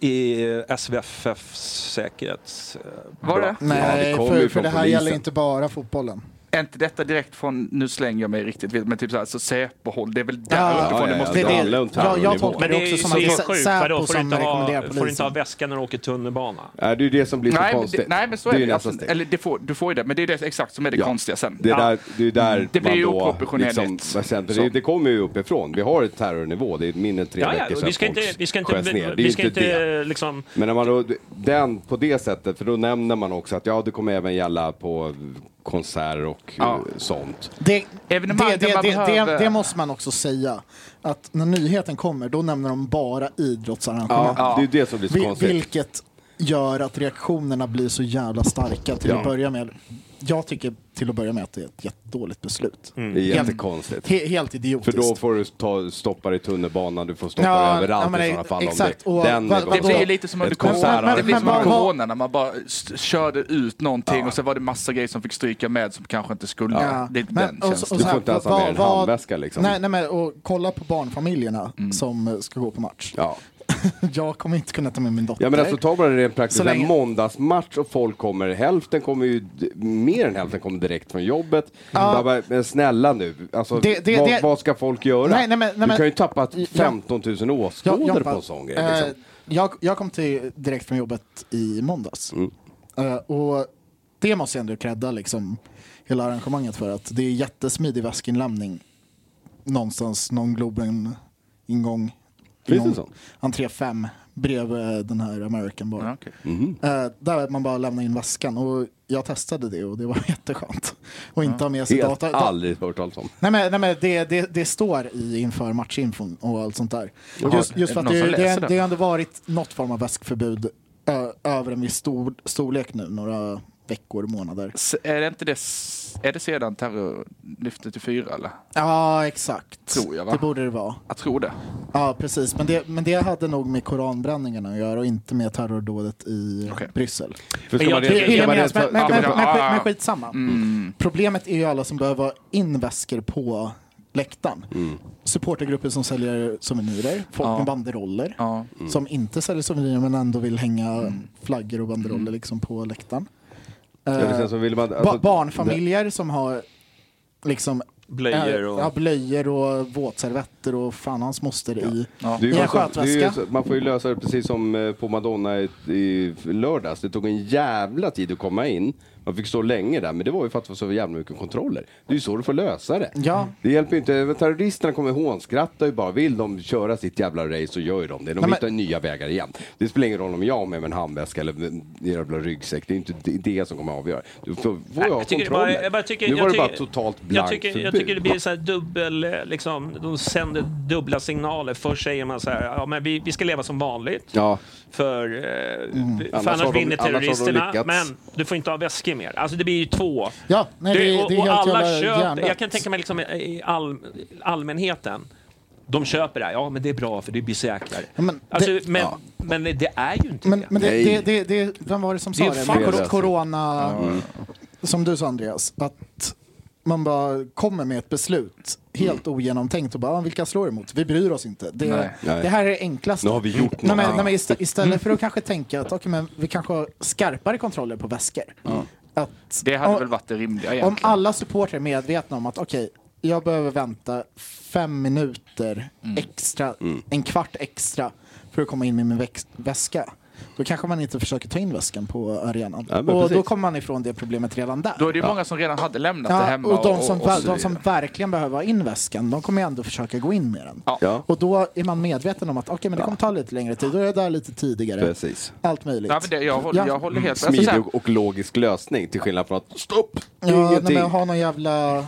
i eh, SVFF säkerhets... eh, Var det? Ja, det Nej, kommer för, ju för från det här polisen. gäller inte bara fotbollen. Är inte detta direkt från, nu slänger jag mig riktigt vilt, men typ så här, så Säpo-håll, det är väl där Ja, ja, uppifrån ja, det ja, måste det, det är handlar om det, jag, jag terrornivå. tolkar Men det det är också ju som så att det sjukt. är Säpo Vadå, får du som inte, rekommenderar ha, får du inte ha polisen. väska när du åker tunnelbana? Nej, Äh, det är ju det som blir så nej, men konstigt. det, nej, men så är det det. är ju nästa Absolut. steg. Eller det får, du får ju det, men det är det exakt som är det Ja. konstiga sen. Det är där, det är där Mm. Det blir man ju då... oproportionerligt. vad sen, för Så. det, det kommer ju uppifrån. Vi har ett terrornivå. Det är mindre än tre Ja, veckor ja, sedan vi ska folk inte, vi ska sköts ner. inte, Det är vi ju ska inte det. inte liksom... Men när man då, den på det sättet, för då nämner man också att ja, det kommer även gälla på konserter och Ja. eh, sånt. Det, det, det, Evenemang där det, man det, behöver- det, måste man också säga. Att när nyheten kommer, då nämner de bara idrottsarrangemang. Det är ju det som blir så Vi- konstigt. Vilket gör att reaktionerna blir så jävla starka till Ja. att börja med. Jag tycker till att börja med att det är ett jättedåligt beslut. Mm. Det är Mm. Helt- jättekonstigt. He, helt För idiotiskt. då får du ta, stoppa dig i tunnelbanan, du får stoppa Ja, dig överallt ja, men i det- sådana fall. exakt. Om Och det, den vad- är vad Det då? blir ju lite som under Ett konsert- corona, det blir som men under vad- corona när man bara st- körde ut någonting och så var det massa grejer som fick stryka med som kanske inte skulle. Ja. Det är Men- och den så- känslan. och Du så här, får inte ens ha vad- med en vad- handväska liksom. Nej, nej, men och kolla på barnfamiljerna Mm. som eh, ska gå på match. Ja. Jag kommer inte kunna ta med min dotter. ja men alltså ta bara det rent Så praktiskt, länge- en måndagsmatch och folk kommer, hälften kommer ju, d- mer än hälften kommer direkt från jobbet. Jag bara, men snälla nu, alltså, Det- det- vad, det- vad ska folk göra? Nej, nej, men- nej, men- du kan ju tappa Ja. 15 000 Ja, åskådare Jompa, på en sån grej. eh, Liksom. jag, jag kom till direkt från jobbet i måndags. Mm. Eh, och det måste jag ändå credda liksom, hela arrangemanget för att det är jättesmidig väskinlämning någonstans, någon Globen-ingång. Finns någon det sån? Entré 5 bredvid eh, den här American Bar. Ja, okej. Mhm. Eh, där man bara lämnar in väskan och jag testade det och det var jätteskönt. Och inte ha med sig Helt data. aldrig hört talas om. Nej men, nej, men det, det, det står i inför matchinfon och allt sånt där. Jaha, Just, just för är att det någon det, som läser det, den? det har ändå varit något form av väskförbud ö, över en viss stor, storlek nu, några veckor, månader. S- Är det inte det, s- är det sedan terrorlyftet i fyra eller? Ja, exakt. Tror jag, va? Det borde det vara. Jag tror det. Ja, precis. Men det, men det hade nog med koranbränningarna att göra och inte med terrordådet i Okej. Bryssel. För ska Jag man tror- reda- ska Men, men, man reda- men, men, ska man- men, ah. men skitsamma. Mm. Problemet är ju alla som behöver ha in väskor på läktaren. Supportergrupper som säljer souvenirer, folk med banderoller. Ja. Mm. Som inte säljer souvenirer men ändå vill hänga flaggor och banderoller liksom på läktaren. Eh, Ja, det känns som vill man- alltså, ba- barnfamiljer som har liksom Blöjor och- ja, blöjor och våtservetter och fan hans moster i, Det är ju i en bara så- det är ju skötväska. så- Man får ju lösa det precis som eh, på Madonna i, i lördags. Det tog en jävla tid att komma in. Man fick stå länge där, men det var ju för att det var så jävla mycket kontroller. Det är ju så du får lösa det. Ja. Det hjälper ju inte. men Terroristerna kommer hånskratta ju bara. Vill de köra sitt jävla race så gör ju de det. De Nej, men- hittar nya vägar igen. Det spelar ingen roll om jag har med mig en handväska eller en jävla ryggsäck. Det är inte det, det som kommer att avgöra. Du får, får jag, jag tycker det bara- kontroller. jag bara tycker- nu jag var det bara tycker- totalt blankt Jag tycker, jag tycker det förbud. blir så här dubbel, eh, liksom, de sänder dubbla signaler. Först säger man så här, ja, men vi, vi ska leva som vanligt. Ja. För, eh, för Mm. Annars annars, har de- vinner annars har de terroristerna, lyckats. men du får inte ha väskor mer. Alltså det blir ju två. Ja, nej, det, det, och, är och helt alla jävla köper, hjärndött. jag kan tänka mig liksom eh, i all, allmänheten, de köper det här, ja men det är bra för det blir säkrare. Ja, men alltså, det- men, men det är ju inte Men, det. men det, Nej. det, det, det, vem var det som sa Det är det? fan- Kor- corona, som du sa Andreas, att man bara kommer med ett beslut helt ogenomtänkt och bara, ah, vilka slår emot? Vi bryr oss inte. Det, Nej. Mm. Nej. det här är det enklaste. Nu har vi gjort nej, men, någonting. nej, men istä- Istället för att kanske tänka att okay, men vi kanske har skarpare kontroller på väskor. Att, Det hade om, väl varit det rimliga om egentligen. alla supportrar är medvetna om att okej, jag behöver vänta fem minuter Mm. extra, Mm. en kvart extra för att komma in med min väx- väska. Då kanske man inte försöker ta in väskan på arenan. Ja, men och precis. då kommer man ifrån det problemet redan där. Då är det ju många som redan hade lämnat det ja, hemma. och de som, och, och ver- så de som vidare. verkligen behöver ha in väskan, de kommer ju ändå försöka gå in med den. Ja. Ja. Och då är man medveten om att okej, men det kommer ta lite längre tid, då är jag där lite tidigare. Precis. Allt möjligt. Nej, men det, jag, håller, Ja. jag håller helt alltså, så Smidig här, och, och logisk lösning till skillnad från att stopp! ja, nej, ingenting. men ha någon jävla...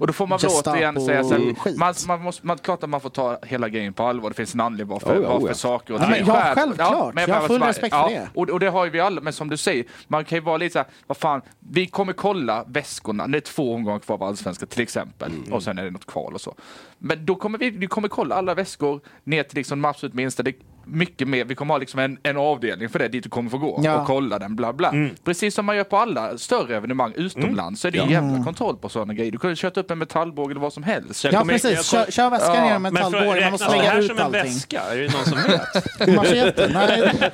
Och då får man väl Gestapo- återigen säga så här, skit. man, man måste, man, klart att man får ta hela grejen på allvar. Det finns en anledning varför, Oh ja, oh ja. varför saker och Ja, ting men ja, sker. självklart. Jag har bara- full respekt för det. Och, och det har ju vi alla, men som du säger, man kan ju vara lite så här, vad fan, vi kommer kolla väskorna. Det är två omgångar kvar på Allsvenskan till exempel. Mm. Och sen är det något kval och så. Men då kommer vi, vi kommer kolla alla väskor ner till liksom de absolut minsta. Det, mycket mer, vi kommer ha liksom en, en avdelning för det dit du kommer få gå Ja. och kolla den bla bla. Mm. Precis som man gör på alla större evenemang utomlands så är det ju jävla kontroll på sådana grejer. Du kan ju köta upp en metallbåge eller vad som helst. Så jag Ja, kommer- jag precis. kommer- Kör, kör väskan Ja. genom Men för- metallbågen, man måste räknas det lägga här ut som en allting. väska? Är det någon som vet? Machete? Nej.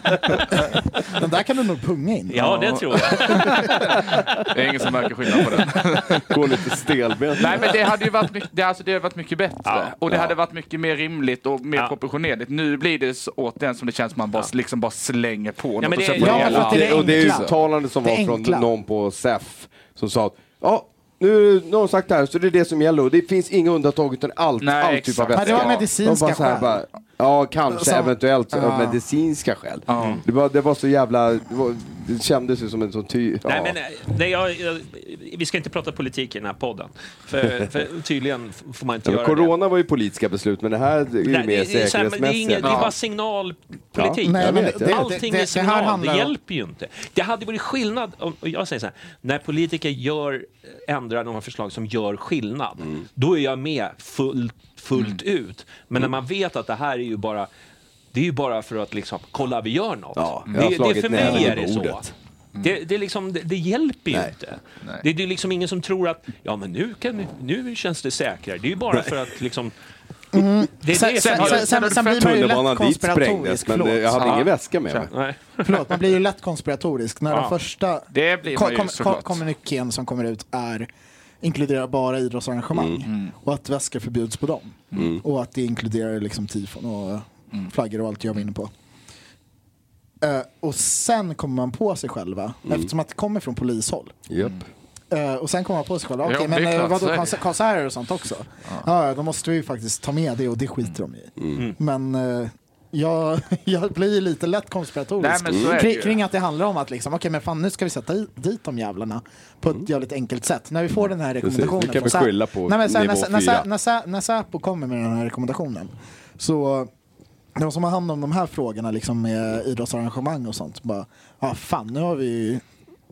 Den där kan du nog punga in. Ja, det tror jag. Det är ingen som märker skillnad på det. Gå lite stelbent. Nej men det hade ju varit mycket, det, alltså, det hade varit mycket bättre. Ja. Och det hade varit mycket mer rimligt och mer Ja. proportionerligt. Nu blir det så, återigen som det känns som man bara, liksom bara slänger på något men och det- sen får ja, hela- för att det, och det är enkla. uttalande som Det var från enkla. någon på SEF som sa att ja, nu nu har de sagt det här så det är det som gäller och det finns inga undantag utan allt, Nej, all typ exakt. av Men väskor. det var medicinska De bara så här, skäl. Bara, ja, kanske Som- eventuellt av Ja. medicinska skäl. Det, var, det var så jävla, det, var, det kändes ju som en sån ty... Ja. Nej, men, eh, nej, jag, jag, vi ska inte prata politik i den här podden. För, för tydligen f- får man inte Ja, göra det. corona var ju politiska beslut men det här är ju Nej, mer det, är så här, men det, är säkerhetsmässiga. inget, det är bara signalpolitik. Ja, Nej, jag men vet, det- jag vet. Allting är det- det här signal, det, handlar om- hjälper ju inte. Det hade varit skillnad, om, och jag säger så här, när politiker gör, ändrar några förslag som gör skillnad, Mm. då är jag med fullt, fullt ut. Mm. Men när man vet att det här är ju bara det är ju bara för att liksom, kolla vi gör något. Ja, jag har det, det, slagit för näven mig i är det så. bordet. Det, det, är liksom, det, det hjälper ju inte. Det, det är liksom ingen som tror att ja, men nu, kan, vi- nu känns det säkrare. Det är ju bara för att liksom... Det är Mm. Sen, det sen, som gör... sen, sen, sen blir man ju lätt Tunnelbanan dit konspiratorisk. sprängdes men det, jag Förlåt. hade Ja. ingen väska med mig. Nej. förlåt, man blir ju lätt konspiratorisk när den första Det blir man ju såklart. kommuniken som kommer ut är inkluderar bara idrottsarrangemang Mm. Mm. och att väskor förbjuds på dem. Mm. Mm. Och att det inkluderar liksom tifon och Mm. flaggor och allt jag var inne på. Eh, och sen kommer man på sig själva, eftersom att det kommer från polishåll. Japp. Eh, och sen kommer man på sig själv, okej Ja, det men är eh, klart, vadå så är det. konser- konserter och sånt också? Ja. då måste vi ju faktiskt ta med det och det skiter de i. Mm. Men eh, jag, jag blir lite lätt konspiratorisk Nej, men så är det ju. kring, kring att det handlar om att liksom, okej men fan nu ska vi sätta i, dit de jävlarna på ett jävligt enkelt sätt. När vi får den här rekommendationen. Mm. Vi kan från väl Sä- skylla på Nej, men sen, nivå när, när, fyra. Sä- när, Sä- när Säpo kommer med den här rekommendationen så de som har hand om de här frågorna liksom med idrottsarrangemang och sånt bara, ja ah, fan nu har vi ju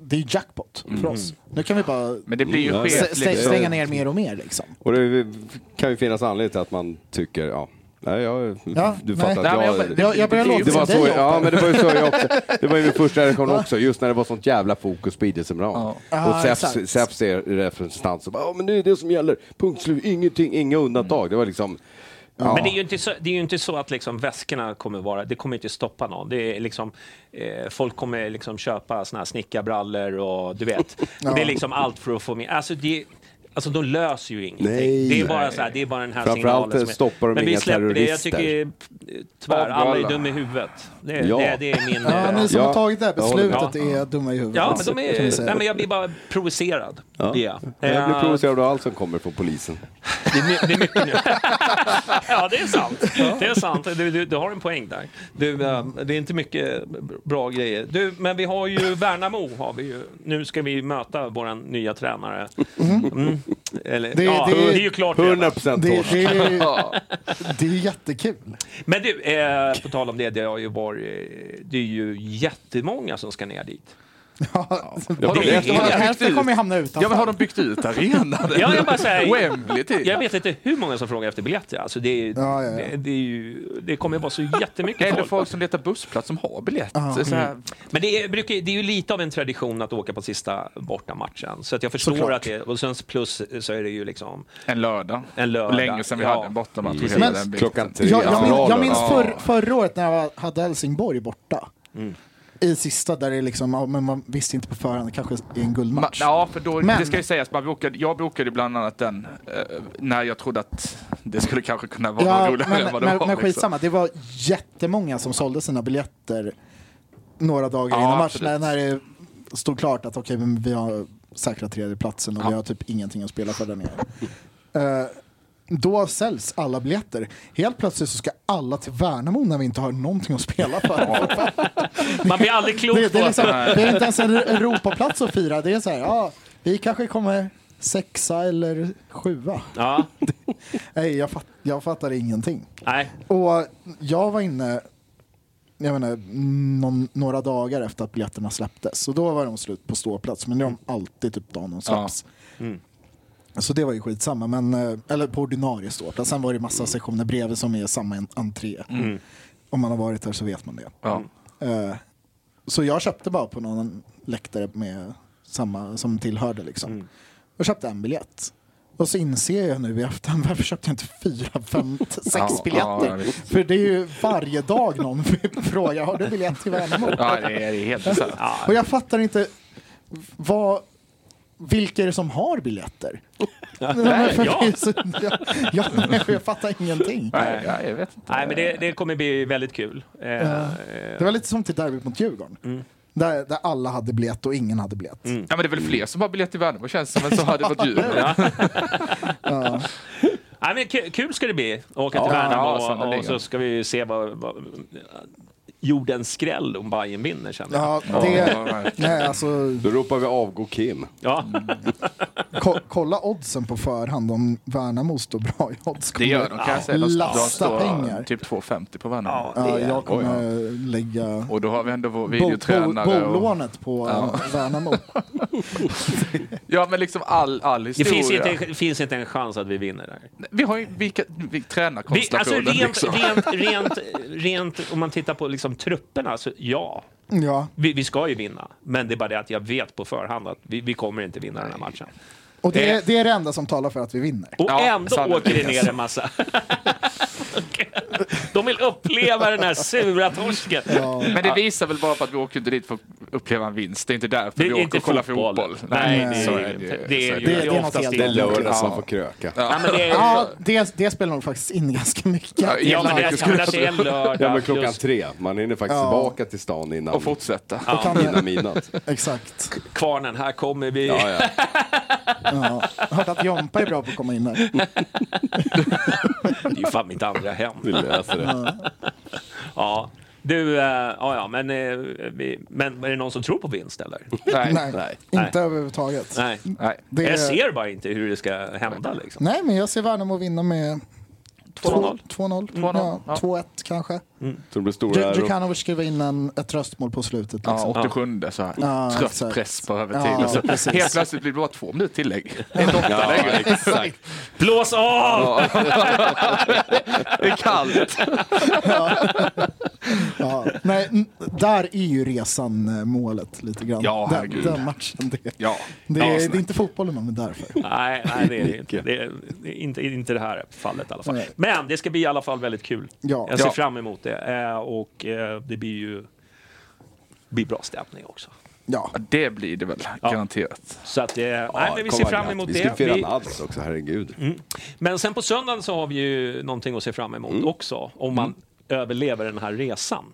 det är jackpot för oss. Nu kan vi bara Men det blir ju Mm. skevt. st- Liksom. stänga ner mer och mer liksom. Och det kan ju finnas anledning till att man tycker, ja. Nej, jag, Ja, nej. du fattar Nej, men att jag- jag... Jag, jag börjar Det låta Det var, som dig så, Hoppa. ja, men det var ju så jag också. Det var ju min första reaktion också, just när det var sånt jävla fokus på idrottsevenemang. Ja, Ah, Och Zeps- exakt. Zeps är representant som bara, ja men det är det som gäller, punkt slut, ingenting, inga undantag. Det var liksom, ja. Men det är ju inte så, det är ju inte så att liksom väskorna kommer vara, det kommer inte stoppa någon. Det är liksom, eh, folk kommer liksom köpa såna här snickarbrallor och du vet. Det är liksom allt för att få med. Alltså, det, alltså de löser ju ingenting. Nej. det, är bara så här, det är bara den här Framförallt eh, signalen. är- stoppar de Men vi inga släpper det. Jag terrorister. tycker eh, tyvärr, alla är Avballa. dum i huvudet. Det, är- Ja. det, är- det är min... Ja, eh, ni som Ja, har tagit det här jag håller beslutet är dumma i huvudet. Ja, men de kan vi är, säga. nej, men jag blir bara provocerad. Ja. Det är jag. Jag blir Eh, provocerad av allt som kommer från polisen. det är my- det är mycket nu. ja, det är sant. Det är sant. Du, du, du har en poäng där. Du, eh, det är inte mycket bra grejer. Du, men vi har ju Värnamo. Har vi ju. Nu ska vi möta vår nya tränare. Mm. Eller, Det- ja, det- det är ju klart redan. 100% det, torsk. det, är, det är jättekul. Men du, eh, på tal om det, det har ju varit... Det är ju jättemånga som ska ner dit. Ja, Jag Det blir är helt- helt- Hälften kommer ju hamna utanför. Ja, men har de byggt ut arenan? Ja, jag bara säger- Wembley typ. Jag vet inte hur många som frågar efter biljetter. Alltså det, är, Ja, ja, ja. Det, det, är ju, det kommer vara så jättemycket Eller folk. folk som letar bussplats som har biljett. Det är så Mm. här, Men det är, brukar, det är ju lite av en tradition att åka på sista bortamatchen. Så att jag förstår Såklart. att det Och sen plus så är det ju liksom... en lördag. En lördag, Länge sedan vi ja. hade en bortamatch. och Precis. hela Men- den biten. Klockan tre. Jag, jag, minns, jag minns Ja. förr, förra året när jag hade Helsingborg borta. Mm. I sista där det är liksom, ja, men man visste inte på förhand, kanske i en Ma- guldmatch. Ja, för då, Men- det ska ju sägas, man bokade, jag bokade bland annat den eh, när jag trodde att det skulle kanske kunna vara Ja, roligare än vad men, det men, var. men liksom. skitsamma, det var jättemånga som sålde sina biljetter några dagar Ja, innan matchen. När, absolut. när det stod klart att okej, men vi har säkrat tredjeplatsen och vi har typ ingenting att spela för där nere. Eh, då säljs alla biljetter. Helt plötsligt så ska alla till Värnamo när vi inte har någonting att spela för. Man blir aldrig klok Det, det, är på... liksom, det är inte ens en Europaplats att fira. Det är så här, ja, vi kanske kommer sexa eller sjua. Ja, Nej, jag, fatt, jag fattar ingenting. nej. Och jag var inne jag menar, någon, några dagar efter att biljetterna släpptes. Och då var de slut på ståplats. Men det är de alltid typ dagen de släpps. Mm. Så det var ju skitsamma. Men, eh, eller på ordinarie ståplats. Sen var det Mm. massa sektioner bredvid som är samma en- entré. Om man har varit där så vet man det. Ja. Eh, Så jag köpte bara på någon läktare med samma som tillhörde liksom. Mm. Jag köpte en biljett. Och så inser jag nu i efterhand, varför köpte jag inte fyra, fem, t- sex Ja, biljetter? ja, visst. För det är ju varje dag någon frågar, har du biljett till Värnamo? Ja, det är, det är helt bisarrt. Och jag fattar inte, vad, vilka är det som har biljetter? Nej, för det är så- jag, jag, jag fattar ingenting. Nej, ja, jag vet inte. nej men det, det kommer bli väldigt kul. Eh, Mm. eh, Det var lite som till derbyt mot Djurgården. Där, där alla hade biljett och ingen hade biljett. Mm. Ja, men det är väl fler som har biljett till Värnamo känns det som, än som hade varit djur. nej, men ku- kul ska det bli att åka till Ja, Värnamo ja, och, sannerligen. och så ska vi ju se vad... vad jordens skräll om Bayern vinner känner jag. Ja, det, Ja, verkligen. nej, alltså, Då ropar vi avgå Kim. Ja. ko kolla oddsen på förhand om Värnamo står bra i odds. Det gör de kan jag säga. De, de Lasta står pengar. typ 2,50 på Värnamo. Ja, Ja, det är- jag kommer lägga Och då har vi ändå vår bo- bo- videotränare. och, bolånet på eh, Värnamo. ja, men liksom all, all Det historia. finns inte, det finns inte en chans att vi vinner där. Vi har ju vilka, vi, Vi, alltså tränarkonstellationen. rent, liksom. rent, rent, rent, om man tittar på liksom trupperna, så ja, Ja, vi, vi ska ju vinna. Men det är bara det att jag vet på förhand att vi, vi kommer inte vinna den här matchen. och det är, det är det enda som talar för att vi vinner. Och Eh. Ja, ändå sannolikt. åker det ner en massa. De vill uppleva den här sura torsken. Men det visar väl bara på att vi åker inte dit för att uppleva en vinst. Det är inte därför Det vi är åker inte och kollar fotboll. fotboll. Nej, det är- så är det ju. det är Så ju- det. det är något oftast helt det. Det är annat. lördag som Ja. får kröka. Ja, men det är, Ja, det, det spelar nog faktiskt in ganska mycket. Ja, ja, men det är, men att det är en lördag. Ja men klockan plus- tre, man hinner faktiskt tillbaka till stan innan, Och fortsätta. Och kan, innan midnatt. exakt. Kvarnen, här kommer vi. Ja, ja. Ja. Hört att Jompa är bra på att komma in där. Det är ju fan mitt andra hem. Vi löser det. Ja. Du, eh, ja, ja, men, eh, vi, men är det någon som tror på vinst eller? Nej. Nej, Nej. inte överhuvudtaget. Nej. Nej. Det, Jag ser bara inte hur det ska hända liksom. Nej, men jag ser Värnamo vinna med 2-0. 2-0. 2-0, ja. Ja, 2-1 kanske. Mm. Så det blir stora Dju- äror. Djukanovic skrev in en, ett röstmål på slutet. Liksom. Ja, 87 så här. Ja, Trött exakt. press på övertid. Ja, och så precis. helt plötsligt blir det bara två minuter tillägg. En åtta Ja, längre. exakt. Blås av! Det är kallt. Ja. Nej, n- där är ju resan eh, målet lite grann. Ja, den, herregud. den matchen. Det, Ja. det, Ja, är, snälla. det är inte fotbollen man är där för. Nej, nej det är det inte. Det är, det är inte, inte det här fallet i alla fall. Nej. Men det ska bli i alla fall väldigt kul. Ja. Jag ser Ja. fram emot det. Eh, Och eh, det blir ju blir bra stämning också. Ja. Det blir det väl, garanterat. Så att, eh, nej, men vi kom ser igen. fram emot vi det. Vi ska fira Vi- Mm. Nadal också, herregud. Men sen på söndagen så har vi ju någonting att se fram emot Mm. också, om man överlever den här resan.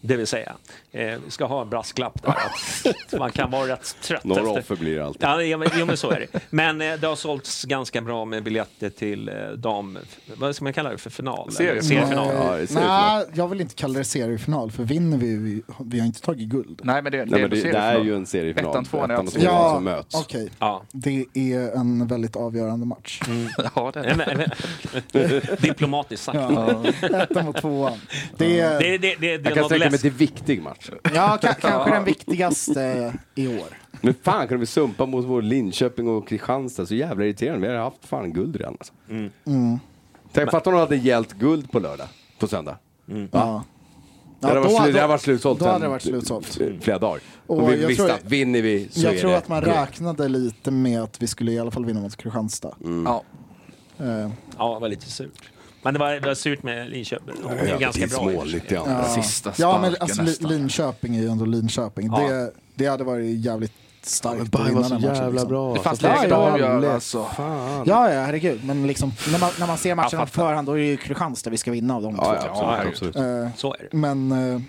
Det vill säga, eh, vi ska ha en brasklapp där, att man kan vara rätt trött. Några efter- offer blir det alltid. Ja, jo, men- jo, men så är det. Men eh, det har sålts ganska bra med biljetter till eh, dam... Vad ska man kalla det för? Final? Seriefinal. Eller Seriefinal. Ja, det är seriefinal. Nej, jag vill inte kalla det seriefinal, för vinner vi, vi, vi har inte tagit guld. Nej, men det, Nej, men det, det, det är ju en seriefinal. Ettan, tvåan är Ettan och alltid- tvåan som möts. okej. Ja. Det är en väldigt avgörande match. Ja, det är Mm. Nej, det. men- Diplomatiskt sagt. Ja. Ettan mot tvåan. Det är, Det, det, det, det, Jag det är kan något tänka mig att läskigt. det är en viktig match. ja, ka- kanske den viktigaste i år. Men fan kunde vi sumpa mot vår Linköping och Kristianstad. Så jävla irriterande. Vi har haft fan guld redan alltså. Mm. Tänk, fatta om de hade gällt guld på lördag, på söndag. Ja. det hade varit, då- slut, det hade varit slutsålt Då sen hade det varit slutsålt. flera dagar. Och Och vi jag visste tror- att vinner vi så är Jag tror det att man guld. räknade lite med att vi skulle i alla fall vinna mot Kristianstad. Mm. Ja. Eh, Ja, det var lite surt. Men det var, det var surt med Linköping. Det är ganska bra. i och för sig. Målligt, ja. Sista ja, sparken men alltså, Li- nästan. Linköping är ju ändå Linköping. Det, det hade varit jävligt starkt att Bayern vinna var så den matchen. jävla liksom. bra. Det fanns Ja, lägen att ja, avgöra lätt. alltså. Ah, Ja, ja, herregud. Men liksom, när, man, när man ser matchen på förhand, då är det ju Kristianstad vi ska vinna av de Ja, två. ja, Ja, absolut. herregud. absolut. Eh, Så är det. men, eh,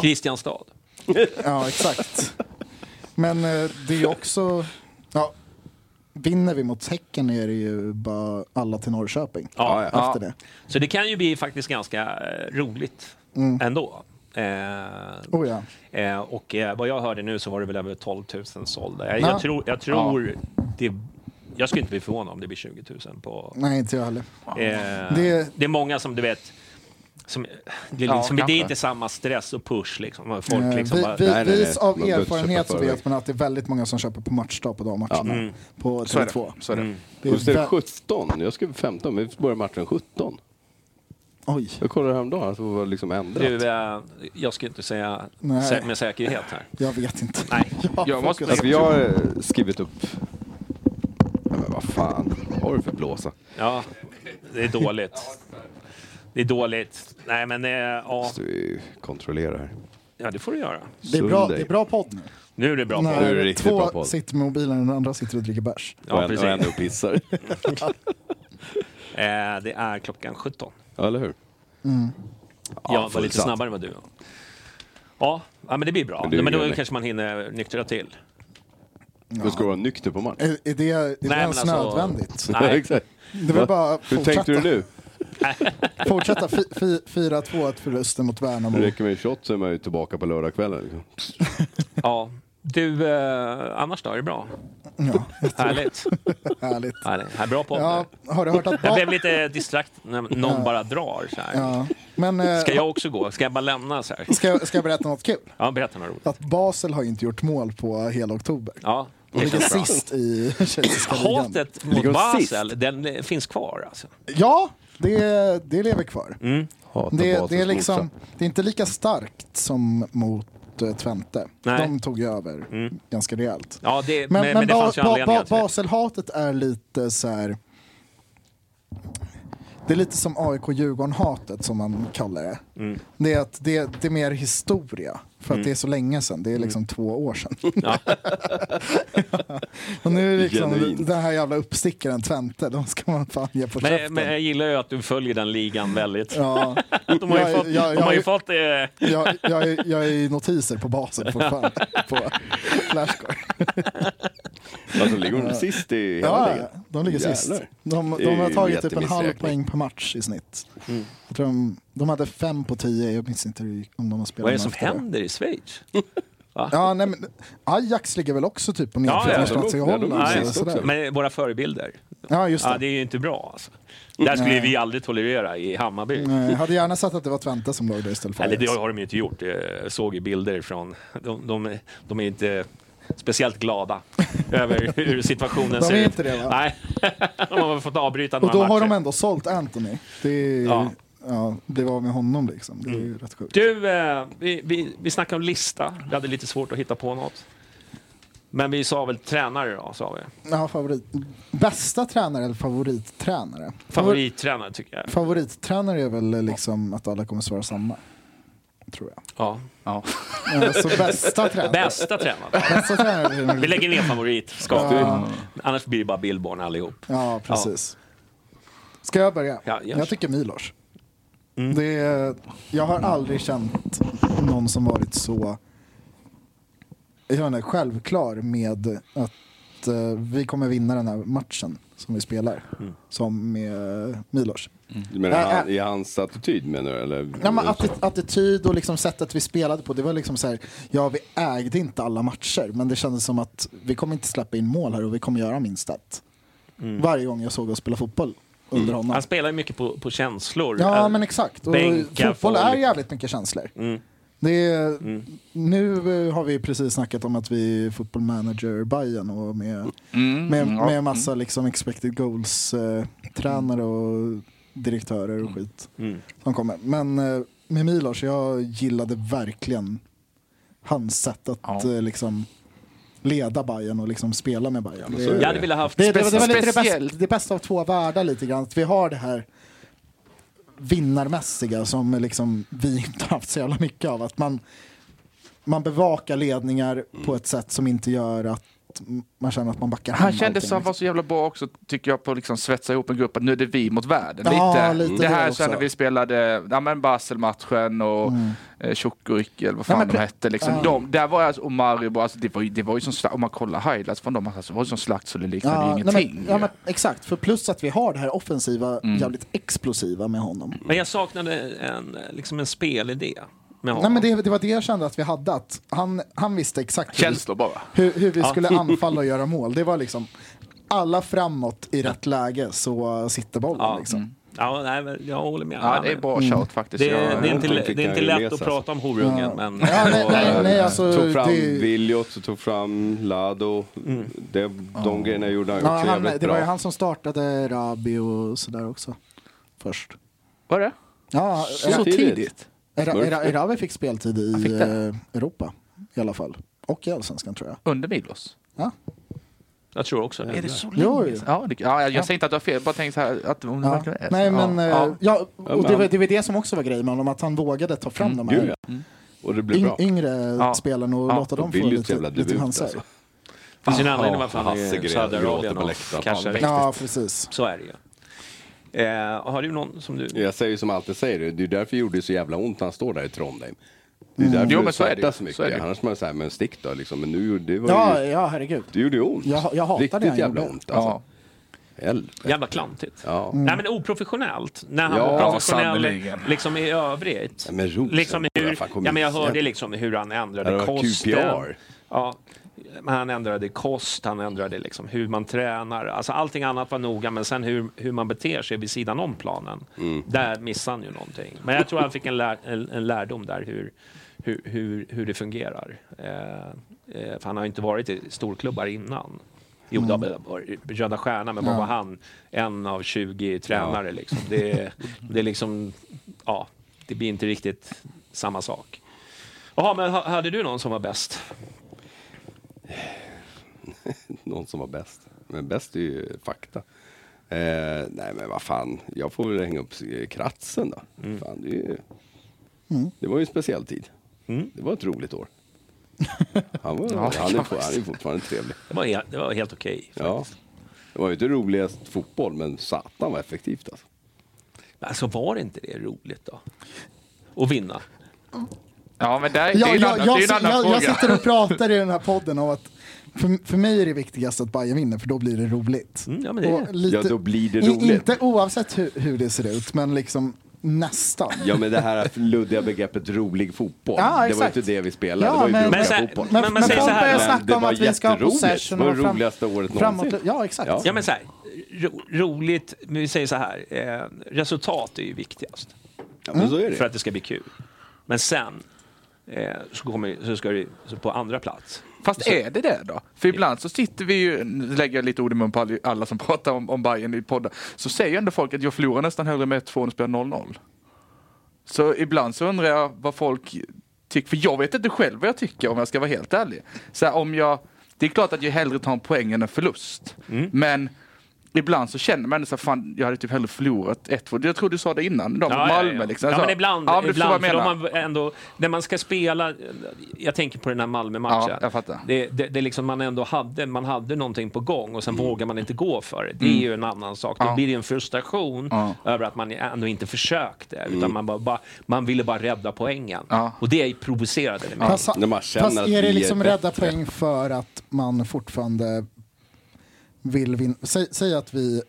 Kristianstad. ja exakt. Men eh, det är ju också, ja, vinner vi mot Häcken är det ju bara alla till Norrköping Ja, ja. efter det. Så det kan ju bli faktiskt ganska eh, roligt Mm. ändå. Eh, Oh, ja. eh, och eh, vad jag hörde nu så var det väl över 12 000 sålda. Jag, Ja. jag tror, jag tror det... Jag skulle inte bli förvånad om det blir 20 000 på... Nej, inte jag heller. Eh, det... Det- är många som du vet... Som, det, är Ja, liksom, det kanske. är inte samma stress och push liksom. Folk Eh, liksom bara, vi, vi, Nej, nej, nej. vis av Man behöver inte erfarenhet köpa så förväg. vet man att det är väldigt många som köper på matchdag på dammatcherna. På Så är Tele2. det. Så är Mm. det. Det är Och så är det vä- 17. Jag skrev 15, men vi börjar matchen 17. Oj. Jag kollade häromdagen att det var liksom ändrat. du, eh, jag ska inte säga Nej. sä- med säkerhet här. Jag vet inte. Nej. Jag måste Alltså jag har eh, skrivit upp... Ja, men vad fan, vad har du för blåsa? Ja, det är dåligt. Det är dåligt. Nej, men eh, ja, Måste vi kontrollera här. ja, det får du göra. Det är, bra, Sunday. det är bra podd nu. Nu är det bra. När Nu är det riktigt två bra podd. sitter med mobilen och den andra sitter och dricker bärs. Ja, och, en, precis. och en och pissar. Eh, det är klockan 17. ja, eller hur? Mm. jag var lite fullsatt. snabbare än vad du var. Ja, ja, men det blir bra. Men, Men det är då ju gulligt. kanske man hinner nyktra till. Du ska vara nykter på match. Är, är det, är det men ens alltså- nödvändigt? Nej. Exakt. Det var bara att Hur tänkte fortsätta, du nu? fortsätta fi, fi, 4-2 förlusten mot Värnamo. Det räcker med en shot så är man ju tillbaka på lördagskvällen. liksom. Ja. Du, eh, annars då? Är det bra? Ja, Härligt. härligt. Härligt. Ja, bra podd. Ja, har du hört att... Jag blev lite distrakt när någon bara drar så här. Ja, men, eh, Ska jag också gå? Ska jag bara lämna så här? ska, jag- ska jag berätta något kul? Ja, berätta något roligt. Att Basel har ju inte gjort mål på hela oktober. Ja, Och det ligger känns bra. sist i tjeckiska ligan. Hatet mot Ligger de Basel, den eh, finns kvar alltså. Ja, det, det lever kvar. Mm. Hatar Det, det, är Basels liksom, morsa. det är inte lika starkt som mot eh, Twente. Nej. De tog ju över ganska rejält. Ja, det, men, Men, men, men, det ba, fanns ju ba, anledningar ba, till det. Baselhatet är lite så här... Det är lite som AIK-Djurgården-hatet som man kallar det. Mm. Det, är att det, det är mer historia. För att det är så länge sedan. Mm. Det är liksom två år sedan. Och nu är det liksom Genuint. den här jävla uppstickaren Twente. De ska man fan ge på Men, käften. men jag gillar ju att du följer den ligan väldigt. Ja, De har ju Jag- fått... jag- de har ju jag- fått eh, jag, jag, är- jag är i notiser på basen fortfarande. på Flashcore. Alltså ligger de sist i hela Ja, ligan? de ligger Jävlar. sist. De, Det är de har ju Mm. tagit typ en halv poäng jättemissräkning. per match i snitt. Jag tror de, de hade fem på tio, jag minns inte hur- om de har spelat Vad är det någon som efter händer i Schweiz? Va? Ja, nej, men Ajax ligger väl också typ på nedflyttningsplats i ja, de- Holland. ja, så- de- sådär. också. Men våra förebilder, Ja, just ja, det. det är ju inte bra. Alltså. Där skulle Nej. vi aldrig tolerera i Hammarby. Nej, Jag Eh, hade gärna sett att det var Twente som låg där istället för Eller det Ajax. har de ju inte gjort. Jag såg ju bilder från... De, de, de är inte speciellt glada över hur situationen De ser är ut. inte det, va? Nej, de har fått avbryta Och några då har matcher. de ändå sålt Anthony. Det är, Ja. Mm. ja. det var med honom liksom. Det är ju rätt sjukt. Du, eh, vi, vi, vi snackade om lista. Vi hade lite svårt att hitta på något. Men vi sa väl tränare då, sa vi. Ja, favorit. Bästa tränare eller favorittränare? Favorittränare tycker jag. Favorittränare är väl liksom att alla kommer svara samma. Tror jag. Ja. Ja. Eh, Så bästa tränare. Bästa tränare. Bästa tränare är Vi nog... lägger ner favorit. Ska vi. Annars blir det bara Billborn allihop. Ja, precis. Ska jag börja? Ja, gör jag så. tycker Milos. Det är, jag har aldrig känt någon som varit så jag vet inte, självklar med att eh, vi kommer vinna den här matchen som vi spelar, som med Milos. Du menar Äh, han, äh. i hans attityd menar du? Eller? Nej, men atti- attityd och liksom sättet vi spelade på, det var liksom så här, ja vi ägde inte alla matcher, men det kändes som att vi kommer inte släppa in mål här och vi kommer göra minst ett. Varje gång jag såg oss spela fotboll under honom. Han spelar ju mycket på, på känslor. Ja, Eh, men exakt. Och bänka fotboll är folk. Mm. jävligt mycket känslor. Det är, Nu eh, har vi precis snackat om att vi är football manager Bayern och med, Mm. med, med massa liksom expected goals-tränare och direktörer och skit som kommer. Men eh, med Milos, jag gillade verkligen hans sätt att eh, liksom leda Bayern och liksom spela med Bayern. Det- Jag hade velat haft... det, det, det, var lite det, Speciellt. bästa, det bästa av två världar lite grann. Att vi har det här vinnarmässiga som liksom vi inte har haft så jävla mycket av. Att man, man bevakar ledningar på ett sätt som inte gör att man känner att man backar Han hem kändes allting, som han var så jävla bra också, tycker jag, på att liksom svetsa ihop en grupp. Att nu är det vi mot världen. Ja, lite det här det sen när också. vi spelade ja, men Basel-matchen och eh, Tjockrycke eller vad fan Nej, men de pre- hette. Liksom. Ja. De, där var alltså Omaribo, alltså, det, var, ju- det var ju som slakt, om man kollar highlights från dem, alltså, det var ju som slakt så det liknade ju Mm. nej, ingenting. men, ja, men, exakt, för plus att vi har det här offensiva, jävligt explosiva med honom. Men jag saknade en, liksom en spelidé med Nej, honom. men det, det var det jag kände att vi hade. Att han, han visste exakt hur vi Känslor bara. hur, hur vi skulle anfalla och göra mål. Det var liksom alla framåt i rätt läge så sitter bollen. Ja. Liksom. Mm. Ja, nej, men jag håller med. Ja, det är Mm. bra shout faktiskt. Det, Jag- det är inte, de det fick är han inte ju lätt med att sig, prata om horungen, men... Ja, nej, nej, nej, alltså, Tog fram det- Viljot, tog fram Lado. Mm. Det, de grejerna gjorde han Ja, också han, jävligt det var ju bra. han som startade Rabi och sådär också. Först. Var det? Ja, Så tidigt? Ra- Ra- Ra- Rabi fick speltid Han i fick det. eh, Europa i alla fall. Och i Allsvenskan tror jag. Under Milos? Ja. Jag tror också det. Är det så Jo, länge jo. sedan? Ja, det, ja, jag säger inte att du har fel, bara tänk så här att om det Ja. verkligen är så. Nej Ja. men, eh, Ja. ja, och det, men- Mm. var, det var det som också var grejen med honom, att han vågade ta fram de Mm, Gud, här ja. Mm. Och det blev yng, bra. yngre Ja. spelarna och Ja, låta dem få Viljot lite, jävla lite debut, chanser. alltså. Det finns ju en Ja, anledning varför han är Hasse i grät, Saudiarabien gråter på och läktaren. kanske Ja, precis. Så är det ju. Eh, har du någon som du... Jag säger ju som jag alltid säger, det det är därför det gjorde så jävla ont när han står där i Trondheim. Det är Mm. därför Jo, jo, men det så är det ju. smärtar så mycket. Så är det ju. Annars man säger men stick då liksom. Men nu gjorde det var Ja, ju, ja herregud. det gjorde ju ont. Jag- jag hatar det Riktigt han jävla gjorde. ont Ja. alltså. Helvete. Jävla klantigt. Ja. Nej, men oprofessionellt. När han Ja, var professionell sannerligen. liksom i övrigt. Ja, men Rosen, liksom hur, vad fan kom ja, men jag in? hörde liksom hur han ändrade Ja, det var kosten. QPR. Ja, men han ändrade kost, han ändrade liksom hur man tränar. Alltså allting annat var noga, men sen hur, hur man beter sig vid sidan om planen. Mm. Där missade han ju någonting. Men jag tror han fick en, lär, en, en lärdom där hur, hur, hur, hur det fungerar. Eh, eh, för han har ju inte varit i storklubbar innan. Jo, det har varit Röda Stjärnan, men vad var han? En av 20 tränare liksom. Det, är- det är liksom, ja, det blir inte riktigt samma sak. Jaha, men ha- hade du någon som var bäst? någon som var bäst. Men bäst är ju fakta. Eh, nej men vad fan, jag får väl hänga upp eh, kratsen då. Mm. Fan, det, är ju, Mm. det var ju en speciell tid. Mm. Det var ett roligt år. Han, var, han, är, for- han är fortfarande trevlig. Det var, he- det var helt okej. Ja. Det var ju inte roligast fotboll, men satan vad effektivt alltså. Men Alltså var det inte det roligt då? Att vinna? Ja, men där, det Ja, är ju en jag, annan, jag, det är ju en jag, annan jag, fråga. sitter och pratar i den här podden om att för, för mig är det viktigast att Bayern vinner för då blir det roligt. Mm, ja, men det är Och det. lite- Ja, då blir det i- roligt. Inte oavsett hur, hur det ser ut, men liksom Nästan. Ja men det här luddiga begreppet rolig fotboll. Ja, det var ju exakt. inte det vi spelade, Ja, det var ju men- roliga Men så- fotboll. men- Men, man men, säger så folk här- börjar Men snacka om att vi ska ha jätteroligt. possession. Det var och det fram- roligaste året framåt. någonsin. Ja, exakt. Ja. Ja, men så här, ro, roligt, men vi säger så här, eh, resultat är ju viktigast Ja, men så är det. för att det ska bli kul. Men sen eh, så, kommer, så ska det så på andra plats. Fast är det det då? För ibland så sitter vi ju, nu lägger jag lite ord i mun på all- alla som pratar om, om Bayern i podden, så säger ju ändå folk att jag förlorar nästan hellre med 1-2 än att spela 0-0. Så ibland så undrar jag vad folk tycker, för jag vet inte själv vad jag tycker om jag ska vara helt ärlig. Så här, om jag, det är klart att jag hellre tar en poäng än en förlust, Mm. men ibland så känner man ändå så här, fan jag hade typ hellre förlorat 1-2. Jag tror du sa det innan, de mot Malmö liksom. Ja, Så- men ibland. ja, men du förstår ibland vad för jag om menar. man ändå, när man ska spela, jag tänker på den här Malmö-matchen. Ja, jag fattar. Det, det, det är liksom man ändå hade, man hade någonting på gång och sen vågar man inte gå för det. Det är ju en annan sak. Då Mm. Ja. blir det en frustration Ja. över att man ändå inte försökte. Utan Mm. man, bara, bara, man ville bara rädda poängen. Ja. Och det provocerade mig. Fast, När man känner fast att är vi det är liksom rädda bättre. poäng för att man fortfarande vill vinna? Säg, säg att vi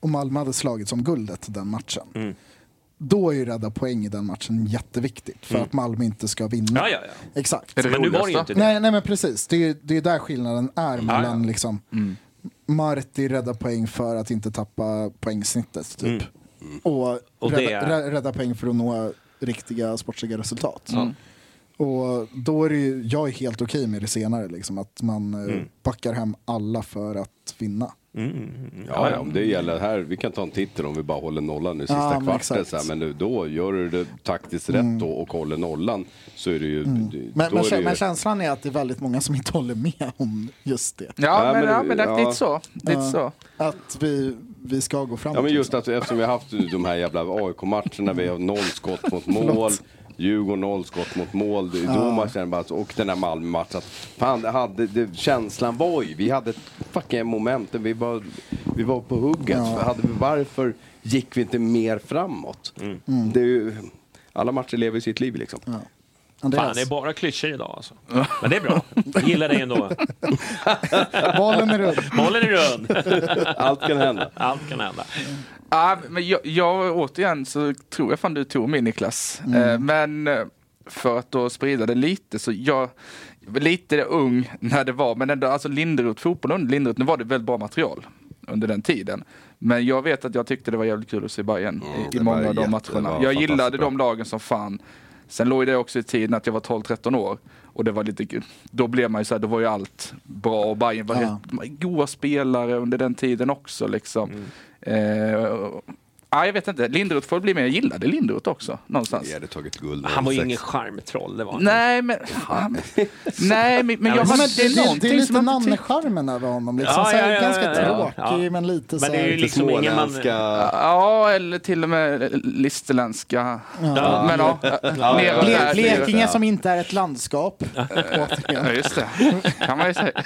och Malmö hade slagits om guldet den matchen. Mm. Då är ju rädda poäng i den matchen jätteviktigt för att Malmö inte ska vinna. Mm. Ja, ja, ja. Exakt. Är det Men nu var det ju roligaste? inte det. Nej, nej men precis, det är ju det är där skillnaden är mellan liksom Marti rädda poäng för att inte tappa poängsnittet typ. Och, Mm. Och det rädda, är- rä- rädda poäng för att nå riktiga sportsliga resultat. Mm. Och då är det ju, jag är helt okej med det senare, liksom, att man eh, Mm. backar hem alla för att vinna. Ja, ja, om det gäller här, vi kan ta en titel om vi bara håller nollan nu sista Ja, men kvarten. exakt. Mm. Så här, men nu, då gör du det taktiskt rätt då och håller nollan så är det ju... det- Men, då men, är det ju- men känslan är att det är väldigt många som inte håller med om just det. Ja, Ja, men, men- ja, men det är ja. lite så. Lite Ja. så. Att vi, vi ska gå framåt. Ja men just liksom. att eftersom vi har haft de här jävla AIK-matcherna, vi har noll skott mot mål. Djurgården noll skott mot mål. Det är Då man känner bara, att- och den här Malmö-matchen. att Fan, det hade, det, känslan var ju, vi hade ett fucking moment. Vi var, vi var på hugget. Hade vi, varför gick vi inte mer framåt? Mm. Det är ju, alla matcher lever sitt liv liksom. Fan, Andreas, det är bara klyschor idag alltså. Men det är bra. Jag gillar dig ändå. bollen är rund. Bollen är rund. Allt kan hända. Allt kan hända. Ja, men jag, jag, återigen så tror jag fan du tog mig Niklas. Mm. Eh, men eh, för att då sprida det lite så jag jag var lite ung när det var, men ändå alltså Linderoth, fotbollen under Linderoth, nu var det väldigt bra material under den tiden. Men jag vet att jag tyckte det var jävligt kul att se Bayern i, i det många var av de jätte- det matcherna. var Jag gillade fantastiskt bra. de lagen som fan. Sen låg det också i tiden att jag var 12-13 år och det var lite, kul. då blev man ju så här, då var ju allt bra och Bayern var Ja. helt goa spelare under den tiden också liksom. Eh, ja, jag vet inte, Linderoth får bli med, jag gillade Linderoth också någonstans. Vi hade tagit guld Han var ju 06. ingen charmtroll. Det var han. Nej men, fan. nej men, men jag Ja, har men det det, är det, det är någonting lite som jag inte tycker. nannecharmen över honom. Liksom. Ja, så här, ja, ja, ganska ja, ja. tråkig, Ja. men lite så Men det är ju här... Lite liksom ingen man- småländska... Ja, eller till och med listerländska. Ja. Men ja, mer åt det Ble- här Blekinge livet. som inte är ett landskap. Återigen. Ja, just det. kan man ju säga.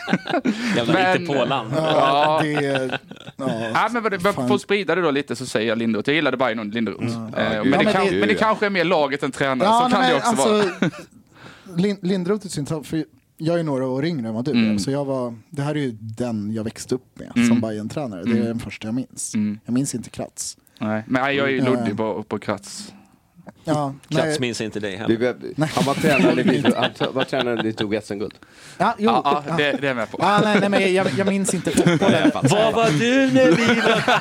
Jävla Men- hittepåland. Ja, det är... Ja. Ja, men vad det- men för att sprida det då lite så säger jag Linderoth. Jag gillade Bayern under Linderoth. Eh, Ja, men, gud. det Ja, kan, men det- men det kanske är mer laget än tränaren. Ja, så kan nej, alltså- det men också vara. Lin- Lindroth är så intressant, för jag är några år yngre än vad du är. Mm. Så jag var, det här är ju den jag växte upp med som Bayern-tränare. Det Mm. är den första jag minns. Jag minns inte Kratz. Nej, men nej, jag är ju Ja. luddig på, på Kratz. Ja, Plats nej, minns inte dig Vi, heller. vi- han var tränare, när vi- han t- var tränare när ni tog SM-guld. ja, jo, Ja, ja, ja. det, det är jag med på. Ja, nej, nej, men jag, jag minns inte fotbollen. Vad var du när vi var...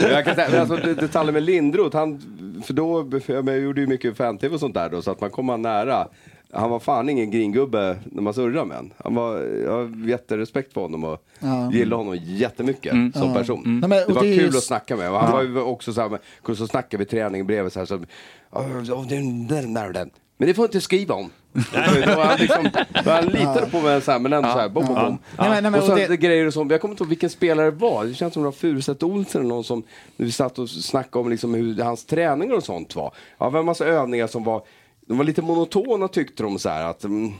Jag kan säga, men alltså, det- detaljen med Lindroth, han, för då, för jag, men jag gjorde ju mycket fan-tv och sånt där då, så att man kom han nära. Han var fan ingen gringubbe när man surrade med honom. Han var, jag har jätterespekt för honom och gillar honom jättemycket som person. Mm. Nej, men- det och var det är kul ju- att snacka med. Och han var ju också så här, med- kunde så snacka vid träningen bredvid så här, så, "Åh, åh, den där, den där, den. Men det får inte skriva om. Då var han, liksom, då han litade på mig så här, men ändå så här, bom, bom, bom. Nej, men- nej, men och så och det- det... grejer och sånt. Jag kommer inte ihåg vilken spelare det var. Det känns som det var Furuset Olsen eller någon som när vi satt och snackade om liksom hur hans träningar och sånt var. Ja, det var en massa övningar som var, de var lite monotona tyckte de så här att mm,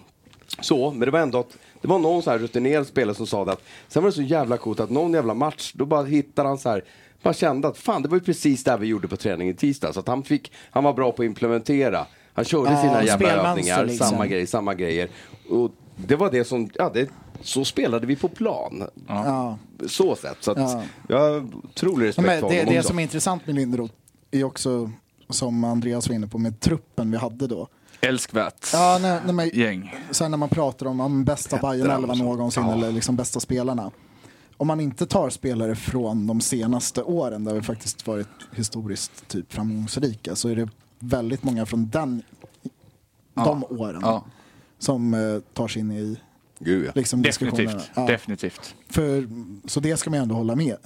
så, men det var ändå att det var någon så här rutinerad spelare som sa det att sen var det så jävla coolt att någon jävla match, då bara hittade han så här bara kände att fan det var ju precis det här vi gjorde på träningen i tisdag så att han fick, han var bra på att implementera. Han körde Ja, sina jävla spelmönster övningar, liksom. samma grejer, samma grejer. Och det var det som, ja det så spelade vi på plan. Ja. Så sett. Så att Ja. jag har otrolig respekt Men för det, honom det också. som är intressant med Linderoth är också, som Andreas var inne på, med truppen vi hade då. Älskvärt Ja, nej, nej, men, gäng. Sen när man pratar om, om bästa Bajen-elva någonsin eller liksom bästa spelarna. Om man inte tar spelare från de senaste åren där vi faktiskt varit historiskt typ framgångsrika så är det väldigt många från den, de åren Ja, som eh, tar sig in i Gud, ja. liksom, diskussionerna. definitivt. Ja, Definitivt. för, så det ska man ju ändå hålla med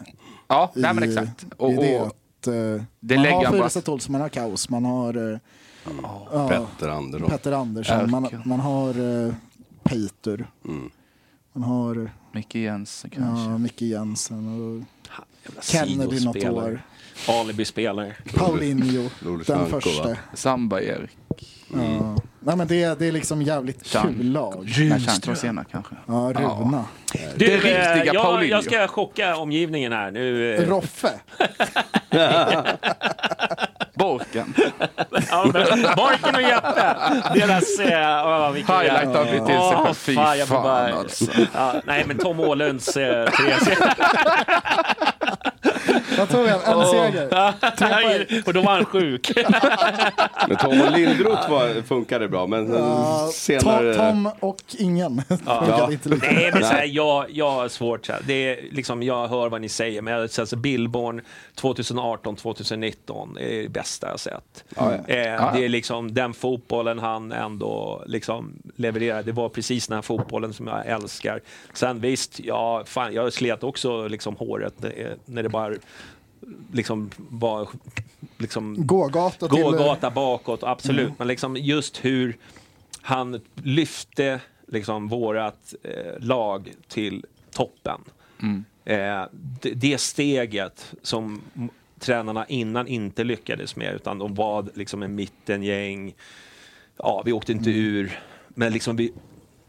Ja, i, nej men exakt. Och, i det. och, Att, eh, det man lägger har han bara- Fyrstedt Olsson, man har Kaos, man har eh, ja, Petter Andersson. Petter Andersson, man, Erkan. man har uh, Peter, man har Micke Jensen kanske. ja, Micke Jensen, och Jävla Kennedy något sidospelare. år, Alibi-spelare. Paulinho, Lollo den Sanko, va? första. Samba Erik. Ja. Nej, men det, det är liksom jävligt Chan. kul lag. Nej, Chant var senare kanske. Ja, Runa. Du, Det riktiga eh, jag, Paulinho. jag ska chocka omgivningen här nu. eh. Roffe. Borken. Ja, men Barken och Jeppe, deras... Eh, oh, vilken Highlight har blivit till sig Åh, själv. Fy fan, jag får fan, bara- alltså. Ja, nej, men Tom Åhlunds eh, Therese. Vad tog han? En seger. och då var han sjuk. Men Tom och Lindroth var, funkade bra, men Ja, senare... Tom, Tom och ingen. Ja. Funkade inte lika. Nej, men så här, jag, jag har svårt så här. Det är, liksom, Jag hör vad ni säger, men jag, så här, så Billborn 2018-2019 är det bästa jag sett. Eh, Det är liksom den fotbollen han ändå liksom levererar. Det var precis den här fotbollen som jag älskar. Sen visst, ja, fan, jag slet också liksom, håret eh, när det bara liksom var liksom, Gågata till... gågata bakåt, absolut. Men liksom just hur han lyfte liksom vårat eh, lag till toppen. Mm. Eh, det, det steget som m- tränarna innan inte lyckades med, utan de var liksom en mittengäng. Ja, vi åkte inte ur, men liksom vi,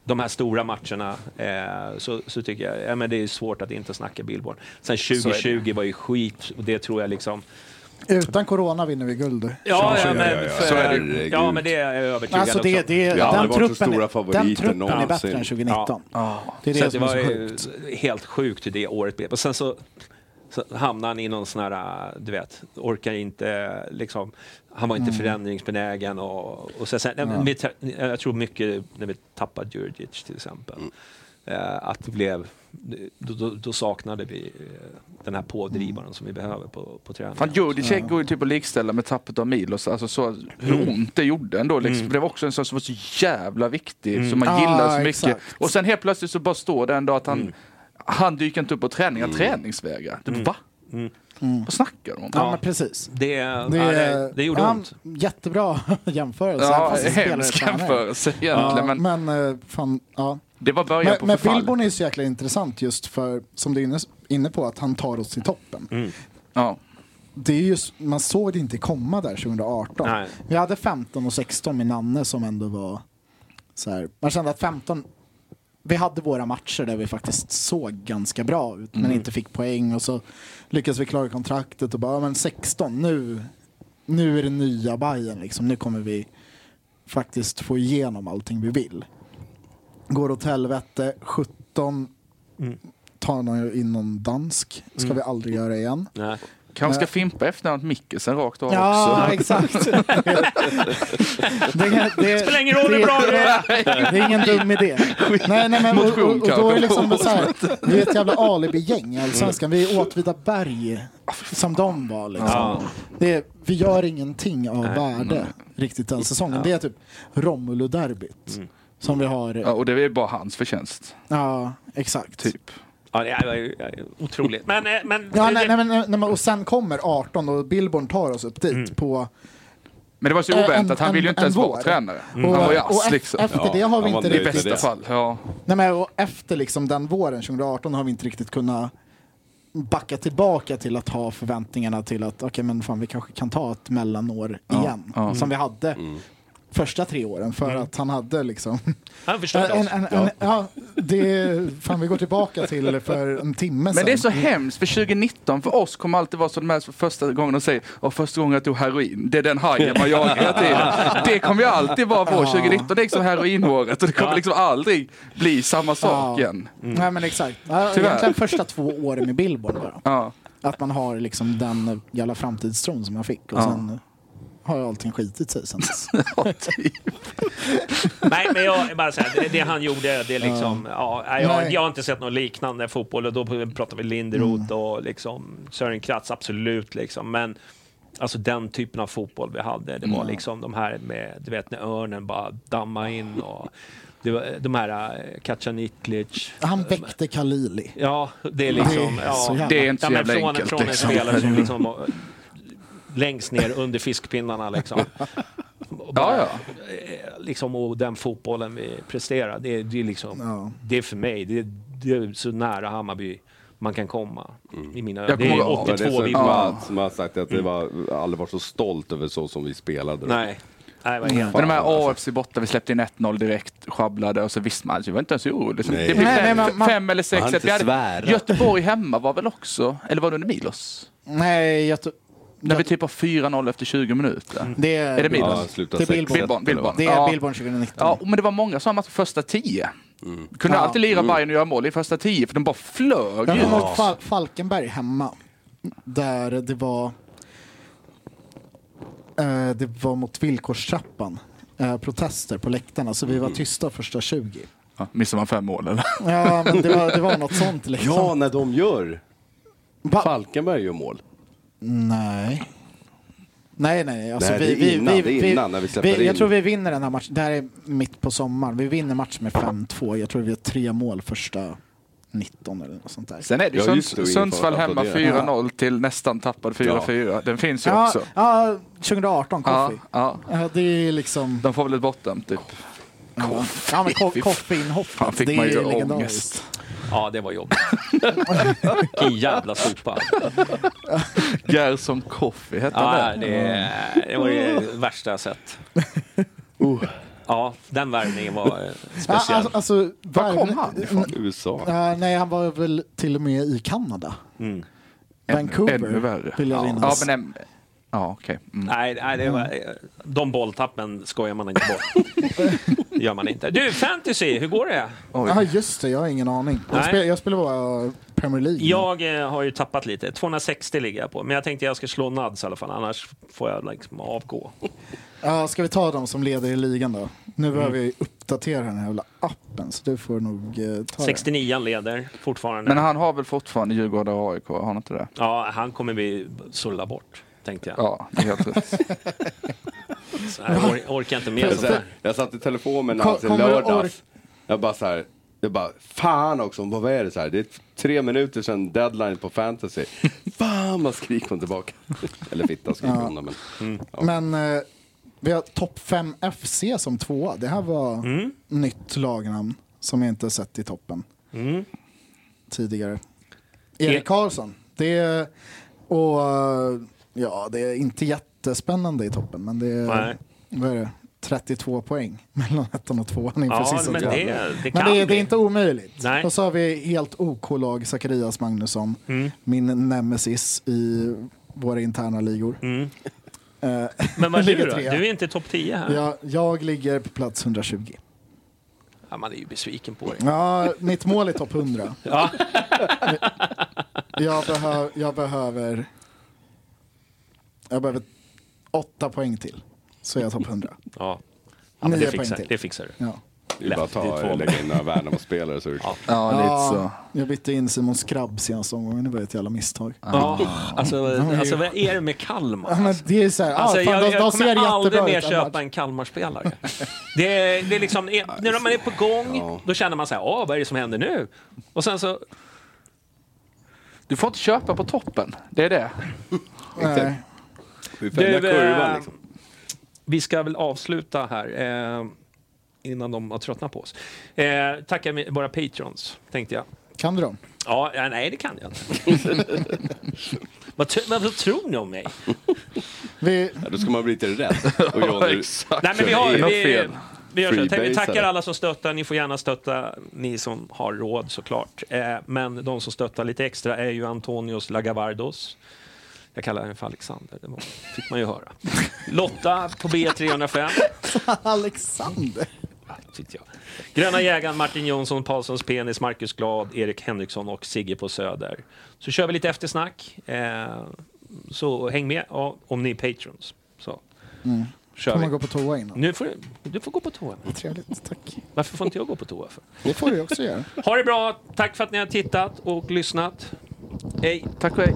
de här stora matcherna eh, så, så tycker jag ja, men det är svårt att inte snacka Billboard. Sen 2020 var ju skit och det tror jag liksom... Utan corona vinner vi guld. Ja, ja, ja, men, ja, ja. för- Så är det. ja, men det är jag övertygad Alltså också. det, det, Vi har den, aldrig varit så truppen, stora är- favoriter den truppen är bättre någonsin. än 2019. Det är så det att det som är var så ju sjukt. helt sjukt hur det året blev. Och sen så, så hamnade han i någon sån här, du vet, orkar inte liksom, han var Mm. inte förändringsbenägen och, och så, sen, nej, men vi ta- jag tror mycket när vi tappade Djurdjic till exempel. Mm. eh, Att det blev, då, då, då saknade vi eh, den här pådrivaren som vi behöver på, på träningen. Fan, Jurdicek går ju typ att likställa med tappet av Milos. Alltså så, hur Mm. ont det gjorde ändå. Liksom. Det var också en sak som var så jävla viktig, Mm. som man Ah, gillade så mycket. exakt. Och sen helt plötsligt så bara står det en dag att Mm. han, han dyker inte upp på träning, han träningsvägrar. Typ, Va? Mm. Vad snackar de om? Mm. Ja, men precis. det, ja, Det, det, det gjorde ja, ont. Jättebra jämförelse. även Ja, fast det spelar hemsk ett fan är. jämförelse egentligen. Ja, men, men eh, fan, ja. det var början på Men, men förfall. Billborn är ju så jäkla intressant just för, som du är inne- inne på, att han tar oss till toppen. Ja. Det är just, man såg det inte komma där 2018. Nej. Vi hade 15 och 16 med Nanne som ändå var så här. Man kände att 15, vi hade våra matcher där vi faktiskt såg ganska bra ut men Mm. inte fick poäng och så lyckades vi klara kontraktet och bara, ja, men 16 nu, nu är det nya Bayern liksom. Nu kommer vi faktiskt få igenom allting vi vill. Går åt helvete, 17 tar någon in någon dansk, ska vi aldrig göra igen. Nej. Kanske ska fimpa efter något Mickelsen rakt av Ja, också. exakt. det, det, Spelar ingen roll hur bra du är! det är ingen dum idé. Nej, nej, men, och, och, och då är det liksom så här, vi är ett jävla alibi-gäng i Allsvenskan. Vi är Åtvidaberg som de var. Liksom. Det är, vi gör ingenting av värde riktigt den säsongen. Det är typ Romulo-derbyt som vi Ja, har. och det är bara hans förtjänst. Ja, exakt. Typ. Ja, det var ju ja, otroligt. Men, eh, men, Ja, nej, nej, men- nej, men- och sen kommer 18 och Billborn tar oss upp dit på Mm. Men det var så Eh, oväntat, en- han ville ju en- inte ens en vara vår. tränare. Och, Han var ju och ass e- liksom. efter Ja, det har vi han var inte I nöjd riktigt... med bästa det. fall, ja. Nej, men, och efter liksom den våren 2018 har vi inte riktigt kunnat backa tillbaka till att ha Mm. förväntningarna till att okej men fan vi kanske kan ta ett mellanår igen. Som vi hade första tre åren för Mm. att han hade liksom... Han förstörde oss. en, en, ja, det, fan, vi går tillbaka till för en timme Men det är sedan. Mm. så hemskt, för 2019 för oss kommer alltid vara så de här för första gången de säger och första gången jag tog heroin, det är den hajen man jagar hela tiden. Det kommer ju alltid vara vår 2019, det är liksom heroinåret och det kommer liksom aldrig bli samma sak Ja. igen. Nej men exakt. Ja, Mm. Tyvärr. Egentligen första två åren med Billboard bara. Ja. Att man har liksom den jävla framtidstron som man fick och sen har ju allting skitit sig sen dess. Nej, men jag bara säger, det, det han gjorde, det är liksom... Ja. jag, Nej. jag har inte sett något liknande fotboll och då pratar vi Linderoth och liksom Sören Kratz, absolut. Liksom. Men alltså den typen av fotboll vi hade, det var liksom de här med, du vet när örnen bara dammade in och det var, de här eh, Kacaniklic. Han väckte Khalili. Ja, det är liksom... Det är så Ja, jävla- Det är inte ja, så men jävla från, enkelt. från en liksom. spelare som liksom var längst ner under fiskpinnarna liksom. Och bara- Ja, ja. liksom, och den fotbollen vi presterar, det, det, är liksom, det är för mig, det, det är så nära Hammarby man kan komma. I mina, Jag det kommer är ihåg- Ja, det är 82 så vi Mats som har sagt att det var, aldrig varit så stolt över så som vi spelade. Nej, nej, vad helt... Men de här AFC borta, vi släppte in 1-0 direkt, schabblade och så visste man, jag var inte ens orolig. Så Nej. Det blev Nej, fem, nej, men man- fem eller sex. Man hade ett. Vi inte hade- svärat. Göteborg hemma var väl också, eller var det under Milos? Nej, jag tror... När vi typ har 4-0 efter 20 minuter. Mm. Det är, Är det Milan? Ja, sluta Det är sex Billborn. set, eller vad? Billborn. det är Ja. Billborn 2019. Ja, men det var många som match första tio. Kunde Ja. alltid Mm. lira Bayern och göra mål i första tio, för de bara flög Jag ut. kommer ihåg Fal Falkenberg hemma. Där det var... Eh, det var mot villkorstrappan. Eh, protester på läktarna, så vi var Mm. tysta första 20. Ja, missade man fem mål eller? Ja, men det var, det var något sånt liksom. Ja, när de gör. Va? Falkenberg gör mål. Mm, Nej. Nej, nej. Alltså, Nej, vi, det är vi, innan, vi, det är vi, innan när vi släpper Jag in. tror vi vinner den här matchen. Det här är mitt på sommaren. Vi vinner matchen med 5-2. Jag tror vi har tre mål första 19 eller något sånt där. Sen är det ju Ja, just det, Sunds- och Sundsvall inför- hemma applådera. 4-0 till nästan tappad 4-4. Den finns ju ja, också. ja, 2018, Ja, Koffi. ja. Ja, det är liksom... De får väl ett bottom typ. Ja, men ko- Fy fan, koffeinhoppet. fick Det man är ju ju ångest. legendariskt. Ja, det var jobbigt. Vilken jävla sopa. Gerson Koffi hette han Ja, där. det, det var det värsta jag sett. Oh. Ja, den värvningen var eh, Ja, speciell. alltså, alltså, Var kom värv- han ifrån? USA. Ja, nej, han var väl till och med i Kanada. Mm. Vancouver, Ännu värre. vill jag Ja, minnas. men... em- Ja, okej. Mm. Nej, nej det var, de bolltappen skojar man inte bort. gör man inte. Du, fantasy, hur går det? Ja, Oj. just det. Jag har ingen aning. Jag, Nej. spel, jag spelar bara Premier League. Jag eh, har ju tappat lite. 260 ligger jag på. Men jag tänkte jag ska slå Nads i alla fall, annars får jag liksom avgå. Ja, ska vi ta dem som leder i ligan då? Nu behöver vi uppdatera den här jävla appen, så du får nog eh, ta 69 leder fortfarande. Men han har väl fortfarande Djurgården och AIK? Har han inte det? Ja, han kommer vi sulla bort, tänkte jag. Ja, det är helt rätt. Så här, or- orkar inte med Jag, det satt, där. jag satt i telefonen Ko- alltså, i kommer du lördags. ork- Jag bara så här, jag bara, fan också, vad är det så här? Det är tre minuter sedan deadline på fantasy. Fan vad skriker hon tillbaka. Eller fitta skriker hon då, men. Mm. det. Men eh, vi har topp 5 FC som tvåa. Det här var Mm. nytt lagnamn som jag inte sett i toppen Mm. tidigare. E- Erik Karlsson. Det är, och, eh, ja, det är inte jättespännande i toppen, men det är, Nej. vad är det? 32 poäng mellan ettan och tvåan inför Ja, sista men tvåan. det, det Men kan det, är- det vi. är inte omöjligt. Nej. Och så har vi helt OK-lag Zacharias Magnusson, Mm. min nemesis i våra interna ligor. Mm. Eh, Men vad är du ligger då? Du trea. är inte i topp 10 här. Ja. jag, jag ligger på plats 120. man är ju besviken på dig. Ja, mitt mål är topp 100. Ja. Jag, behö, jag behöver... Jag behöver åtta poäng till, så är jag topp 100. Ja. Ja, men Nio det, poäng fixar, till. det fixar du. Ja. Det är bara att Lätt, det är två ta, lägga in några Värnamo-spelare så är det kört. Ja, lite så. Jag bytte in Simon Skrabb senaste omgången, det var ett jävla misstag. Ja, alltså, alltså vad är det med Kalmar? Ja, men alltså? det är så här, Alltså, ah, fan, jag, de, jag de kommer ser aldrig jättebra mer ut. annars. köpa en Kalmar-spelare. Det är, det är liksom, är- när man är på gång, då känner man så här, "Ah, vad är det som händer nu? Och sen så, Du får inte köpa på toppen. Det är det. Nej. Vi följer Du, eh, kurvan liksom. vi ska väl avsluta här, eh, innan de har tröttnat på oss. Eh, tacka mi- våra patrons, tänkte jag. Kan du dem? Ja, ja, nej, det kan jag inte. Vad, tr- vad tror ni om mig? Vi, Ja, då ska man bli lite rädd. Och John, du- Exakt. Nej, men vi, har, Det är något vi, fel. vi, gör så. här. vi Freebase, tackar eller? alla som stöttar. Ni får gärna stötta, ni som har råd såklart. Eh, men de som stöttar lite extra är ju Antonios Lagavardos. Jag kallar henne för Alexander, det var- fick man ju höra. Lotta på B305. Alexander. Tyckte jag. Gröna jägaren, Martin Jonsson, Paulssons penis, Marcus Glad, Erik Henriksson och Sigge på Söder. Så kör vi lite eftersnack. Eh, så häng med ja, om ni är patrons. Så. Kör Får man vi. Mm. gå på toa innan? Nu får du, du får gå på toa. Trevligt, tack. Varför får inte jag gå på toa? För? Det får du också göra. Ha det bra. Tack för att ni har tittat och lyssnat. Hej. Tack och hej.